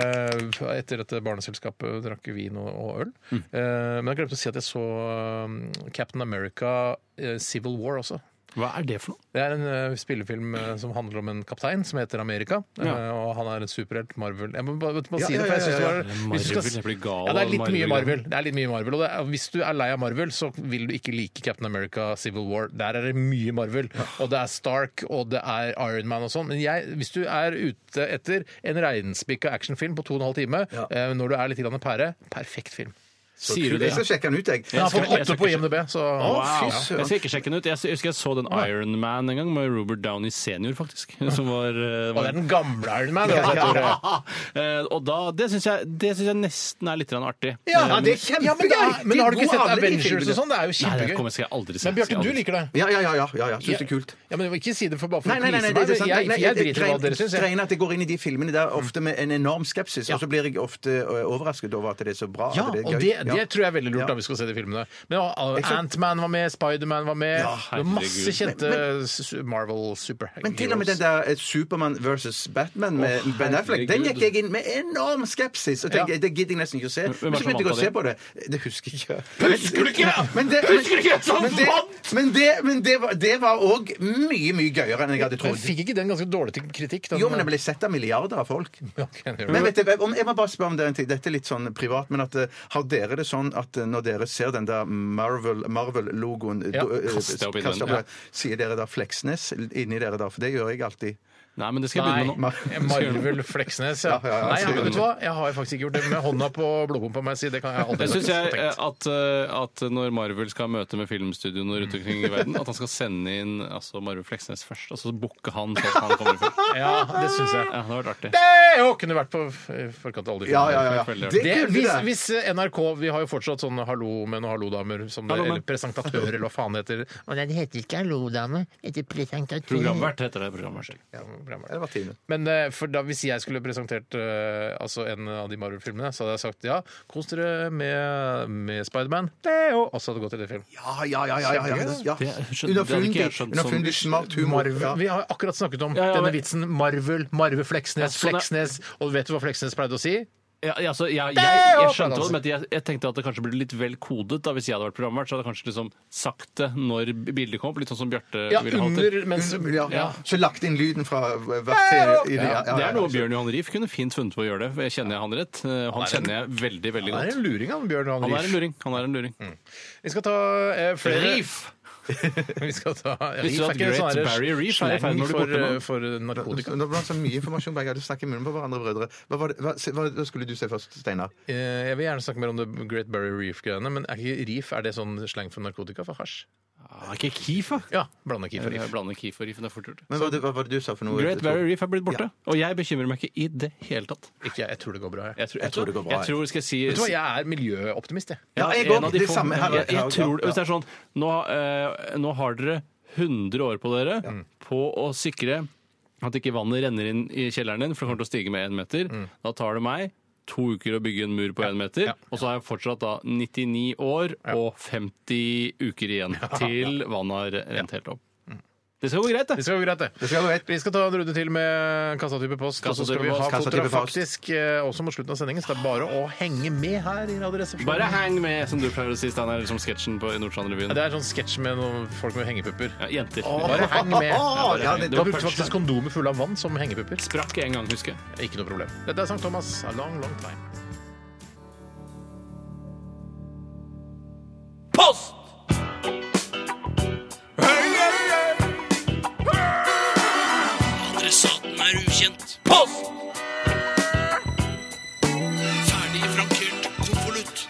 [SPEAKER 1] eh, etter at barneselskapet drakk vin og, og øl. Eh, Men jeg glemte å si at jeg så um, Captain America eh, Civil War også.
[SPEAKER 4] Hva er det for noe?
[SPEAKER 1] Det er en eh, spillefilm eh, som handler om en kaptein som heter Amerika.
[SPEAKER 4] Ja.
[SPEAKER 1] eh, og han er en superhelt. Marvel Jeg må bare, bare
[SPEAKER 2] Ja,
[SPEAKER 1] si
[SPEAKER 2] ja,
[SPEAKER 1] det, for jeg
[SPEAKER 2] ja,
[SPEAKER 1] syns det
[SPEAKER 2] ja,
[SPEAKER 1] var
[SPEAKER 2] ja.
[SPEAKER 1] hvis du skal-
[SPEAKER 4] Marvel, jeg blir gal
[SPEAKER 1] ja, det er
[SPEAKER 4] av
[SPEAKER 1] litt mye
[SPEAKER 4] Marvel.
[SPEAKER 1] Marvel. Det er litt mye Marvel og det er, hvis du er lei av Marvel, så vil du ikke like Captain America Civil War. Der er det mye Marvel. Og det er Stark, og det er Iron Man og sånn. Men jeg, hvis du er ute etter en reinspikka actionfilm på to og en halv time,
[SPEAKER 2] Ja.
[SPEAKER 1] eh, når du er litt grann pære, perfekt film.
[SPEAKER 4] Sier du det?
[SPEAKER 2] Jeg skal sjekke den ut, jeg.
[SPEAKER 1] Jeg har fått
[SPEAKER 4] Jeg
[SPEAKER 1] åtte
[SPEAKER 4] skal
[SPEAKER 1] på
[SPEAKER 4] ikke-
[SPEAKER 1] IMDb, så
[SPEAKER 4] Å, wow.
[SPEAKER 2] fy søren.
[SPEAKER 4] Jeg skal ikke sjekke den ut. Jeg husker jeg så den Iron Man en gang med Robert Downey senior, faktisk. Som var, eh,
[SPEAKER 1] Og
[SPEAKER 4] var
[SPEAKER 1] det er den gamle Iron Man.
[SPEAKER 4] Ja,
[SPEAKER 1] altså, jeg tror jeg.
[SPEAKER 4] Eh, Og da, det syns jeg, det synes jeg nesten er litt grann artig.
[SPEAKER 2] Ja,
[SPEAKER 4] Eh,
[SPEAKER 2] det er kjempegøy!
[SPEAKER 1] Ja, men, det er, men har du ikke
[SPEAKER 2] Hvor
[SPEAKER 1] sett
[SPEAKER 2] alle de
[SPEAKER 1] Avengers og
[SPEAKER 2] filmene?
[SPEAKER 1] sånn? Det er jo
[SPEAKER 4] Nei, det
[SPEAKER 1] kjempegøy.
[SPEAKER 4] kommer skal jeg aldri se.
[SPEAKER 1] Men Bjørte,
[SPEAKER 4] Skal jeg
[SPEAKER 1] du
[SPEAKER 4] aldri
[SPEAKER 1] liker det.
[SPEAKER 2] Ja, ja, ja. ja, ja, ja. Syns det er kult.
[SPEAKER 1] Ja, men Ikke si det for bare for
[SPEAKER 2] Nei,
[SPEAKER 1] å
[SPEAKER 2] nei, nei, nei,
[SPEAKER 1] please meg.
[SPEAKER 2] det er sant.
[SPEAKER 1] Jeg,
[SPEAKER 2] Nei,
[SPEAKER 1] jeg,
[SPEAKER 2] nei, det- det
[SPEAKER 1] driter i hva dere syns. jeg.
[SPEAKER 2] Greien er at jeg går inn i de filmene der ofte med en enorm skepsis, og så blir jeg ofte ø, overrasket over at det er så bra.
[SPEAKER 1] Ja,
[SPEAKER 2] at
[SPEAKER 1] og
[SPEAKER 2] er gøy.
[SPEAKER 1] det, det
[SPEAKER 2] Ja.
[SPEAKER 1] tror jeg er veldig lurt
[SPEAKER 2] Ja.
[SPEAKER 1] da vi skal se de filmene. Men uh,
[SPEAKER 2] Jeg tror-
[SPEAKER 1] Ant-Man var med, Spider-Man var med.
[SPEAKER 2] Ja,
[SPEAKER 1] det var masse
[SPEAKER 4] herregud.
[SPEAKER 1] kjente
[SPEAKER 2] Men-
[SPEAKER 1] su- Marvel superheroes.
[SPEAKER 2] Men til og med den der eh, Supermann versus Batman med
[SPEAKER 4] Å,
[SPEAKER 2] Ben Affleck, den gikk jeg inn med enorm skepsis. Og tenkte,
[SPEAKER 1] Ja.
[SPEAKER 2] jeg, Det gidder jeg nesten ikke å se.
[SPEAKER 4] er
[SPEAKER 2] Men så
[SPEAKER 4] det som
[SPEAKER 2] begynte jeg å
[SPEAKER 4] vant
[SPEAKER 2] se på det. Det husker jeg ikke. Husker du ikke?! Men det, men, husker ikke men det, men det, men det var- det var òg mye, mye gøyere enn jeg hadde
[SPEAKER 1] Men
[SPEAKER 2] trodd.
[SPEAKER 1] fikk ikke den ganske dårlig til kritikk? Den,
[SPEAKER 2] Jo, men den ble sett av milliarder av folk.
[SPEAKER 1] Ok, det gjør
[SPEAKER 2] Men
[SPEAKER 1] det.
[SPEAKER 2] vet du, om, jeg må bare spørre om det en ting. Dette er litt sånn privat, men at eh, har dere det sånn at eh, når dere ser den der Marvel- Marvel-logoen
[SPEAKER 1] Ja,
[SPEAKER 2] do- eh,
[SPEAKER 4] kaster opp i
[SPEAKER 2] kaster
[SPEAKER 4] den,
[SPEAKER 2] opp, Sier dere da Fleksnes inni dere da? For det gjør jeg alltid.
[SPEAKER 4] Nei, men det skal jeg begynne med nå.
[SPEAKER 1] Nei, Marvel Fleksnes, ja.
[SPEAKER 2] Ja, ja, ja,
[SPEAKER 1] Nei,
[SPEAKER 2] skal
[SPEAKER 1] jeg,
[SPEAKER 2] gjøre
[SPEAKER 1] vet du hva? Jeg har faktisk ikke gjort det med hånda på blodpumpa, må jeg si. Det kan jeg aldri
[SPEAKER 4] Jeg syns jeg eh,
[SPEAKER 1] tenkt.
[SPEAKER 4] at, eh, at når Marvel skal ha møte med filmstudioene rundt omkring i verden, at han skal sende inn altså, Marvel Fleksnes først, og så booke han til at han kommer først.
[SPEAKER 1] Ja, det syns jeg.
[SPEAKER 4] Ja, det hadde vært artig.
[SPEAKER 1] Det jo kunne vært på f- forkant av alle de
[SPEAKER 2] Ja,
[SPEAKER 1] filmene.
[SPEAKER 2] ja, ja.
[SPEAKER 4] Veldig.
[SPEAKER 2] Det
[SPEAKER 1] Det,
[SPEAKER 2] kunne
[SPEAKER 1] hvis,
[SPEAKER 2] det.
[SPEAKER 1] hvis eh, NRK Vi har jo fortsatt sånne hallo-menn og hallo-damer som det,
[SPEAKER 4] Hallo, menn.
[SPEAKER 1] eller presentatører, eller hva faen det heter.
[SPEAKER 16] Og den heter ikke hallo-dame, den heter presentatør.
[SPEAKER 4] Programvert heter det. programvert.
[SPEAKER 2] Ja, Det var Tine.
[SPEAKER 1] Men eh, for da, hvis jeg skulle presentert eh, altså en av de Marvel-filmene, så hadde jeg sagt ja, kos dere med, med Spiderman. Det er jo også hadde gått i det film.
[SPEAKER 2] Ja, ja, ja. ja, ja, ja. ja.
[SPEAKER 4] Det skjønte- det hadde ikke
[SPEAKER 2] Underfundig,
[SPEAKER 4] jeg skjønt som-
[SPEAKER 2] underfundig smart humor.
[SPEAKER 1] Marvel.
[SPEAKER 2] Ja.
[SPEAKER 1] Vi har akkurat snakket om
[SPEAKER 4] Ja, ja,
[SPEAKER 1] denne
[SPEAKER 4] men-
[SPEAKER 1] vitsen Marvel, Marve Fleksnes,
[SPEAKER 4] Ja, sånn er-
[SPEAKER 1] Fleksnes. Og vet du hva Fleksnes pleide å si?
[SPEAKER 4] Ja, ja, altså, jeg,
[SPEAKER 1] er jo
[SPEAKER 4] jeg,
[SPEAKER 1] altså.
[SPEAKER 4] jeg skjønte hva
[SPEAKER 1] fantastisk.
[SPEAKER 4] du mente. Jeg, jeg tenkte at det kanskje ble litt vel kodet. da Hvis jeg hadde vært programvert, så hadde jeg kanskje liksom sagt det når bildet kom opp. Litt sånn som Bjarte
[SPEAKER 1] Ja,
[SPEAKER 4] ville ha
[SPEAKER 1] under
[SPEAKER 4] til.
[SPEAKER 1] mens
[SPEAKER 2] Ja.
[SPEAKER 1] ja.
[SPEAKER 2] Så lagt inn lyden fra eh, hvert serie. i det- ja, ja,
[SPEAKER 4] Det
[SPEAKER 2] ja.
[SPEAKER 4] er noe Bjørn Johan Rief kunne fint funnet på å gjøre det. for jeg Kjenner jeg han rett? Eh, Han kjenner jeg veldig, veldig
[SPEAKER 1] Han er
[SPEAKER 4] godt.
[SPEAKER 1] en luring, han Bjørn Johan
[SPEAKER 4] Han er en
[SPEAKER 1] Rief.
[SPEAKER 4] luring. Han er en luring.
[SPEAKER 1] Vi skal ta eh, flere Vi skal ta
[SPEAKER 4] Visste du
[SPEAKER 1] er
[SPEAKER 4] at
[SPEAKER 1] ikke
[SPEAKER 4] Great
[SPEAKER 1] sånn her
[SPEAKER 4] Barrier Reef er i ferd med å bli
[SPEAKER 1] slang
[SPEAKER 4] borte
[SPEAKER 1] for,
[SPEAKER 4] nå?
[SPEAKER 1] eh, for narkotika?
[SPEAKER 2] Nå ble det så mye informasjon begge hadde snakket i munnen på hverandre, brødre. Hva, var det, hva, se- hva, hva skulle du se først, Steinar?
[SPEAKER 1] Eh, Jeg vil gjerne snakke mer om det Great Barrier Reef-greiene, men er ikke reef er det sånn slang for narkotika? For hasj?
[SPEAKER 4] Ah, ikke Keef, da?
[SPEAKER 1] Ja. Blande keef og
[SPEAKER 4] Jeg
[SPEAKER 1] reef.
[SPEAKER 4] blander Keef og Reef. Det er fort gjort.
[SPEAKER 2] Men hva, hva var det du sa for noe?
[SPEAKER 4] Great Barrier Reef er blitt borte. Og jeg bekymrer meg ikke i det hele tatt.
[SPEAKER 1] Ikke, jeg, jeg tror det går bra. Jeg.
[SPEAKER 4] Jeg tror,
[SPEAKER 2] Jeg tror det går bra,
[SPEAKER 4] Jeg tror skal jeg si
[SPEAKER 1] Vet du hva, jeg er miljøoptimist, jeg.
[SPEAKER 2] Ja, jeg
[SPEAKER 4] en
[SPEAKER 2] går-
[SPEAKER 4] av de
[SPEAKER 2] det
[SPEAKER 4] få-
[SPEAKER 2] samme her,
[SPEAKER 4] Jeg,
[SPEAKER 2] ja,
[SPEAKER 4] jeg tror,
[SPEAKER 2] ja.
[SPEAKER 4] Hvis det er sånn Nå, eh, nå har dere 100 år på dere på å sikre at ikke vannet renner inn i kjelleren din, for det kommer til å stige med én meter.
[SPEAKER 2] Mm.
[SPEAKER 4] Da tar det meg to uker å bygge en mur på én meter,
[SPEAKER 1] ja.
[SPEAKER 4] og så har jeg fortsatt da 99 år og 50 uker igjen til vannet har rent helt opp.
[SPEAKER 2] Mm.
[SPEAKER 4] Det skal gå greit,
[SPEAKER 1] Det
[SPEAKER 4] det.
[SPEAKER 1] skal gå greit, det.
[SPEAKER 2] skal gå greit.
[SPEAKER 1] Vi skal ta en runde til med kassatype post, og så skal
[SPEAKER 4] Kassatype
[SPEAKER 1] vi ha
[SPEAKER 4] post,
[SPEAKER 2] kassatype
[SPEAKER 1] Fotra
[SPEAKER 2] post.
[SPEAKER 1] faktisk eh, også mot slutten av sendingen, så det er bare å henge med her i Radioresepsjonen.
[SPEAKER 4] Bare hang med, som du pleier å si, Steinar, som sketsjen på Nordstrand-revyen.
[SPEAKER 1] Ja, Det er sånn sketsj med noen folk med hengepupper.
[SPEAKER 4] Ja, jenter.
[SPEAKER 1] Bare heng med.
[SPEAKER 2] Åh, ja, det-
[SPEAKER 1] Da brukte faktisk kondomer fulle av vann som hengepupper.
[SPEAKER 4] Sprakk en gang, husker jeg.
[SPEAKER 1] Ikke noe problem. Dette er St. Thomas. A long, long time.
[SPEAKER 11] Post! Adressaten er ukjent. Post! Ferdig frankert konvolutt.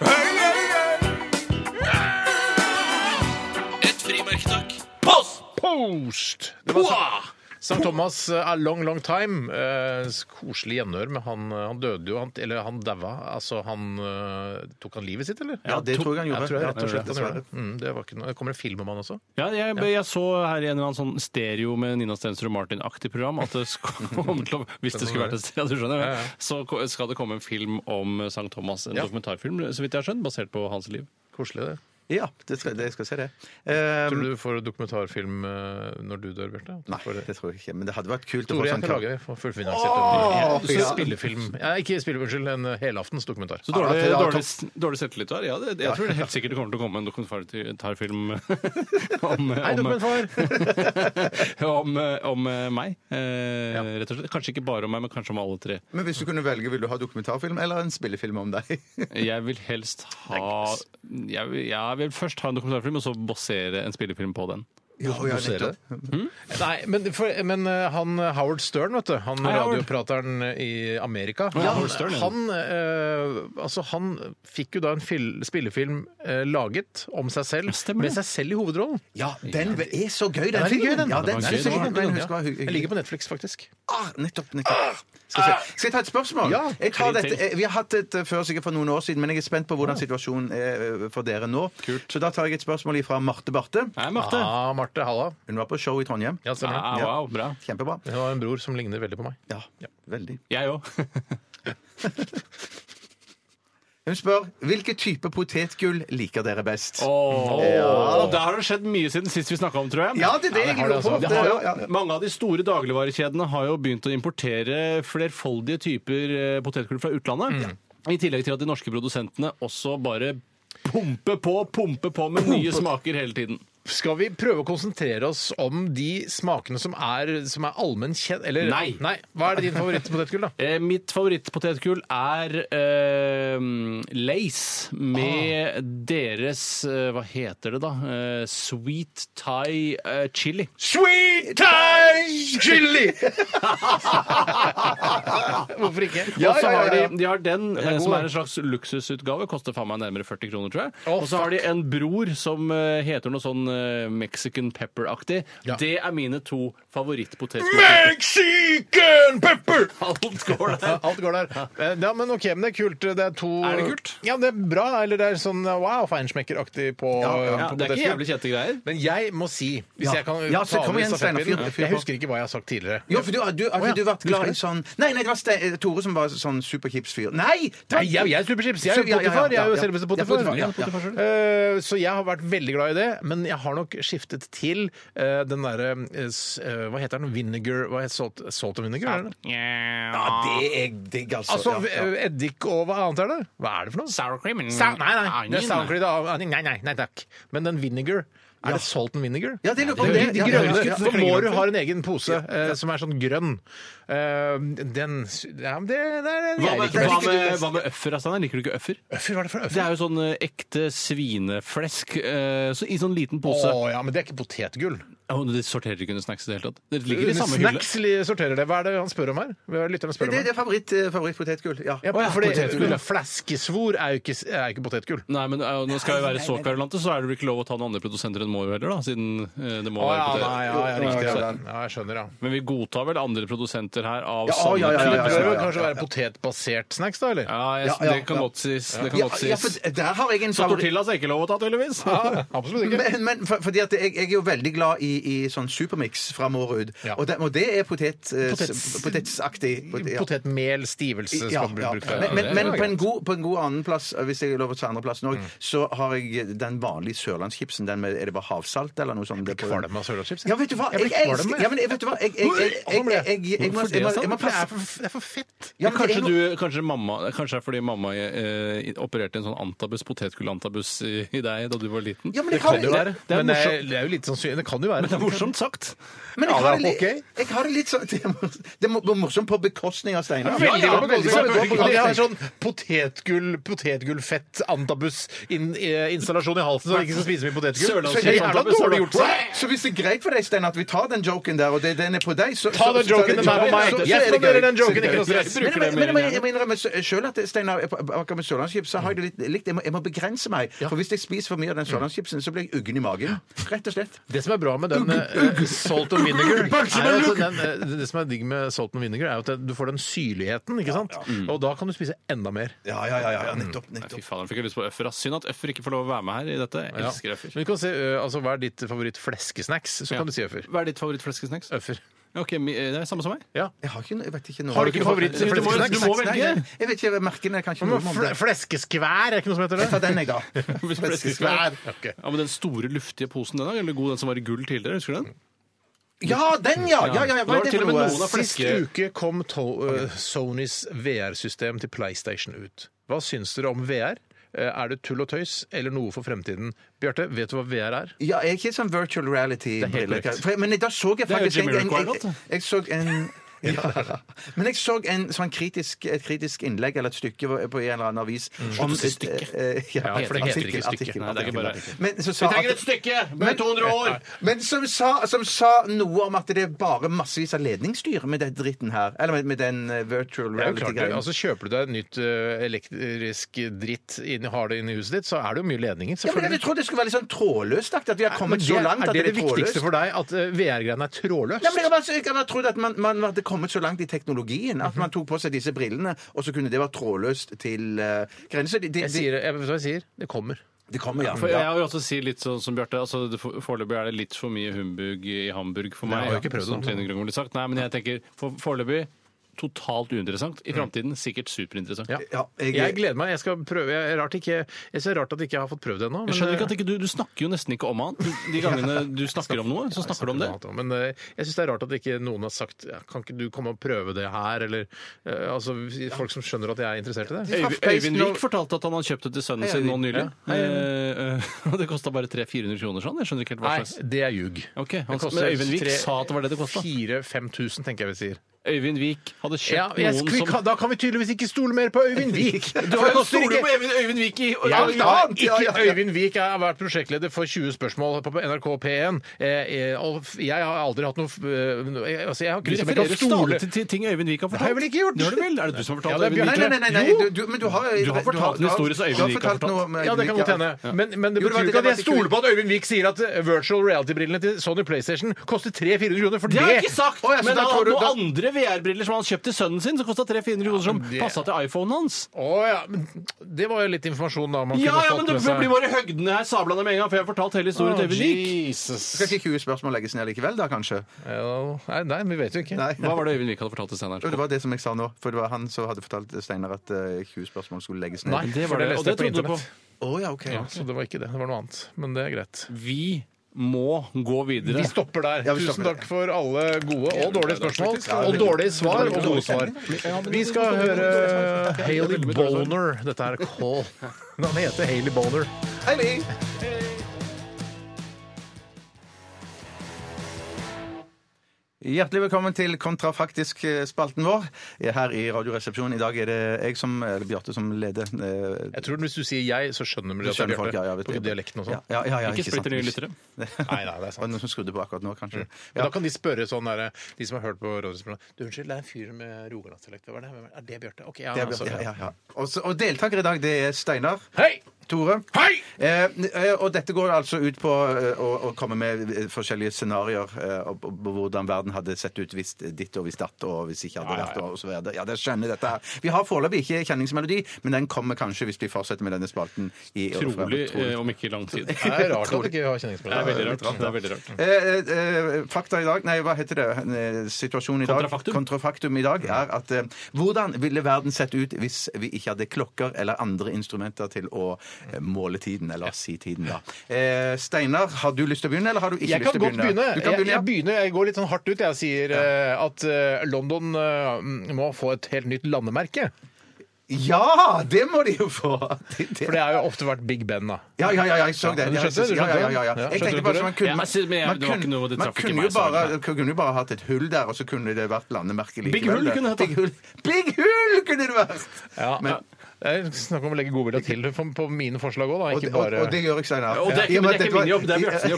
[SPEAKER 11] Et frimerke, takk. Post!
[SPEAKER 1] Post! Det var St. Thomas eh, A Long Long Time. Eh, s- koselig gjenhør, men han, eh, han døde jo, han, eller han daua. Altså, han eh, Tok han livet sitt, eller?
[SPEAKER 2] Ja, det tror jeg han gjorde.
[SPEAKER 1] Jeg tror jeg,
[SPEAKER 2] Ja,
[SPEAKER 1] rett og
[SPEAKER 2] jeg tror
[SPEAKER 1] slett,
[SPEAKER 2] det,
[SPEAKER 1] han gjorde det. Mm, det, var ikke noe. det kommer en film om han også.
[SPEAKER 4] Ja, jeg, jeg så her i en eller annen sånn stereo med Nina Stensrud og Martin-aktig program at det sk- kommer til å Hvis det skulle vært et sted, du skjønner,
[SPEAKER 1] Ja, ja.
[SPEAKER 4] så ko- skal det komme en film om St. Thomas. En
[SPEAKER 1] Ja.
[SPEAKER 4] dokumentarfilm, så vidt jeg har skjønt, basert på hans liv.
[SPEAKER 1] Koselig, det.
[SPEAKER 2] Ja, det skal, det skal jeg se det.
[SPEAKER 1] Tror du
[SPEAKER 2] Um,
[SPEAKER 1] du får dokumentarfilm eh, når du dør, Bjarte? At du
[SPEAKER 2] nei,
[SPEAKER 1] får det?
[SPEAKER 2] det tror jeg ikke. Men det hadde vært kult
[SPEAKER 1] Tore,
[SPEAKER 2] å få
[SPEAKER 1] jeg
[SPEAKER 2] sånn
[SPEAKER 1] kan lage for fullfinansiert
[SPEAKER 2] Åh,
[SPEAKER 1] en ja.
[SPEAKER 2] ja.
[SPEAKER 1] spillefilm. Nei, ikke spille, unnskyld, en eh, helaftens dokumentar.
[SPEAKER 4] Så
[SPEAKER 2] Ja,
[SPEAKER 4] dårlig,
[SPEAKER 2] det er
[SPEAKER 4] dårlig,
[SPEAKER 2] topp.
[SPEAKER 4] s- dårlig selvtillit du har. Ja, det, jeg tror det helt sikkert det kommer til å komme en dokumentarfilm om,
[SPEAKER 1] Hei,
[SPEAKER 4] om,
[SPEAKER 1] dokumentar!
[SPEAKER 4] om, om meg, eh, rett og slett. Kanskje ikke bare om meg, men kanskje om alle tre.
[SPEAKER 2] Men hvis du kunne velge, vil du ha dokumentarfilm eller en spillefilm om deg?
[SPEAKER 4] Jeg vil helst ha jeg vil, jeg vil først ha en dokumentarfilm, og så basere en spillefilm på den.
[SPEAKER 2] Ja, ja,
[SPEAKER 1] Dosere
[SPEAKER 2] nettopp. Mm.
[SPEAKER 1] det? Nei, men, for, men eh, han Howard Stern, vet du, han
[SPEAKER 4] Hei, Howard.
[SPEAKER 1] radioprateren i Amerika,
[SPEAKER 4] Ja,
[SPEAKER 1] han,
[SPEAKER 4] Howard Stern, ja.
[SPEAKER 1] han, eh, altså, han fikk jo da en fil, spillefilm eh, laget om seg selv,
[SPEAKER 4] stemmer
[SPEAKER 1] med
[SPEAKER 4] det.
[SPEAKER 1] seg selv i hovedrollen.
[SPEAKER 2] Ja, den er så gøy, den
[SPEAKER 1] Den er litt gøy,
[SPEAKER 2] filmen!
[SPEAKER 1] den.
[SPEAKER 2] Ja,
[SPEAKER 1] Den
[SPEAKER 2] den,
[SPEAKER 1] var
[SPEAKER 2] synes
[SPEAKER 1] gøy, den
[SPEAKER 2] jeg-
[SPEAKER 1] var
[SPEAKER 2] den
[SPEAKER 1] gøy,
[SPEAKER 2] husker jeg.
[SPEAKER 1] Jeg ligger på Netflix, faktisk.
[SPEAKER 2] Ah, nettopp, nettopp. Skal, vi se. skal jeg ta et spørsmål?
[SPEAKER 1] Ja.
[SPEAKER 2] jeg tar
[SPEAKER 1] Tre til.
[SPEAKER 2] dette, eh, vi har hatt et eh, før sikkert for noen år siden, men jeg er spent på hvordan situasjonen er eh, for dere nå. Så da tar jeg et spørsmål fra Marte Barthe.
[SPEAKER 4] Hei, Marte.
[SPEAKER 1] Ah, Marte, halla.
[SPEAKER 2] Hun var på show i Trondheim.
[SPEAKER 1] Ja, stemmer det.
[SPEAKER 4] Ah, wow, bra.
[SPEAKER 2] Kjempebra.
[SPEAKER 1] Hun har en bror som ligner veldig på meg.
[SPEAKER 2] Ja, veldig.
[SPEAKER 4] Jeg òg.
[SPEAKER 2] Hun spør hvilke type potetgull liker dere best?
[SPEAKER 4] Og Der har det skjedd mye siden sist vi snakka om, tror jeg.
[SPEAKER 2] Ja, det er det jeg
[SPEAKER 1] har
[SPEAKER 2] lurer
[SPEAKER 1] det,
[SPEAKER 2] på.
[SPEAKER 1] altså.
[SPEAKER 4] Det
[SPEAKER 2] Det
[SPEAKER 4] har
[SPEAKER 2] er-
[SPEAKER 4] jo,
[SPEAKER 2] ja, ja.
[SPEAKER 4] mange av de store dagligvarekjedene har jo begynt å importere flerfoldige typer eh, potetgull fra utlandet. I tillegg til at de norske produsentene også bare pumper på, pumper på med nye smaker hele tiden.
[SPEAKER 1] Skal vi prøve å konsentrere oss om de smakene som er, som er allmenn kjent? Eller,
[SPEAKER 4] Nei.
[SPEAKER 1] Hva er din favorittpotetgull, da?
[SPEAKER 4] Eh, mitt favorittpotetgull er eh, Lace med deres eh, Hva heter det, da? Eh, sweet Thai eh, chili.
[SPEAKER 1] Sweet time chili! Hvorfor ikke?
[SPEAKER 4] og så
[SPEAKER 1] ja,
[SPEAKER 4] har
[SPEAKER 1] ja.
[SPEAKER 4] de, de har den, eh,
[SPEAKER 1] god,
[SPEAKER 4] som
[SPEAKER 1] den.
[SPEAKER 4] er en slags luksusutgave. Koster faen meg nærmere 40 kroner, tror jeg.
[SPEAKER 1] Å,
[SPEAKER 4] og så har de en bror som eh, heter noe sånn eh, Mexican pepper-aktig.
[SPEAKER 1] Ja.
[SPEAKER 4] Det er mine to favorittpotetgull.
[SPEAKER 1] Mexican pepper!
[SPEAKER 4] Alt går
[SPEAKER 1] Ja,
[SPEAKER 4] der.
[SPEAKER 1] Alt går der. Eh, Ja, men OK, men det er kult. Det er to
[SPEAKER 4] Er det kult?
[SPEAKER 1] Ja, det er bra. Eller det er sånn wow, feinschmecker-aktig på,
[SPEAKER 4] Ja,
[SPEAKER 1] på
[SPEAKER 4] det er ikke
[SPEAKER 1] potetgull.
[SPEAKER 4] jævlig kjente greier.
[SPEAKER 1] Men jeg må si, hvis
[SPEAKER 2] Ja.
[SPEAKER 1] jeg kan
[SPEAKER 2] Ja, så
[SPEAKER 1] ta
[SPEAKER 2] kom
[SPEAKER 1] over
[SPEAKER 2] igjen, Steinar, fyr-
[SPEAKER 1] stafettpinnen
[SPEAKER 2] fyr
[SPEAKER 1] Jeg
[SPEAKER 2] på.
[SPEAKER 1] husker ikke hva jeg har sagt tidligere.
[SPEAKER 2] Jo, for du, har- du,
[SPEAKER 1] Å,
[SPEAKER 2] har
[SPEAKER 1] ja.
[SPEAKER 2] ikke du vært glad i
[SPEAKER 1] Husker
[SPEAKER 2] sånn Nei, nei, det var Ste Tore som var sånn superchips-fyr. Nei!
[SPEAKER 1] Nei, jeg, jeg er superchips. Jeg er jo
[SPEAKER 2] Ja, ja, ja,
[SPEAKER 1] potifar. Jeg er jo
[SPEAKER 2] ja, ja.
[SPEAKER 1] selveste
[SPEAKER 2] Ja,
[SPEAKER 1] potifar.
[SPEAKER 2] potifar, ja, ja.
[SPEAKER 1] Potifar selv. Eh, Så jeg har vært veldig glad i det, men jeg har nok skiftet til eh, den derre eh, s- eh, Hva heter den? Vinegar hva heter Salt, salt and vinegar? er det?
[SPEAKER 2] Ja, det er digg, altså.
[SPEAKER 1] Altså
[SPEAKER 2] Ja, ja.
[SPEAKER 1] eh, eddik og hva annet er det? Hva er det for noe?
[SPEAKER 4] Sour cream and
[SPEAKER 1] Sa nei, nei, det er
[SPEAKER 4] onion.
[SPEAKER 1] sour cream, da. Ah, nei, nei, nei takk. Men den vinegar er det salt and vinegar?
[SPEAKER 2] Ja, det lurer på om
[SPEAKER 1] De
[SPEAKER 2] det- ja,
[SPEAKER 1] de
[SPEAKER 2] ja, ja,
[SPEAKER 1] grønne
[SPEAKER 2] ja, ja.
[SPEAKER 1] skuttene. For Mårud har en egen pose eh, som er sånn grønn. Eh, Den sy- ja, men Det det er den
[SPEAKER 4] Hva
[SPEAKER 1] jeg
[SPEAKER 4] med,
[SPEAKER 1] liker
[SPEAKER 4] hva
[SPEAKER 1] best.
[SPEAKER 4] med, eh, hva med øffer, da, Steinar? Liker du ikke øffer?
[SPEAKER 1] Øffer, hva er det for
[SPEAKER 4] Det
[SPEAKER 1] øffer?
[SPEAKER 4] er jo sånn eh, ekte svineflesk eh, så i sånn liten pose.
[SPEAKER 1] Å ja, men det er ikke potetgull. Eh,
[SPEAKER 4] Å, det sorterer ikke under snacks i det hele tatt. Det ligger i samme hylle.
[SPEAKER 1] Snacks sorterer det. Hva er det han spør om her? Hva er det lytterne spør om
[SPEAKER 2] Det, det
[SPEAKER 1] her?
[SPEAKER 2] er favoritt, eh, favorittpotetgull. Ja.
[SPEAKER 1] Ja,
[SPEAKER 4] ja,
[SPEAKER 1] fordi
[SPEAKER 4] potetgull, ja.
[SPEAKER 1] Flaskesvor er jo ikke, er jo ikke potetgull.
[SPEAKER 4] Nei, men eh, nå skal vi være så kverulante, så er det vel ikke lov å ta noen andre produsenter enn Mojo heller, da, siden eh, det må
[SPEAKER 1] Å
[SPEAKER 4] være
[SPEAKER 1] ja,
[SPEAKER 4] på
[SPEAKER 1] nei,
[SPEAKER 4] det.
[SPEAKER 1] ja, ja, riktig.
[SPEAKER 2] Ja,
[SPEAKER 1] Ja.
[SPEAKER 2] ja,
[SPEAKER 1] ja, jeg skjønner, ja.
[SPEAKER 4] Men vi godtar vel andre produsenter her av
[SPEAKER 2] Ja, å,
[SPEAKER 4] samme
[SPEAKER 2] ja, ja,
[SPEAKER 1] Men det
[SPEAKER 4] type?
[SPEAKER 2] ja,
[SPEAKER 1] bør
[SPEAKER 2] ja,
[SPEAKER 1] jo
[SPEAKER 2] ja.
[SPEAKER 1] kanskje være potetbasert snacks, da, eller?
[SPEAKER 4] Ja, jeg,
[SPEAKER 2] Ja, ja,
[SPEAKER 4] det kan
[SPEAKER 2] ja.
[SPEAKER 4] godt sies. Det kan
[SPEAKER 2] Ja,
[SPEAKER 4] godt
[SPEAKER 2] ja, for
[SPEAKER 4] sies.
[SPEAKER 2] der har jeg en
[SPEAKER 4] Så
[SPEAKER 2] favoritt.
[SPEAKER 4] tortillas er ikke lov å ta, tydeligvis.
[SPEAKER 1] Absolutt ikke.
[SPEAKER 2] Men, men for, fordi at jeg, jeg er jo veldig glad i, i sånn supermix fra Mårud.
[SPEAKER 1] Ja.
[SPEAKER 2] Og, det- og det er potet, eh,
[SPEAKER 1] Potets-
[SPEAKER 2] potetsaktig. Pot- ja.
[SPEAKER 1] Potetmel, stivelse,
[SPEAKER 2] Ja,
[SPEAKER 1] skal bli
[SPEAKER 2] ja.
[SPEAKER 1] brukt her.
[SPEAKER 2] Men, men,
[SPEAKER 1] Ja, Mm. det
[SPEAKER 2] men
[SPEAKER 1] er
[SPEAKER 2] på,
[SPEAKER 1] greit.
[SPEAKER 2] en god, på en god annenplass, hvis jeg er lov å ta andreplassen òg, så har jeg den vanlige sørlandschipsen. Den med, er det bare havsalt eller noe sånt? på den?
[SPEAKER 1] Kvalm av sørlandschips?
[SPEAKER 2] Ja, vet du hva?
[SPEAKER 1] Jeg
[SPEAKER 2] Jeg
[SPEAKER 1] blir kvalm,
[SPEAKER 2] elsker
[SPEAKER 1] jeg.
[SPEAKER 2] Ja, men vet du hva? Jeg, jeg, jeg, jeg, jeg, jeg, jeg, jeg, må-
[SPEAKER 4] Hvorfor det,
[SPEAKER 2] jeg, må-
[SPEAKER 4] sant?
[SPEAKER 1] Altså,
[SPEAKER 2] jeg må
[SPEAKER 1] Det
[SPEAKER 2] passe
[SPEAKER 1] er for, det er for fett.
[SPEAKER 2] Ja, men det
[SPEAKER 4] Kanskje,
[SPEAKER 2] er
[SPEAKER 4] du,
[SPEAKER 2] noe-
[SPEAKER 4] kanskje, mamma, kanskje det er fordi mamma eh, opererte en sånn antabus, potetgull-antabus i, i deg da du var liten?
[SPEAKER 2] Ja, men
[SPEAKER 1] Det
[SPEAKER 2] jeg har
[SPEAKER 1] kan jo
[SPEAKER 2] det-
[SPEAKER 1] være.
[SPEAKER 4] det er
[SPEAKER 1] Men det er,
[SPEAKER 4] morsomt.
[SPEAKER 1] det er jo litt sannsynlig. Det kan jo være.
[SPEAKER 4] Men det er morsomt sagt.
[SPEAKER 2] Men jeg
[SPEAKER 1] Ja,
[SPEAKER 2] har,
[SPEAKER 1] det
[SPEAKER 2] det
[SPEAKER 1] er
[SPEAKER 2] litt,
[SPEAKER 1] ok.
[SPEAKER 2] jeg har det litt sånn Det må- det må være morsomt på bekostning av Steinar.
[SPEAKER 1] Veldig
[SPEAKER 2] Ja, ja,
[SPEAKER 1] bra
[SPEAKER 2] veldig bra
[SPEAKER 1] bekostning.
[SPEAKER 2] bekostning.
[SPEAKER 1] At jeg har sånn potetgull, potetgullfett, antabus, inn- eh, installasjon i halsen så jeg ikke skal spise mye potetgull.
[SPEAKER 4] Sørlandschips,
[SPEAKER 1] Så jævla
[SPEAKER 4] antabus,
[SPEAKER 1] dårlig gjort. seg.
[SPEAKER 2] Så hvis det er greit for deg, Steinar, at vi tar den joken der, og det, den er på deg så,
[SPEAKER 1] Ta den
[SPEAKER 2] så- så-
[SPEAKER 1] joken, den er på meg.
[SPEAKER 2] så- så
[SPEAKER 1] Jeg
[SPEAKER 2] er det
[SPEAKER 1] spanderer
[SPEAKER 2] gøy.
[SPEAKER 1] den joken,
[SPEAKER 2] Så er det
[SPEAKER 1] ikke noe
[SPEAKER 2] gøy.
[SPEAKER 1] stress.
[SPEAKER 2] Men jeg-
[SPEAKER 4] Bruker det
[SPEAKER 2] Men, jeg-
[SPEAKER 4] mer enn
[SPEAKER 2] jeg må innrømme sjøl at Steinar, på- på- akkurat med sørlandschips, så har jeg det litt likt. Jeg må, jeg må begrense meg. For hvis jeg spiser for mye av den sørlandschipsen, så blir jeg uggen i magen. Rett og slett.
[SPEAKER 1] Det som er bra med den eh, salt and vinegar er jo at den, eh, Det som er digg med salt and vinegar, er jo at du får den syrligheten, ikke sant? Og da kan du spise enda mer.
[SPEAKER 2] Ja, ja, ja. ja nettopp.
[SPEAKER 4] Nei, Fy
[SPEAKER 2] nettopp.
[SPEAKER 4] fader, fikk jeg lyst på øffer. ass. Synd at øffer ikke får lov å være med her i dette. Jeg
[SPEAKER 1] Ja.
[SPEAKER 4] elsker øffer.
[SPEAKER 1] Men vi kan se, eh, altså, Hva er ditt favoritt fleskesnacks? Så kan du si øffer.
[SPEAKER 4] Hva er ditt favorittfleskesnacks?
[SPEAKER 1] Øffer.
[SPEAKER 4] Ok, mi- eh, det er samme som meg.
[SPEAKER 1] Ja.
[SPEAKER 2] Jeg har ikke, noe- jeg vet ikke noe.
[SPEAKER 1] Har du ikke favoritt-
[SPEAKER 2] Nei,
[SPEAKER 1] du må-
[SPEAKER 2] nei,
[SPEAKER 1] du
[SPEAKER 4] må
[SPEAKER 2] nei,
[SPEAKER 4] velge.
[SPEAKER 2] nei. Jeg vet ikke merkene. Kanskje noe
[SPEAKER 1] Men
[SPEAKER 2] om
[SPEAKER 1] fle-
[SPEAKER 2] det.
[SPEAKER 1] Fleskeskvær, er ikke noe som heter det?
[SPEAKER 2] Ta den, jeg, da.
[SPEAKER 1] Fleskeskvær. Ok.
[SPEAKER 4] Ja, men Den store, luftige posen den er veldig god, den som var i gull tidligere. Husker du den?
[SPEAKER 2] Ja, den, ja! ja, ja, ja.
[SPEAKER 4] Da
[SPEAKER 2] Hva er
[SPEAKER 4] var det
[SPEAKER 2] det
[SPEAKER 4] til og
[SPEAKER 2] for
[SPEAKER 4] med
[SPEAKER 2] noe?
[SPEAKER 4] noen av
[SPEAKER 1] Sist
[SPEAKER 4] fleske...
[SPEAKER 1] uke kom to eh, Sonys VR-system til PlayStation ut. Hva syns dere om VR? Eh, Er det tull og tøys eller noe for fremtiden? Bjarte, vet du hva VR er?
[SPEAKER 2] Ja, jeg er ikke sånn virtual reality-briller.
[SPEAKER 1] korrekt.
[SPEAKER 2] Men da så jeg
[SPEAKER 4] er jo
[SPEAKER 2] faktisk
[SPEAKER 4] Jimmy
[SPEAKER 2] en, en,
[SPEAKER 4] Rockwell,
[SPEAKER 2] jeg, jeg så en Men jeg så en, sånn kritisk, et kritisk innlegg eller et stykke på en eller annen avis
[SPEAKER 4] Om et stykke?
[SPEAKER 2] eh, ja,
[SPEAKER 4] Ja, for det heter ikke stykke. Nei, det er ikke bare-
[SPEAKER 2] Men
[SPEAKER 4] Vi
[SPEAKER 2] som sa
[SPEAKER 4] trenger et
[SPEAKER 2] at-
[SPEAKER 4] stykke med 200 år!
[SPEAKER 2] Men som sa, som sa noe om at det er bare massevis av ledningsdyr med den dritten her. Eller med, med den eh, virtual
[SPEAKER 1] Det er jo klart, det.
[SPEAKER 2] reality-greien.
[SPEAKER 1] altså Kjøper du deg et nytt eh, elektrisk dritt, inn, har det inni huset ditt, så er det jo mye ledninger.
[SPEAKER 2] ja, men jeg
[SPEAKER 1] selvfølgelig.
[SPEAKER 2] trodde det skulle være litt sånn trådløst. At vi har
[SPEAKER 1] Men
[SPEAKER 2] kommet
[SPEAKER 1] det-
[SPEAKER 2] så
[SPEAKER 1] er
[SPEAKER 2] langt at
[SPEAKER 1] det det
[SPEAKER 2] er trådløst.
[SPEAKER 1] viktigste for deg, at eh, VR-greiene er trådløst?
[SPEAKER 2] Nei, men jeg, bare, jeg bare trodde at man, man hadde kommet så langt i teknologien
[SPEAKER 1] Mhm.
[SPEAKER 2] at man tok på seg disse brillene, og så kunne det være trådløst til uh, grenser. Det, det,
[SPEAKER 1] Jeg sier, jeg, vet du hva jeg sier? Det kommer.
[SPEAKER 2] det kommer, ja.
[SPEAKER 4] For
[SPEAKER 2] ja.
[SPEAKER 4] jeg vil også si litt sånn som Bjarte. Altså, det for- Foreløpig er det litt for mye humbug i Hamburg for
[SPEAKER 1] Nei,
[SPEAKER 4] meg.
[SPEAKER 1] jeg har ikke prøvd
[SPEAKER 4] som
[SPEAKER 1] det.
[SPEAKER 4] Trine Grønvold har sagt. Nei, men jeg tenker for- foreløpig totalt uinteressant. I framtiden sikkert superinteressant.
[SPEAKER 1] Mm. Ja.
[SPEAKER 2] Ja, jeg,
[SPEAKER 1] Jeg, gleder meg. Jeg skal prøve. Jeg, rart ikke, jeg ser rart at jeg ikke har fått prøvd det ennå.
[SPEAKER 4] Jeg
[SPEAKER 1] men- eh,
[SPEAKER 4] skjønner ikke at ikke du, du snakker jo nesten ikke om han. Du- De gangene du snakker om noe, så snakker du om det.
[SPEAKER 1] Men eh, jeg syns det er rart at ikke noen har sagt ja, Kan ikke du komme og prøve det her? Eller eh, altså, folk som skjønner at jeg er interessert i det.
[SPEAKER 4] Øyvi- Øyvind Wiik fortalte at han hadde kjøpt det til sønnen sin nå nylig.
[SPEAKER 1] Ja.
[SPEAKER 4] Eh, eh, Og det kosta bare 300-400 kroner sånn. Jeg skjønner ikke helt hva
[SPEAKER 1] Nei,
[SPEAKER 4] slags
[SPEAKER 1] det er ljug.
[SPEAKER 4] Ok, han- Men Øyvind Wiik sa at det var det det kosta.
[SPEAKER 1] 4000-5000, tenker jeg vi sier.
[SPEAKER 4] Øyvind Wiik hadde kjøpt
[SPEAKER 1] Ja, jeg,
[SPEAKER 4] noen
[SPEAKER 1] vi
[SPEAKER 4] som
[SPEAKER 1] kan, da kan vi tydeligvis ikke stole mer på Øyvind Wiik!
[SPEAKER 4] Du har jo stoler på Øyvind, Øyvind Wiik i
[SPEAKER 1] Ja,
[SPEAKER 4] alt
[SPEAKER 1] ja,
[SPEAKER 4] annet!
[SPEAKER 1] ikke Øyvind Wiik jeg har vært prosjektleder for 20 spørsmål på NRK P1. Eh, eh, og f- jeg har aldri hatt noe f- eh, jeg- altså, Jeg har
[SPEAKER 4] Du
[SPEAKER 1] ikke som jeg
[SPEAKER 4] refererer
[SPEAKER 1] kan stole
[SPEAKER 4] stadig til ting Øyvind Wiik har
[SPEAKER 1] Det
[SPEAKER 4] fortalt.
[SPEAKER 1] har jeg vel ikke gjort?
[SPEAKER 4] Det har du vel? Er det du som har fortalt
[SPEAKER 1] Ja, det er
[SPEAKER 4] Øyvind
[SPEAKER 2] Nei,
[SPEAKER 4] Wiik?
[SPEAKER 2] nei,
[SPEAKER 4] det?
[SPEAKER 2] nei, nei, nei. Du, du, men du har,
[SPEAKER 4] Du har fortalt en
[SPEAKER 2] du har-
[SPEAKER 4] historie som Øyvind
[SPEAKER 2] du
[SPEAKER 4] Wiik har
[SPEAKER 2] fortalt noe om
[SPEAKER 4] fortalt.
[SPEAKER 2] eh, Øyvind
[SPEAKER 1] Ja, det kan
[SPEAKER 2] Wiik,
[SPEAKER 1] godt hende. Men, men det betyr
[SPEAKER 2] Jo, det var
[SPEAKER 1] jo
[SPEAKER 2] det
[SPEAKER 1] ikke at jeg
[SPEAKER 2] jeg tenkte
[SPEAKER 1] stoler
[SPEAKER 2] skulle-
[SPEAKER 1] på at Øyvind Wiik sier at eh, virtual reality-brillene til Sony PlayStation koster 300-400 kroner. For
[SPEAKER 4] Det
[SPEAKER 1] det
[SPEAKER 4] har jeg ikke sagt!
[SPEAKER 2] Å, ja, så
[SPEAKER 4] men
[SPEAKER 2] da
[SPEAKER 4] han
[SPEAKER 2] tror
[SPEAKER 4] hadde
[SPEAKER 2] du-
[SPEAKER 4] noen
[SPEAKER 2] da-
[SPEAKER 4] andre VR-briller som han hadde kjøpt til sønnen sin, som kosta 300-400 kroner, som
[SPEAKER 1] det-
[SPEAKER 4] passa til iPhonen hans.
[SPEAKER 1] Å ja, men det var jo litt informasjon da man kunne
[SPEAKER 4] Ja, ja,
[SPEAKER 1] fått
[SPEAKER 4] men det
[SPEAKER 1] med seg.
[SPEAKER 4] blir bare høgdene her sabla ned med en gang, for jeg har fortalt hele historien til Øyvind Wiik.
[SPEAKER 2] Skal ikke 20 spørsmål legges ned likevel, da, kanskje?
[SPEAKER 1] Ja, Nei, nei, vi vet jo ikke.
[SPEAKER 2] Nei.
[SPEAKER 4] Hva var det Øyvind Wiik hadde fortalt til Steinar?
[SPEAKER 2] Jo, Det var det som jeg sa nå. For det var han som hadde fortalt Steinar at eh, 20 spørsmål skulle legges ned.
[SPEAKER 1] Nei,
[SPEAKER 4] Det var
[SPEAKER 1] for det
[SPEAKER 4] det,
[SPEAKER 1] leste
[SPEAKER 4] og det
[SPEAKER 1] jeg på
[SPEAKER 4] trodde du på.
[SPEAKER 1] internett.
[SPEAKER 2] Å, ja, ok.
[SPEAKER 1] Ja, så det var ikke det. Det var noe annet. Men det er greit.
[SPEAKER 4] Vi må gå videre.
[SPEAKER 1] Vi stopper der.
[SPEAKER 2] Ja, vi
[SPEAKER 1] Tusen
[SPEAKER 2] stopper der.
[SPEAKER 1] takk for alle gode og dårlige spørsmål. Og dårlige svar og gode svar. Vi skal høre Hailey Boner. Dette er Call. Men Han heter Hailey Boner.
[SPEAKER 2] Hei, Hjertelig velkommen til Kontrafaktisk-spalten vår her i Radioresepsjonen. I dag er det jeg som, eller Bjarte som leder. eh,
[SPEAKER 1] Jeg tror Hvis du sier 'jeg', så skjønner vi
[SPEAKER 2] du
[SPEAKER 1] at det er
[SPEAKER 2] skjønner folk, ja, ja,
[SPEAKER 1] Bjarte.
[SPEAKER 2] vet
[SPEAKER 1] På
[SPEAKER 2] jeg.
[SPEAKER 1] dialekten og sånn.
[SPEAKER 2] Ja, ja, ja, ja,
[SPEAKER 4] Ikke splitter nye lyttere.
[SPEAKER 1] Nei, nei, det er sant.
[SPEAKER 2] Og noen som skrudde på akkurat nå, kanskje.
[SPEAKER 1] Men Da kan de spørre sånn der, de som har hørt på Rådhusplanen Du, unnskyld, det er en fyr med rogalandsdialekt. Hvem er det? Hvem er det? Er det Bjarte? Ok, ja,
[SPEAKER 2] Det er
[SPEAKER 1] altså,
[SPEAKER 2] Bjarte, ja, ja, ja. Og så- Og deltaker i dag, det er Steinar.
[SPEAKER 1] Hei!
[SPEAKER 2] Tore.
[SPEAKER 1] Hei!
[SPEAKER 2] Eh, eh, og dette går altså ut på eh, å, å komme med eh, forskjellige scenarioer eh, om- om hvordan verden hadde sett ut hvis ditt og hvis datt og hvis ikke hadde vært og så videre. Ja, det skjønner jeg dette her. Vi har foreløpig ikke kjenningsmelodi, men den kommer kanskje hvis vi fortsetter med denne spalten. I året fremover.
[SPEAKER 4] Trolig, eh, om ikke i lang tid.
[SPEAKER 1] Det er rart at du ikke har
[SPEAKER 4] Det er veldig
[SPEAKER 1] kjenningsmelodi.
[SPEAKER 4] rart. Det er veldig rart.
[SPEAKER 2] Eh, eh, eh, fakta i dag Nei, hva heter det? Eh, Situasjonen i dag
[SPEAKER 4] Kontrafaktum.
[SPEAKER 2] Kontrafaktum i dag er at eh, hvordan ville verden sett ut hvis vi ikke hadde klokker eller andre instrumenter til å eh, måle tiden, eller si tiden, da. Eh, Steinar, har du lyst til å begynne, eller har du ikke
[SPEAKER 1] Jeg
[SPEAKER 2] lyst
[SPEAKER 1] kan
[SPEAKER 2] til å
[SPEAKER 1] godt
[SPEAKER 2] begynne?
[SPEAKER 1] begynne.
[SPEAKER 2] Du kan
[SPEAKER 1] Jeg, jeg
[SPEAKER 2] begynne, ja.
[SPEAKER 1] begynner, jeg går litt sånn hardt ut. Jeg sier eh, at eh, London eh, må få et helt nytt landemerke.
[SPEAKER 2] Ja, det må de jo få! Det, det.
[SPEAKER 1] For det har jo ofte vært Big Ben, da.
[SPEAKER 2] Ja, ja, ja, ja, jeg så det.
[SPEAKER 1] Ja, du
[SPEAKER 2] Ja,
[SPEAKER 1] skjønte, du
[SPEAKER 2] ja, ja,
[SPEAKER 1] skjønte.
[SPEAKER 2] ja, ja.
[SPEAKER 1] Ja,
[SPEAKER 2] Jeg
[SPEAKER 1] skjønte
[SPEAKER 2] tenkte
[SPEAKER 1] du
[SPEAKER 2] bare
[SPEAKER 1] det?
[SPEAKER 2] så man kunne
[SPEAKER 4] Ja, men jeg- men jeg-
[SPEAKER 2] man
[SPEAKER 4] det var
[SPEAKER 2] kunne-
[SPEAKER 4] ikke noe- det
[SPEAKER 2] man
[SPEAKER 4] traff ikke
[SPEAKER 2] kunne
[SPEAKER 4] meg,
[SPEAKER 2] jo
[SPEAKER 4] så det-
[SPEAKER 2] bare, kunne jo bare hatt et hull der, og så kunne det vært landemerke likevel.
[SPEAKER 4] Big Hull kunne det hett, da.
[SPEAKER 2] Big Hull, Big hull kunne det vært!
[SPEAKER 1] Ja,
[SPEAKER 2] Men-
[SPEAKER 1] det er snakk om å legge godvilja til på, på mine forslag òg, da.
[SPEAKER 2] Og,
[SPEAKER 1] Ikke
[SPEAKER 2] og,
[SPEAKER 1] bare
[SPEAKER 2] og det gjør jeg, Steinar.
[SPEAKER 4] Og det er ikke-
[SPEAKER 2] I og med
[SPEAKER 4] men det er ikke min
[SPEAKER 2] at dette var-
[SPEAKER 4] jobb, det er Bjørtes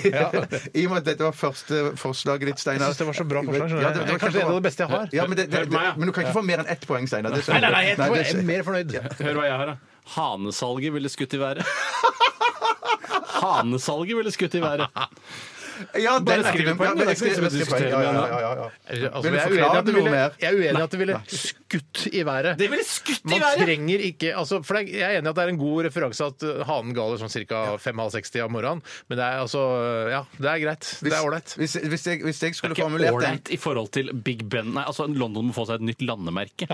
[SPEAKER 4] jobb.
[SPEAKER 2] I og med at dette var første forslaget ditt, Steinar.
[SPEAKER 1] Jeg synes det var så bra forslag, skjønner du.
[SPEAKER 2] det- det
[SPEAKER 1] Det er
[SPEAKER 2] var
[SPEAKER 1] kanskje
[SPEAKER 2] kjempebra.
[SPEAKER 1] en av det beste jeg har.
[SPEAKER 2] Ja, men, det, det,
[SPEAKER 4] Hør på meg, ja.
[SPEAKER 2] men du kan ikke få mer enn ett poeng, Steinar. det skjønner
[SPEAKER 1] Nei, nei, nei,
[SPEAKER 2] du.
[SPEAKER 1] jeg, tror
[SPEAKER 2] det-
[SPEAKER 1] jeg er mer fornøyd.
[SPEAKER 4] Hør hva jeg har, da. Hanesalget ville skutt i været. Hanesalget ville skutt i været.
[SPEAKER 2] Ja, den
[SPEAKER 4] Bare
[SPEAKER 2] er-
[SPEAKER 4] skriv
[SPEAKER 2] ja,
[SPEAKER 4] poeng,
[SPEAKER 2] men
[SPEAKER 4] da,
[SPEAKER 2] jeg skriver-
[SPEAKER 4] så vi
[SPEAKER 2] jeg skriver poeng.
[SPEAKER 4] diskuterer
[SPEAKER 2] Ja,
[SPEAKER 4] med
[SPEAKER 2] ja,
[SPEAKER 4] henne.
[SPEAKER 2] ja, ja, ja.
[SPEAKER 1] Altså,
[SPEAKER 2] Vil
[SPEAKER 1] jeg
[SPEAKER 2] du
[SPEAKER 1] er uenig i
[SPEAKER 2] forklare
[SPEAKER 1] at det
[SPEAKER 2] noe
[SPEAKER 1] ville,
[SPEAKER 2] mer?
[SPEAKER 1] jeg er uenig i at det ville skutt i været.
[SPEAKER 4] Det ville skutt i
[SPEAKER 1] Man
[SPEAKER 4] været!
[SPEAKER 1] trenger ikke altså, for det er- Jeg er enig i at det er en god referanse at uh, hanen galer sånn ca. 5.30 om morgenen, men det er altså uh, Ja, det er greit. Det er ålreit.
[SPEAKER 2] Hvis, hvis, jeg, hvis jeg skulle
[SPEAKER 4] Ikke
[SPEAKER 2] formulert den
[SPEAKER 4] ålreit i forhold til Big Ben. Nei, altså London må få seg et nytt landemerke.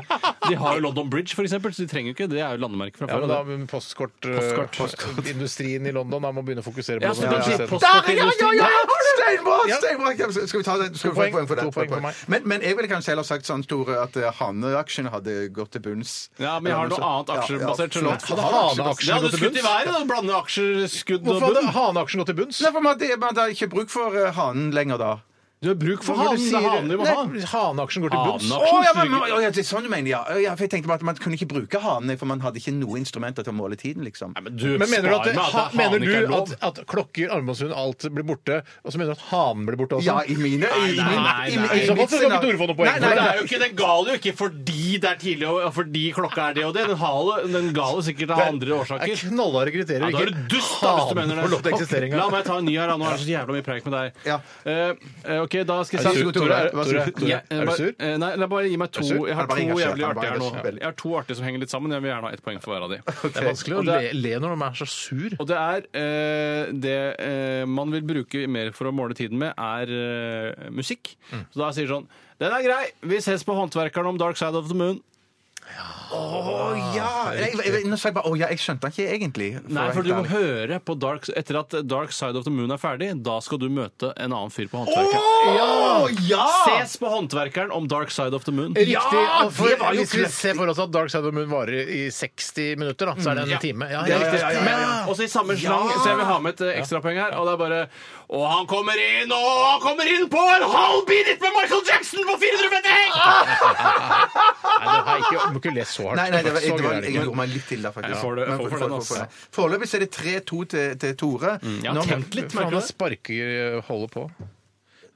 [SPEAKER 4] De har jo London Bridge, for eksempel, så de trenger jo ikke det. Det er jo landemerke fra
[SPEAKER 1] Ja,
[SPEAKER 4] før.
[SPEAKER 1] men
[SPEAKER 4] og
[SPEAKER 1] da
[SPEAKER 4] det-
[SPEAKER 1] postkortindustrien uh, Industrien i London da må begynne å fokusere på
[SPEAKER 4] Ja, så
[SPEAKER 1] det.
[SPEAKER 4] kan du si
[SPEAKER 1] isteden.
[SPEAKER 2] Der, ja, ja, ja!
[SPEAKER 4] postkortindustrien.
[SPEAKER 2] Steinbra!
[SPEAKER 1] Ja.
[SPEAKER 2] Steinbra! Ja, Skal vi ta den? Skal
[SPEAKER 1] To
[SPEAKER 2] vi få
[SPEAKER 1] poeng.
[SPEAKER 2] poeng for den?
[SPEAKER 1] To poeng for meg.
[SPEAKER 2] Men, men jeg ville kanskje heller sagt sånn, Tore, at eh, haneaksjen hadde gått til bunns.
[SPEAKER 4] Ja, men jeg har noe annet aksjebasert.
[SPEAKER 2] Ja,
[SPEAKER 4] skjønner du.
[SPEAKER 2] ja.
[SPEAKER 1] Hadde haneaksjer
[SPEAKER 4] Ja, du
[SPEAKER 1] gått til
[SPEAKER 4] skutt i
[SPEAKER 1] bunns?
[SPEAKER 4] været, da. Blande aksjer, skudd og
[SPEAKER 1] Hvorfor hadde
[SPEAKER 4] bunn.
[SPEAKER 1] haneaksjen gått til bunns?
[SPEAKER 2] Nei, for man, det, man har ikke bruk for eh, hanen lenger da.
[SPEAKER 4] Du har bruk for
[SPEAKER 1] Hva
[SPEAKER 4] hanen.
[SPEAKER 1] du
[SPEAKER 4] Det er hanen du må ha.
[SPEAKER 1] Nei, Haneaksjen går til bunns.
[SPEAKER 2] Å, ja, men, men, å, ja, det er sånn du mener, ja. ja. For jeg tenkte bare at man kunne ikke bruke hanene, for man hadde ikke noe instrumenter til å måle tiden, liksom.
[SPEAKER 4] Nei, men du,
[SPEAKER 1] Men mener du
[SPEAKER 4] spar
[SPEAKER 1] at,
[SPEAKER 4] meg at
[SPEAKER 1] ha,
[SPEAKER 4] hanen
[SPEAKER 1] mener
[SPEAKER 4] ikke er
[SPEAKER 1] du
[SPEAKER 4] lov?
[SPEAKER 1] at, at klokker, armbåndshund, alt blir borte, og så mener du at hanen blir borte også?
[SPEAKER 2] Ja, i mine i
[SPEAKER 4] Nei,
[SPEAKER 2] min-
[SPEAKER 4] nei,
[SPEAKER 2] i min-
[SPEAKER 4] nei.
[SPEAKER 2] i
[SPEAKER 1] Så hvorfor skal
[SPEAKER 2] mitt
[SPEAKER 1] ikke
[SPEAKER 2] scenario-
[SPEAKER 1] Tore få noe poeng?
[SPEAKER 2] Nei, nei,
[SPEAKER 4] Men det
[SPEAKER 2] nei.
[SPEAKER 4] er jo ikke, den gal jo ikke fordi det er tidlig og fordi klokka er det og det. Den, hale, den gal jo sikkert av andre
[SPEAKER 1] Det er
[SPEAKER 4] årsaker.
[SPEAKER 1] knallharde kriterier.
[SPEAKER 4] Ja, da er du dust, da, hvis du mener
[SPEAKER 1] får lov til å eksistere
[SPEAKER 4] det.
[SPEAKER 1] engang.
[SPEAKER 4] La meg ta en ny her, da. Nå er det så jævla mye preik med deg.
[SPEAKER 2] Ja.
[SPEAKER 4] Eh, eh, OK, da skal
[SPEAKER 1] Er
[SPEAKER 4] jeg
[SPEAKER 1] du
[SPEAKER 4] si
[SPEAKER 1] sur, Tore? Er-
[SPEAKER 4] hva
[SPEAKER 1] Tore,
[SPEAKER 4] sier du?
[SPEAKER 1] Tore,
[SPEAKER 4] Ja, eh,
[SPEAKER 1] er du
[SPEAKER 4] bare-
[SPEAKER 1] sur?
[SPEAKER 4] eh, Nei, nei, bare gi meg to.
[SPEAKER 1] Er du sur?
[SPEAKER 4] Jeg har
[SPEAKER 2] Er
[SPEAKER 4] to
[SPEAKER 2] det bare engasjert? Er
[SPEAKER 4] jævlig
[SPEAKER 2] det bare
[SPEAKER 4] artige her
[SPEAKER 2] engasjert?
[SPEAKER 4] nå. Jeg har to artige som henger litt sammen. Jeg vil gjerne ha ett poeng for hver av de.
[SPEAKER 1] Det er vanskelig å
[SPEAKER 4] Og
[SPEAKER 1] le,
[SPEAKER 4] det er-
[SPEAKER 1] le når man er så sur.
[SPEAKER 4] og det er eh, det eh, man vil bruke mer for å måle tiden med, er eh, musikk.
[SPEAKER 1] Mm.
[SPEAKER 4] Så da sier sånn Den er grei! Vi ses på Håndverkeren om Dark Side of the Moon.
[SPEAKER 2] Å ja! Nei, jeg- jeg- Nå sa jeg bare å ja, jeg skjønte den ikke egentlig. å
[SPEAKER 4] Nei,
[SPEAKER 2] være
[SPEAKER 4] for
[SPEAKER 2] helt
[SPEAKER 4] du må
[SPEAKER 2] ærlig.
[SPEAKER 4] høre på Dark Etter at Dark Side of the Moon er ferdig, da skal du møte en annen fyr på Håndverkeren.
[SPEAKER 2] Å ja!
[SPEAKER 4] Ses på Håndverkeren om Dark Side of the Moon.
[SPEAKER 1] Riktig.
[SPEAKER 2] Ja,
[SPEAKER 1] og for,
[SPEAKER 2] det var jo
[SPEAKER 1] hvis vi
[SPEAKER 2] kløktig.
[SPEAKER 1] ser for oss at Dark Side of the Moon varer i 60 minutter, da, så er det en time. Ja,
[SPEAKER 4] Det er
[SPEAKER 1] ja,
[SPEAKER 4] riktig.
[SPEAKER 1] ja, ja, ja.
[SPEAKER 4] Men også i samme slang, så jeg vil ha med et eh, ekstrapoeng her. Og det er bare Og han kommer inn, og han kommer inn på en halv beat med Michael Jackson på 450
[SPEAKER 1] Nei, du har ikke, må ikke le så hardt.
[SPEAKER 2] Nei, nei, det
[SPEAKER 1] Så
[SPEAKER 2] var, det
[SPEAKER 1] gøy
[SPEAKER 2] var,
[SPEAKER 1] er det
[SPEAKER 2] jeg
[SPEAKER 1] ikke.
[SPEAKER 2] gjorde meg litt til der, faktisk.
[SPEAKER 4] Ja, får du-
[SPEAKER 2] Men
[SPEAKER 4] får Mm. for
[SPEAKER 2] for-
[SPEAKER 4] den,
[SPEAKER 2] for-
[SPEAKER 4] altså.
[SPEAKER 2] for- Foreløpig så er det 3-2 til, til Tore.
[SPEAKER 4] ja,
[SPEAKER 2] Nå-
[SPEAKER 4] tenk litt,
[SPEAKER 1] Faen,
[SPEAKER 4] merker du
[SPEAKER 1] han
[SPEAKER 4] det?
[SPEAKER 1] sparker eh, holder på.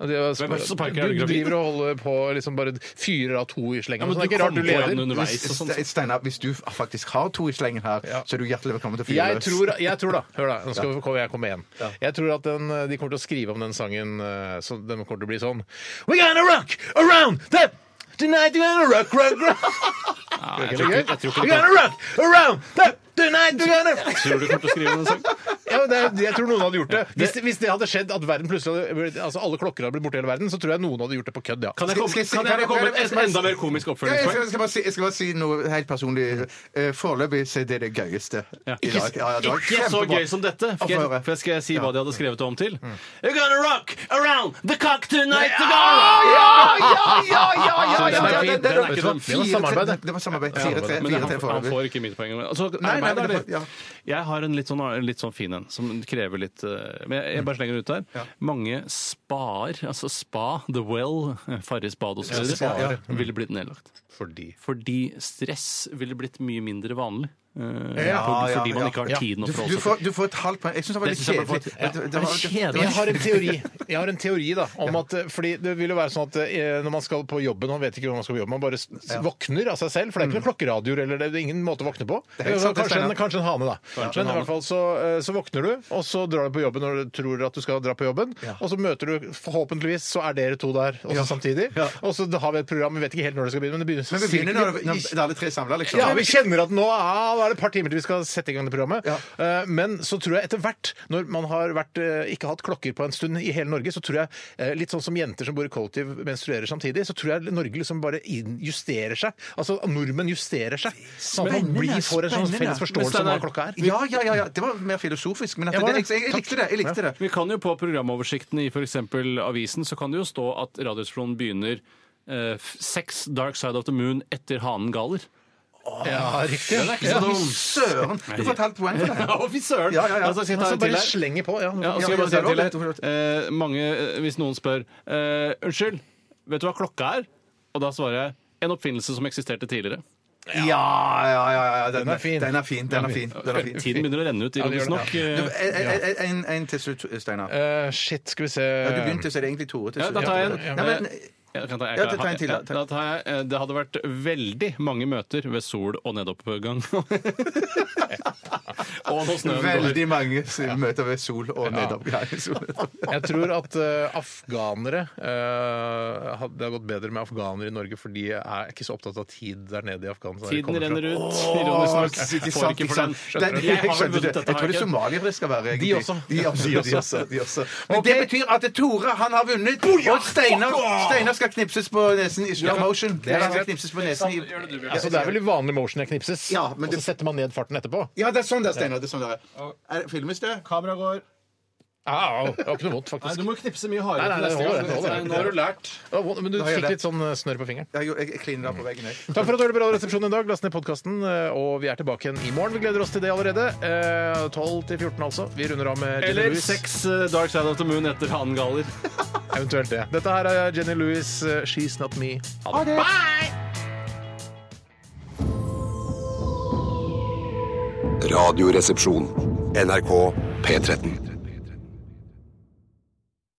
[SPEAKER 1] Ja, det var-
[SPEAKER 4] Hvem er det som sparker? Er det
[SPEAKER 1] Du
[SPEAKER 4] gravid?
[SPEAKER 1] driver og holder på liksom bare fyrer av to i slengen.
[SPEAKER 4] Ja, men
[SPEAKER 1] så det er
[SPEAKER 4] du
[SPEAKER 1] ikke rart du
[SPEAKER 4] kom på en
[SPEAKER 1] leder.
[SPEAKER 4] underveis.
[SPEAKER 2] Hvis- Ste- Steinar, hvis du faktisk har to i slengen her,
[SPEAKER 1] Ja.
[SPEAKER 2] så er du hjertelig velkommen til å fyre
[SPEAKER 1] Jeg
[SPEAKER 2] løs.
[SPEAKER 1] tror, jeg tror da, hør da, nå skal vi- jeg komme igjen. Jeg tror at den, eh, de kommer til å skrive om den sangen eh, så Den kommer til å bli sånn We gonna rock around the Tonight we're gonna rock, rock, rock
[SPEAKER 4] jeg
[SPEAKER 1] Er
[SPEAKER 4] tror
[SPEAKER 1] det
[SPEAKER 4] ikke- jeg
[SPEAKER 1] gøy?
[SPEAKER 4] tror ikke
[SPEAKER 1] We gonna rock around the Tonight we're gonna
[SPEAKER 4] Tror du kommer til å skrive den sangen?
[SPEAKER 1] ja, men det, er- jeg tror noen hadde gjort det. Hvis, det- hvis det hadde skjedd at verden plutselig hadde, blitt- altså alle klokker hadde blitt borte i hele verden, så tror jeg noen hadde gjort det på kødd, ja.
[SPEAKER 4] Kan jeg komme,
[SPEAKER 2] Skal- skal-
[SPEAKER 4] kan jeg komme med et
[SPEAKER 2] kan jeg-
[SPEAKER 4] enda mer komisk
[SPEAKER 2] Ja, jeg, skal,
[SPEAKER 4] oppfølgingspoeng?
[SPEAKER 2] jeg, skal bare si, jeg skal bare si noe helt personlig. Eh, Foreløpig så er det det gøyeste
[SPEAKER 4] Ja.
[SPEAKER 2] i dag. Ja, ja, det
[SPEAKER 4] Ikke
[SPEAKER 2] var
[SPEAKER 4] så
[SPEAKER 2] kjempebra.
[SPEAKER 4] gøy som dette, for
[SPEAKER 2] Å, få
[SPEAKER 4] jeg,
[SPEAKER 2] høre.
[SPEAKER 4] for jeg skal si
[SPEAKER 2] Ja.
[SPEAKER 4] hva de hadde skrevet det om til. You're gonna rock around the cock tonight
[SPEAKER 2] Ja,
[SPEAKER 4] together!
[SPEAKER 2] ja, ja, ja, ja,
[SPEAKER 1] Den er
[SPEAKER 2] ja, ja,
[SPEAKER 1] fin.
[SPEAKER 2] ja,
[SPEAKER 1] Den er ikke sånn. Det var samarbeid, det.
[SPEAKER 2] Det var samarbeid.
[SPEAKER 1] Ja,
[SPEAKER 2] Fire-tre,
[SPEAKER 4] Men han,
[SPEAKER 2] fire-tre
[SPEAKER 4] han
[SPEAKER 2] foreløpig.
[SPEAKER 4] får ikke mitt poeng. Altså,
[SPEAKER 2] Nei, nei,
[SPEAKER 4] arbeid er det.
[SPEAKER 2] det får- ja.
[SPEAKER 4] Jeg har en litt sånn, en litt sånn fin en, som krever litt eh, Men jeg, jeg bare slenger den ut der. Mange spaer, altså spa, The Well, Farris bad og så
[SPEAKER 2] Ja,
[SPEAKER 4] videre,
[SPEAKER 2] spaer,
[SPEAKER 4] ville blitt nedlagt.
[SPEAKER 1] Fordi
[SPEAKER 4] Fordi stress ville blitt mye mindre vanlig. eh,
[SPEAKER 2] Ja,
[SPEAKER 4] på-
[SPEAKER 2] ja,
[SPEAKER 4] fordi man
[SPEAKER 2] ja.
[SPEAKER 4] ikke har
[SPEAKER 1] Ja.
[SPEAKER 4] tiden å
[SPEAKER 2] Du, du,
[SPEAKER 4] forholde seg
[SPEAKER 2] får, du får et halvt poeng. Jeg syns det var
[SPEAKER 4] Det
[SPEAKER 2] litt
[SPEAKER 4] synes jeg bare
[SPEAKER 2] kjedelig.
[SPEAKER 4] får- ja.
[SPEAKER 2] Det- det
[SPEAKER 4] Det er
[SPEAKER 2] var-
[SPEAKER 4] kjedelig.
[SPEAKER 1] Jeg har en teori, jeg har en teori da, om at, eh, fordi det vil jo være sånn at eh, når man skal på jobben, man vet ikke hvor man skal på jobben, man bare s- s- våkner av seg selv, for det er ikke noen klokkeradioer, eller det er ingen måte å våkne på.
[SPEAKER 2] er helt sant, Mm. det
[SPEAKER 1] Kanskje en,
[SPEAKER 2] stemmer.
[SPEAKER 1] kanskje en hane da. Men i hvert fall så, eh, så våkner du, og så drar du på jobben når du tror at du skal dra på jobben, og så møter du, forhåpentligvis så er dere to der også samtidig, og så har vi et program, vi vet ikke helt når det skal begynne, men det begynner
[SPEAKER 2] Men vi begynner når, når alle tre samler, liksom.
[SPEAKER 1] ja, vi kjenner at nå ah, nå er det et par timer til vi skal sette i gang det programmet.
[SPEAKER 2] Ja.
[SPEAKER 1] Eh, men så tror jeg etter hvert, når man har vært, eh, ikke hatt klokker på en stund i hele Norge, så tror jeg, eh, litt sånn som jenter som bor i kollektiv menstruerer samtidig, så tror jeg Norge liksom bare inn- justerer seg. Altså nordmenn justerer seg. Sånn at man
[SPEAKER 2] Spennende,
[SPEAKER 1] blir får en sånn
[SPEAKER 2] spennende.
[SPEAKER 1] felles
[SPEAKER 4] Men
[SPEAKER 1] forståelse av
[SPEAKER 4] Steinar,
[SPEAKER 1] hva klokka er.
[SPEAKER 2] Ja, ja, ja, ja. Det var mer filosofisk, men at
[SPEAKER 1] Ja,
[SPEAKER 2] det,
[SPEAKER 1] var
[SPEAKER 2] jeg,
[SPEAKER 1] det?
[SPEAKER 2] jeg, jeg likte det. Jeg likte det.
[SPEAKER 4] til. Vi kan jo på programoversikten i f.eks. avisen så kan det jo stå at Radioresepsjonen begynner eh, f- Sex Dark Side of the Moon etter Hanen Galer.
[SPEAKER 1] Ja, riktig. Ja,
[SPEAKER 2] Ja, fy Søren! Du får et halvt poeng for det.
[SPEAKER 4] Å, fy søren!
[SPEAKER 2] Ja, ja, ja.
[SPEAKER 4] Altså, skal jeg ta
[SPEAKER 1] Altså,
[SPEAKER 4] en til
[SPEAKER 1] bare
[SPEAKER 4] her?
[SPEAKER 1] slenger på. Ja.
[SPEAKER 4] Ja, og så
[SPEAKER 2] Ja,
[SPEAKER 4] skal jeg
[SPEAKER 2] ja,
[SPEAKER 4] bare
[SPEAKER 2] det
[SPEAKER 4] si
[SPEAKER 2] er
[SPEAKER 4] en
[SPEAKER 2] lov,
[SPEAKER 4] til her. Eh, mange, eh, hvis noen spør eh, Unnskyld, vet du hva klokka er? Og da svarer jeg en oppfinnelse som eksisterte tidligere.
[SPEAKER 2] Ja, ja, ja. ja. Den,
[SPEAKER 1] er fin.
[SPEAKER 2] Den er fin. Den er fin. Den er fin.
[SPEAKER 4] Tiden begynner å renne ut,
[SPEAKER 1] det gjør
[SPEAKER 4] ironisk
[SPEAKER 1] det.
[SPEAKER 4] nok.
[SPEAKER 2] Du,
[SPEAKER 4] Eh,
[SPEAKER 2] en, en- en, en til slutt, Steinar.
[SPEAKER 1] Eh, shit, skal vi se
[SPEAKER 2] Ja, du begynte, så er det egentlig Tore til
[SPEAKER 4] Eh, Ja, da
[SPEAKER 2] slutt.
[SPEAKER 4] tar jeg en.
[SPEAKER 2] Nei, men,
[SPEAKER 4] Jeg kan ta, jeg
[SPEAKER 2] Ja,
[SPEAKER 4] kan-
[SPEAKER 2] ta en til, da.
[SPEAKER 4] ja, da tar jeg, eh, det hadde vært veldig mange møter ved sol og nedoppgang. og når snøen går.
[SPEAKER 2] veldig mange som møter ved sol og nedoppgang.
[SPEAKER 1] Jeg tror at eh, afghanere eh, had- Det har gått bedre med afghanere i Norge, for de er ikke så opptatt av tid der nede i Afghanistan. der de
[SPEAKER 4] Tiden
[SPEAKER 1] kommer fra.
[SPEAKER 4] renner ut. Ironisk
[SPEAKER 2] Åh,
[SPEAKER 4] nok.
[SPEAKER 2] ikke
[SPEAKER 4] Jeg får
[SPEAKER 2] sant,
[SPEAKER 4] ikke
[SPEAKER 2] ikke
[SPEAKER 4] for den.
[SPEAKER 2] sant.
[SPEAKER 4] Skjønner
[SPEAKER 2] Den-
[SPEAKER 4] du?
[SPEAKER 2] Sånn, Jeg
[SPEAKER 4] Jeg har vel
[SPEAKER 2] skjønner
[SPEAKER 4] vunnet
[SPEAKER 2] det.
[SPEAKER 4] dette.
[SPEAKER 2] Jeg tror det
[SPEAKER 4] har jeg ikke?
[SPEAKER 2] somaliere skal være. egentlig.
[SPEAKER 1] De også.
[SPEAKER 2] De
[SPEAKER 1] De
[SPEAKER 2] også,
[SPEAKER 1] også.
[SPEAKER 2] de også, de også. Men det betyr at Tore han har vunnet, og Steinar Steinar skal knipses på nesen i slow motion. Han skal knipses på nesen i...
[SPEAKER 1] Altså, det er vel i vanlig motion jeg knipses,
[SPEAKER 2] Ja, men
[SPEAKER 1] og
[SPEAKER 2] det-
[SPEAKER 1] så setter man ned farten etterpå.
[SPEAKER 2] Ja, det er sånn det er, Steinar. Det er sånn det er. er. Filmes det?
[SPEAKER 4] Kamera går.
[SPEAKER 1] Au, Ah, det var ikke noe vondt, faktisk.
[SPEAKER 4] må knipse
[SPEAKER 1] Nei,
[SPEAKER 4] mye
[SPEAKER 1] nei,
[SPEAKER 4] til
[SPEAKER 1] det
[SPEAKER 4] neste
[SPEAKER 1] holder,
[SPEAKER 4] gang.
[SPEAKER 1] det holder.
[SPEAKER 4] Nei, Nå har du lært.
[SPEAKER 1] Det var vondt, Men du
[SPEAKER 2] Da gjør
[SPEAKER 1] fikk
[SPEAKER 2] det.
[SPEAKER 1] litt sånn eh, snørr på fingeren.
[SPEAKER 2] Jeg, jeg, jeg kliner da på veggen, jeg.
[SPEAKER 1] Takk for at du hørte på Radioresepsjonen i dag. Last ned podkasten, og vi er tilbake igjen i morgen. Vi gleder oss til det allerede. Eh, 12 til 14, altså. Vi runder av med Jenny
[SPEAKER 4] Eller
[SPEAKER 1] Louis.
[SPEAKER 4] seks eh, Dark Side of the Moon etter Hanen Galler.
[SPEAKER 1] Eventuelt det. Dette her er Jenny Louis, eh, 'She's Not Me'. Ha det.
[SPEAKER 12] Radioresepsjon. NRK P13.